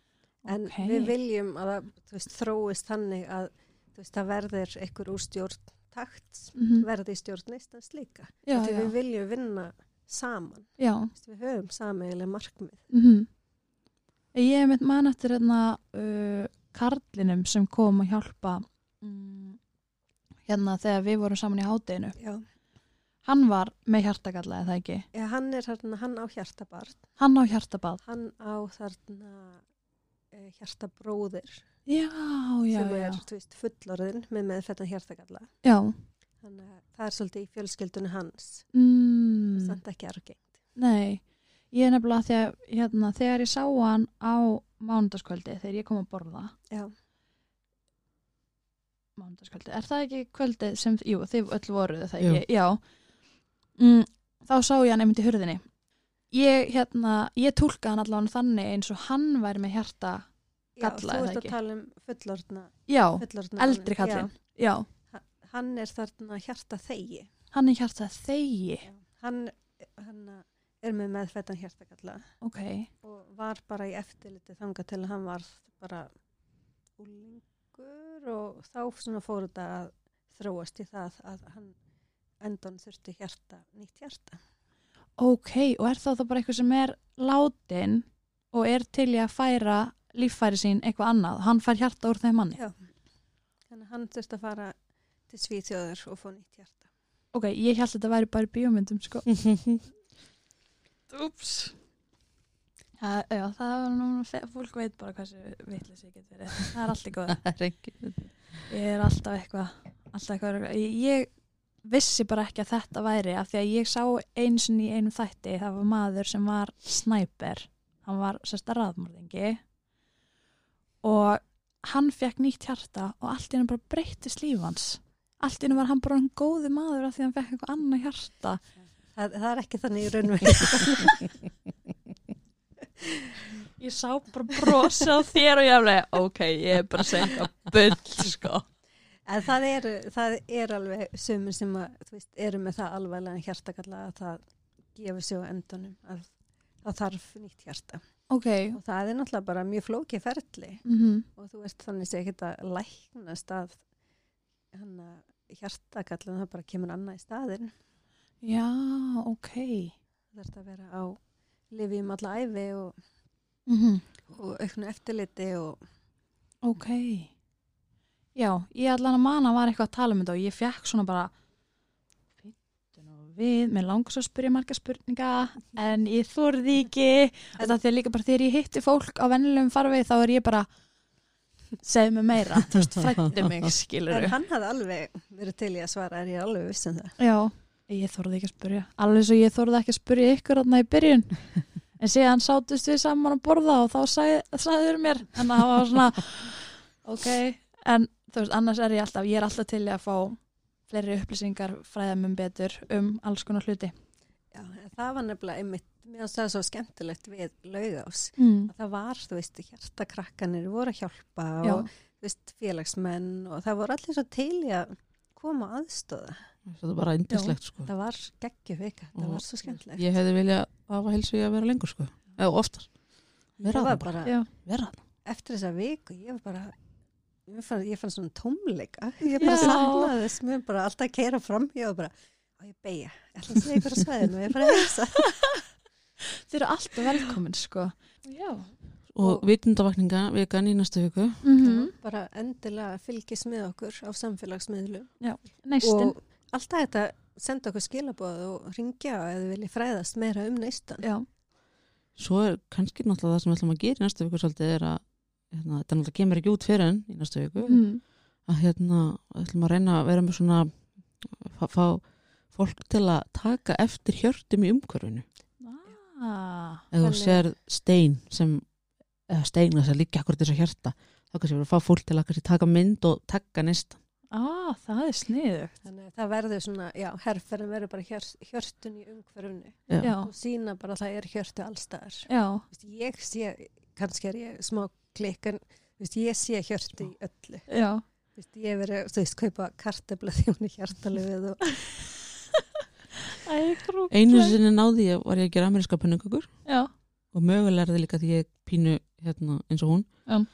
[SPEAKER 3] En
[SPEAKER 1] Ok.
[SPEAKER 3] við viljum að það, þú veist, þróist þannig að, þú veist, það verður einhver úr stjórn takt,
[SPEAKER 1] Mhm.
[SPEAKER 3] verði í stjórn neistans líka.
[SPEAKER 1] Já,
[SPEAKER 3] Því
[SPEAKER 1] já,
[SPEAKER 3] við viljum vinna saman.
[SPEAKER 1] já.
[SPEAKER 3] Þú veist, Við höfum sameiglega markmið.
[SPEAKER 1] Mm Ég hef mitt mann eftir hérna uh, karlinum sem kom að hjálpa um, hérna þegar við vorum saman í hádeginu.
[SPEAKER 3] Já.
[SPEAKER 1] Hann var með hjartagalla eða ekki.
[SPEAKER 3] Já, hann er þarna, hann á hjartabarn,
[SPEAKER 1] Hann á hjartabann.
[SPEAKER 3] hann á þarna eh, hjartabróðir
[SPEAKER 1] Já, já,
[SPEAKER 3] sem
[SPEAKER 1] já.
[SPEAKER 3] er, þú veist, fullorðin með meðfættan hjartagalla.
[SPEAKER 1] Já,
[SPEAKER 3] Þannig að það er svolítið í fjölskyldunni hans, mm.
[SPEAKER 1] mm,
[SPEAKER 3] samt ekki argengt.
[SPEAKER 1] nei. Ég er nefnilega þegar, hérna, þegar ég sá hann á mánudagskvöldi þegar ég kom að borða.
[SPEAKER 3] Já,
[SPEAKER 1] mánudagskvöldi, er það ekki kvöldið sem, jú, þið öll voruð það
[SPEAKER 2] Jú.
[SPEAKER 1] ekki, já mm, þá sá ég hann einmitt í hurðinni ég, hérna, ég tólka hann allan þannig eins og hann væri með hjarta galla,
[SPEAKER 3] þú
[SPEAKER 1] eða
[SPEAKER 3] ert að
[SPEAKER 1] ekki?
[SPEAKER 3] tala um fullorðna,
[SPEAKER 1] Já,
[SPEAKER 3] fullorðna
[SPEAKER 1] eldri
[SPEAKER 3] manninn.
[SPEAKER 1] kallinn. Já,
[SPEAKER 3] Já, hann er þarna hjarta þegi.
[SPEAKER 1] hann er hjartað þegi.
[SPEAKER 3] Hann, hann er með meðfættan hjartakalla
[SPEAKER 1] Ok,
[SPEAKER 3] og var bara í eftirliti þanga til að hann var bara úlingur og þá svona fór þetta að þróast í það að hann endan þurfti hjarta, nýtt hjarta.
[SPEAKER 1] ok, og er það þá bara eitthvað sem er látin og er til í að færa líffæri sín eitthvað annað? Hann fær hjarta úr þeim manni?
[SPEAKER 3] Já. Þannig að hann þurfti að fara til Svíþjóður og fá nýtt hjarta.
[SPEAKER 1] Ok, ég held að þetta væri bara í bíómyndum, sko.
[SPEAKER 2] Úps.
[SPEAKER 1] Já, já, það var nú, fólk veit bara hversu vitlis ég get verið. Það er allt í góða.
[SPEAKER 2] Það er engin.
[SPEAKER 1] Ég er alltaf eitthvað, alltaf eitthvað, rugl- ég, ég vissi bara ekki að þetta væri af því að ég sá eins og í einum þætti, það var maður sem var snæper, hann var sérst að raðmörðingi og hann fekk nýtt hjarta og allt í hennu bara breyttist líf hans. Allt í hennu var hann bara um góði maður af því að hann fekk eitthvað annað hjarta.
[SPEAKER 3] Það, það er ekki þannig í raunveginn.
[SPEAKER 1] Ég sá bara brosa á þér og ég aflega, ok, ég er bara að segja eitthvað bull, sko.
[SPEAKER 3] En það er, það er alveg sumir sem að, þú veist, eru með það alvarlega hjartakalla að það gefur sig á endanum að það þarf nýtt hjarta.
[SPEAKER 1] Ok,
[SPEAKER 3] Og það er náttúrulega bara mjög flókið ferli
[SPEAKER 1] mhm.
[SPEAKER 3] og þú ert þannig sé ekkert að læknast að hann að hjartakallan það bara kemur annað í staðinn.
[SPEAKER 1] já, ok.
[SPEAKER 3] Það þarf að vera á lifjum alla æfi og,
[SPEAKER 1] Mhm.
[SPEAKER 3] og auknu eftirliti og
[SPEAKER 1] Ok. Já, ég allan að mana var eitthvað að tala um þetta og ég fekk svona bara "Bíddu nú við, mér langar svo að spyrja marga spurninga en ég þorði ekki þetta því að líka bara þegar ég hitti fólk á vennilegum farvegi þá er ég bara segðu mig meira, þú veist, frættu mig skilur
[SPEAKER 3] en hann hafði alveg verið til í að svara er ég alveg viss um það.
[SPEAKER 1] Já, ég þorði ekki að spyrja alveg svo ég þorði ekki að spyrja ykkur þarna í byrjun en síðan sátust við saman að borða og þá sagði, sagður mér en það var svona ok, en þú veist, annars er ég alltaf ég er alltaf til í að fá fleiri upplýsingar fræða mér betur um alls konar hluti
[SPEAKER 3] Já, en það var nefnilega einmitt, mér finnst það svo skemmtilegt við laugás
[SPEAKER 1] mm.
[SPEAKER 3] að það var, þú veist, hjartakrakkanir voru að hjálpa
[SPEAKER 1] Já,
[SPEAKER 3] og þú veist, félagsmenn og það voru allir svo til í að koma að aðstóða.
[SPEAKER 2] Það er bara indislegt sko.
[SPEAKER 3] Það var geggjum vika, það
[SPEAKER 2] Og
[SPEAKER 3] var svo skemmtilegt.
[SPEAKER 2] Ég hefði viljað hafa helsu í að vera lengur sko. Eða oftar. Vera
[SPEAKER 3] það
[SPEAKER 2] að
[SPEAKER 3] var
[SPEAKER 2] það bara.
[SPEAKER 3] bara,
[SPEAKER 1] já,
[SPEAKER 2] Vera að það.
[SPEAKER 3] eftir þessa viku, ég var bara, ég fann, ég fann svona tómleika, ég bara
[SPEAKER 1] Já.
[SPEAKER 3] saknaði þess, mér bara alltaf að keira fram, ég var bara, og ég beigja, ætla að segja ykkur á svæðinu, ég bara heilsa.
[SPEAKER 1] þeir eru alltaf velkomin sko Já
[SPEAKER 2] Og vitundavakninga vikan í næstu viku.
[SPEAKER 1] mm
[SPEAKER 3] Bara endilega fylgis með okkur á samfélagsmiðlum.
[SPEAKER 1] Neistin
[SPEAKER 3] og alltaf þetta senda okkur skilabóð og ringja eða vilja fræðast meira um neistan
[SPEAKER 1] Já,
[SPEAKER 2] Svo er kannski náttúrulega það sem við ætlum að gera í næstu viku svolítið er að hérna, þetta náttúrulega kemur ekki út fyrir en í næstu viku.
[SPEAKER 1] mm.
[SPEAKER 2] Að hérna ætlum að reyna að vera með svona fá, fá fólk til að taka eftir hjörtum í umhverfinu.
[SPEAKER 1] ah.
[SPEAKER 2] Ef þú
[SPEAKER 3] Þannig-
[SPEAKER 2] sér stein sem eða stein þess að líka akkur þess að hjarta þá kannski verður að fá fólk til að kannski taka mynd og taka næsta.
[SPEAKER 1] ah, það er sniðugt
[SPEAKER 3] þannig að það verður svona, já, herrferðin verður bara hjör, hjörtun í umhverfunu
[SPEAKER 2] Já.
[SPEAKER 1] Já,
[SPEAKER 3] og sína bara að það er hjörtu allstaðar
[SPEAKER 1] já,
[SPEAKER 3] Vist, ég sé, kannski er ég smá klikk en vist, ég sé hjörtu í öllu
[SPEAKER 1] já
[SPEAKER 3] Vist, ég verið, þú veist, kaupa kartebla því hún er hjartalöfið og
[SPEAKER 1] Æ, krúkleg.
[SPEAKER 2] Einu sinni náði ég var ég að gera ameríska pönnukökur
[SPEAKER 1] Já,
[SPEAKER 2] og mögulega er það líka því ég er pínu hérna, eins og hún,
[SPEAKER 1] Já.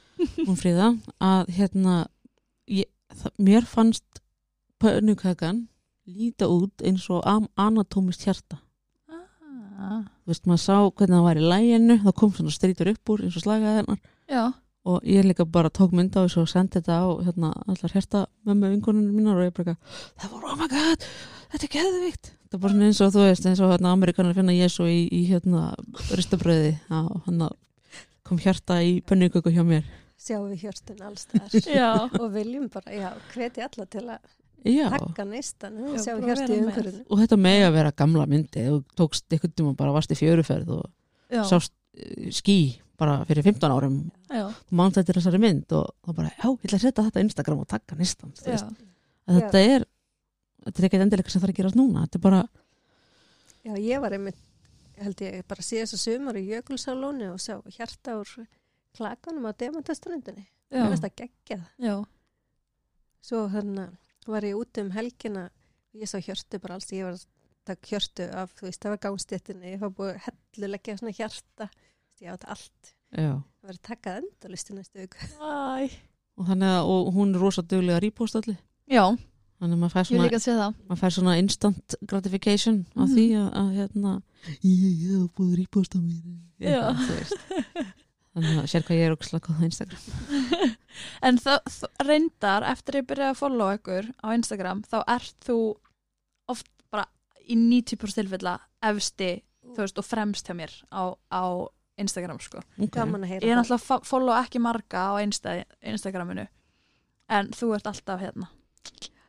[SPEAKER 2] hún fríða að hérna ég, það, mér fannst pönnukökan líta út eins og am- anatómist hjarta
[SPEAKER 1] ah.
[SPEAKER 2] þú veist maður sá hvernig það var í læginu það kom svona strítur upp úr eins og slagaði hennar
[SPEAKER 1] já
[SPEAKER 2] og ég líka bara tók mynd á þessu og sendi þetta á hérna, allar hérta mömmu vinkonunum mínar og ég bara eitthvað, það var oh my god, þetta er geðvikt það er bara svona eins og þú veist eins og hérna, amerikanar finna Jésu í, í hérna ristabröði að hann kom hérta í pönnuköku hjá mér
[SPEAKER 3] sjáum við hjörtun allstaðar
[SPEAKER 1] Já,
[SPEAKER 3] og viljum bara, já, hveti alla til að
[SPEAKER 2] já,
[SPEAKER 3] taka neistan
[SPEAKER 1] Já,
[SPEAKER 3] sjáum
[SPEAKER 1] bara
[SPEAKER 3] hjörtu í
[SPEAKER 1] vera með.
[SPEAKER 3] umhverfunu
[SPEAKER 2] og þetta megi að vera gamla myndi þú tókst einhvern tíma bara varst í fjöruferð og
[SPEAKER 1] já,
[SPEAKER 2] sást eh, ský bara fyrir 15 árum
[SPEAKER 1] já,
[SPEAKER 2] og mann þetta þessari mynd og þá bara, já, ég ætla að setja þetta á Instagram og taka næstan, þú
[SPEAKER 1] já,
[SPEAKER 2] veist að þetta er þetta er ekkert endilega sem þarf að gerast núna þetta er bara,
[SPEAKER 3] Já, ég var einmitt, held ég, bara síðast að sumar í Jökulsálóni og sá hjarta úr klakanum á demantaströndinni.
[SPEAKER 1] Já.
[SPEAKER 3] Mér finnst það geggjað.
[SPEAKER 1] Já.
[SPEAKER 3] Svo hérna var ég út um helgina og ég sá hjörtu bara alls, ég var að taka hjörtu af, þú veist, það var gánstéttinni, ég var búið að helluleggja svona hjarta, Þú veist, ég átt allt.
[SPEAKER 2] já.
[SPEAKER 3] Það var að taka endalist í næstu viku.
[SPEAKER 1] Æ.
[SPEAKER 2] Og þannig að og hún er rosa duglega rýpóstalli.
[SPEAKER 1] Já,
[SPEAKER 2] Þannig að maður fær
[SPEAKER 1] ég
[SPEAKER 2] svona,
[SPEAKER 1] líka að segja það.
[SPEAKER 2] maður fær svona instant gratification af
[SPEAKER 1] Mhm.
[SPEAKER 2] því að, að hérna, ég ég hef búið rýpóst á mér.
[SPEAKER 1] Já.
[SPEAKER 2] Eitthvað, þú veist. Þannig að sér hvað ég er okkur slakað á Instagram.
[SPEAKER 1] En það, það reyndar eftir ég byrjaði að followa ykkur á Instagram þá ert þú oft bara í 90% tilfella efsti þú veist, og fremst hjá mér á, á Instagram sko.
[SPEAKER 2] Okay.
[SPEAKER 3] Gaman að heyra
[SPEAKER 1] Ég er
[SPEAKER 3] það.
[SPEAKER 1] náttúrulega að fo- followa ekki marga á Insta, Instagraminu en þú ert alltaf hérna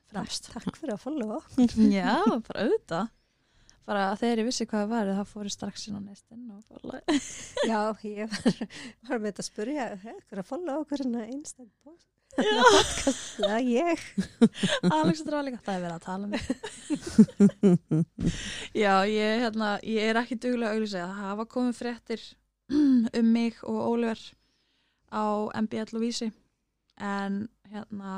[SPEAKER 1] fremst.
[SPEAKER 3] Takk fyrir að followa.
[SPEAKER 1] Já, bara auðvitað. Bara þegar ég vissi hvað það var það fóri strax inn á neistinn og followa.
[SPEAKER 3] Já, ég var, var með þetta að spurja, hver að followa okkur hérna en að einstæð bóst. Hérna Já, ég.
[SPEAKER 1] Alexandra var líka, það er verið að tala um mig Já, ég, hérna, ég er ekki duglega að auglýsa það hafa komið fréttir um mig og Ólver á MBL og Vísi en hérna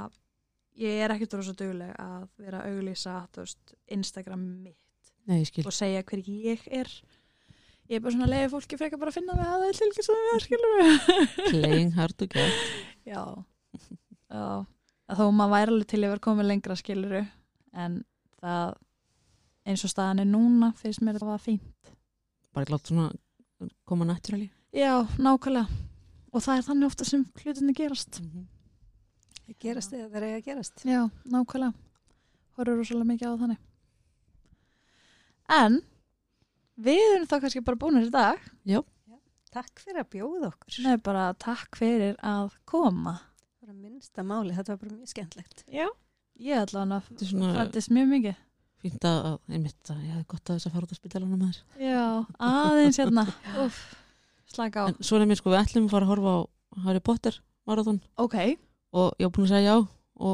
[SPEAKER 1] ég er ekki dróðs að duglega að vera að auglýsa þú veist, Instagram mitt
[SPEAKER 2] Nei, ég skil.
[SPEAKER 1] og segja hver ég er ég er bara svona að leiði fólki frekar bara að finna mig að það er tilgjast að við skilur
[SPEAKER 2] Playing hard to get.
[SPEAKER 1] Já, já. Að þó maður væri alveg til að vera komið lengra skiluru en það eins og staðan er núna finnst mér það var fín.
[SPEAKER 2] Bara glátt svona koma naturally.
[SPEAKER 1] Já, nákvæmlega. Og það er þannig ofta sem hlutinni gerast.
[SPEAKER 3] Það gerast eða það er eiga að gerast.
[SPEAKER 1] Já, nákvæmlega. Horfur rosalega mikið á það þannig. En við erum þá kannski bara búinir í dag.
[SPEAKER 3] Takk fyrir að bjóða okkur.
[SPEAKER 1] Nei, bara takk fyrir að koma.
[SPEAKER 3] Það var að minnsta máli, þetta var bara mjög skemmtlegt.
[SPEAKER 1] Já. Ég ætla hann að
[SPEAKER 2] Þetta er svona
[SPEAKER 1] fættist mjög mikið.
[SPEAKER 2] fínt að, að- einmitt að ég hafði gott að þess að fara út á spítalana með þér.
[SPEAKER 1] Já, aðeins hérna. Úf, slaka á.
[SPEAKER 2] En svo er mér sko, við ætlum að fara að horfa á Harry Potter marathon
[SPEAKER 1] ok,
[SPEAKER 2] og ég var búin að segja já og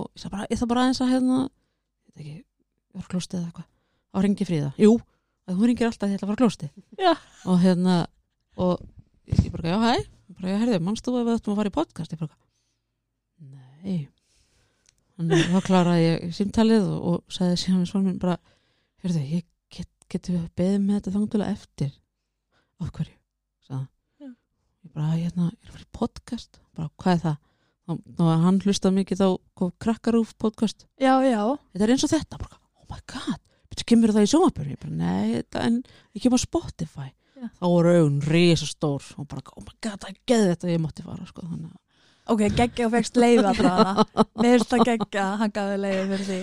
[SPEAKER 2] ég, sagði bara, ég það bara aðeins að hérna, ég veit ekki, ég var klóstið eða eitthvað, á ringi fríða. Jú, að hún ringir alltaf því ég ætla að fara klóstið.
[SPEAKER 1] Já.
[SPEAKER 2] Og hérna, og ég bara, já, hæ, Hún bara, já, herði, mannst þú að við ættum að fara í podcast? Ég bara, nei. Þannig að þá klaraði ég símtalið og, og sagði síðan við svona minn bara, herðu, ég get, getum við beðið með þetta þangtulega eftir. Af hverju? Sagði hann.
[SPEAKER 1] Já.
[SPEAKER 2] Ég bara, hérna, ég er að fara í podcast. Bara, hvað er það? þá var hann hlustað mikið á kom krakkarúf podcast,
[SPEAKER 1] já, já.
[SPEAKER 2] þetta er eins og þetta bara, oh my god, betur kemur það í sjónvarpinu ég bara, nei, þetta, en ég kemur á Spotify
[SPEAKER 1] Já.
[SPEAKER 2] þá voru augun risastór og bara, oh my god, það er geðið þetta ég mátti fara, sko, þannig að
[SPEAKER 1] Ok, geggja og fegst leiða frá hana. Mér finnst það geggja, hann gafi leiði fyrir því.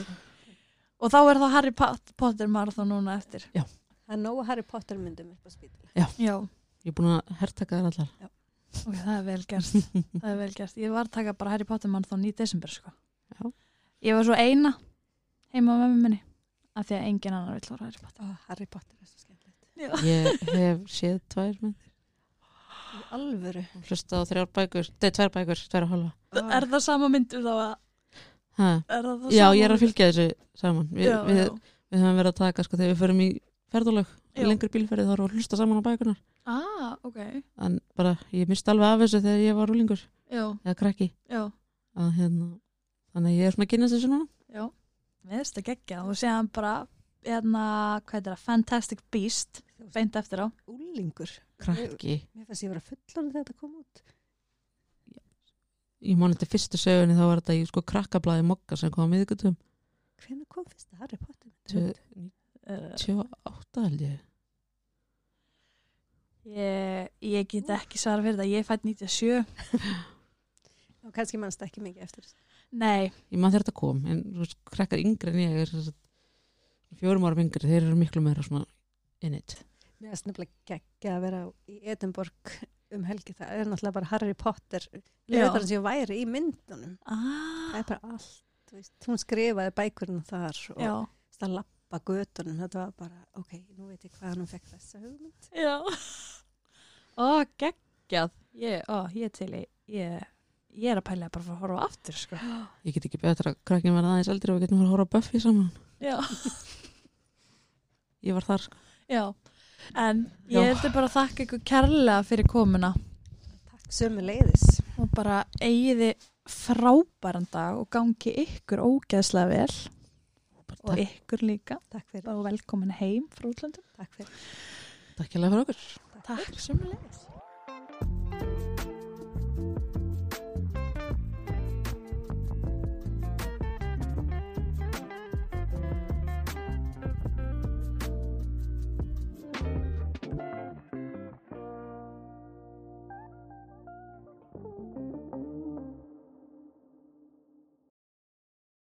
[SPEAKER 1] Og þá er það Harry Pot- Potter marathon núna eftir.
[SPEAKER 3] Það er nógu Harry Potter myndum upp á spítil.
[SPEAKER 1] Já,
[SPEAKER 2] ég er búin að hertaka þær allar
[SPEAKER 1] ok, það er vel gert. Það er vel gert. Ég var að taka bara Harry Potter marathon í desember, sko.
[SPEAKER 2] Já.
[SPEAKER 1] Ég var svo eina heima með mér minni. Af því að engin annar vill voru Harry Potter.
[SPEAKER 3] Ó, Harry Potter er svo skemmtilegt.
[SPEAKER 2] ég hef séð tvær mynd
[SPEAKER 3] Í alvöru.
[SPEAKER 2] hlusta á þrjár bækur, nei, tvær bækur, tvær og halva
[SPEAKER 1] Er það sama myndu þá að...
[SPEAKER 2] ha.
[SPEAKER 1] Er það það
[SPEAKER 2] já,
[SPEAKER 1] sama
[SPEAKER 2] ég er
[SPEAKER 1] mynd?
[SPEAKER 2] að fylgja þessu saman við,
[SPEAKER 1] Já,
[SPEAKER 2] við,
[SPEAKER 1] já.
[SPEAKER 2] við höfum verið að taka, sko, þegar við förum í ferðalög,
[SPEAKER 1] Já.
[SPEAKER 2] lengri bílferði þá erum við að hlusta saman á bækunar
[SPEAKER 1] Ah, ok.
[SPEAKER 2] en bara, ég misti alveg af þessu þegar ég var úlingur
[SPEAKER 1] Já,
[SPEAKER 2] eða krakki
[SPEAKER 1] já,
[SPEAKER 2] að hérna þannig að ég er svona að kynna þessu núna
[SPEAKER 1] já. Mér finnst það geggja. Og séðan bara, hérna, hvað er það, Fantastic Beast, beint eftir á.
[SPEAKER 3] Úlingur.
[SPEAKER 2] krakki,
[SPEAKER 3] Mér fannst ég vera fullan þegar þetta kom út.
[SPEAKER 2] ég man eftir fyrstu sögunni þá var þetta í sko krakkablaði mokka sem kom á miðgutum
[SPEAKER 3] Hvernig kom fyrsta Harry Potter myndum?
[SPEAKER 2] Tvö-
[SPEAKER 1] Uh,
[SPEAKER 2] 28 held ég
[SPEAKER 1] Ég, ég get ekki svara fyrir það, ég er fætt 97.
[SPEAKER 3] Og kannski mannst ekki mikið eftir þessu.
[SPEAKER 1] Nei,
[SPEAKER 2] ég man þegar þetta kom, en þú veist, krakkar yngri en ég er sem sagt fjórum árum yngri, þeir eru miklu meira svona in it
[SPEAKER 3] Mér finnst nefnilega geggja að vera í Edinborg um helgi. Það er náttúrulega bara Harry Potter. Leður þar sem ég væri í myndunum. Það
[SPEAKER 1] ah,
[SPEAKER 3] er bara allt. þú Veist, hún skrifaði bækurinn þar og
[SPEAKER 1] já,
[SPEAKER 3] það lappa götunum. Þetta var bara, ok, nú veit ég hvað hún fekk þessa hugmynd.
[SPEAKER 1] já. Ó, geggjað. Ég, ó, ég til í, ég, ég er að pæla bara fyrir að horfa aftur, sko.
[SPEAKER 2] ég get ekki betra að krakkin verða aðeins eldri og við getum fara að horfa á Buffy saman
[SPEAKER 1] Já,
[SPEAKER 2] ég var þar, sko.
[SPEAKER 1] já. En
[SPEAKER 2] Já.
[SPEAKER 1] ég hefði bara að þakka ykkur kærlega fyrir komuna.
[SPEAKER 3] Takk Sömu leiðis.
[SPEAKER 1] og bara eigiði frábæran dag og gangi ykkur ógeðslega vel og
[SPEAKER 2] Takk,
[SPEAKER 1] ykkur líka
[SPEAKER 3] Takk fyrir.
[SPEAKER 1] og velkomin heim frá útlöndum.
[SPEAKER 3] Takk fyrir.
[SPEAKER 2] takk hérlega fyrir okkur.
[SPEAKER 1] Takk sem leiðis.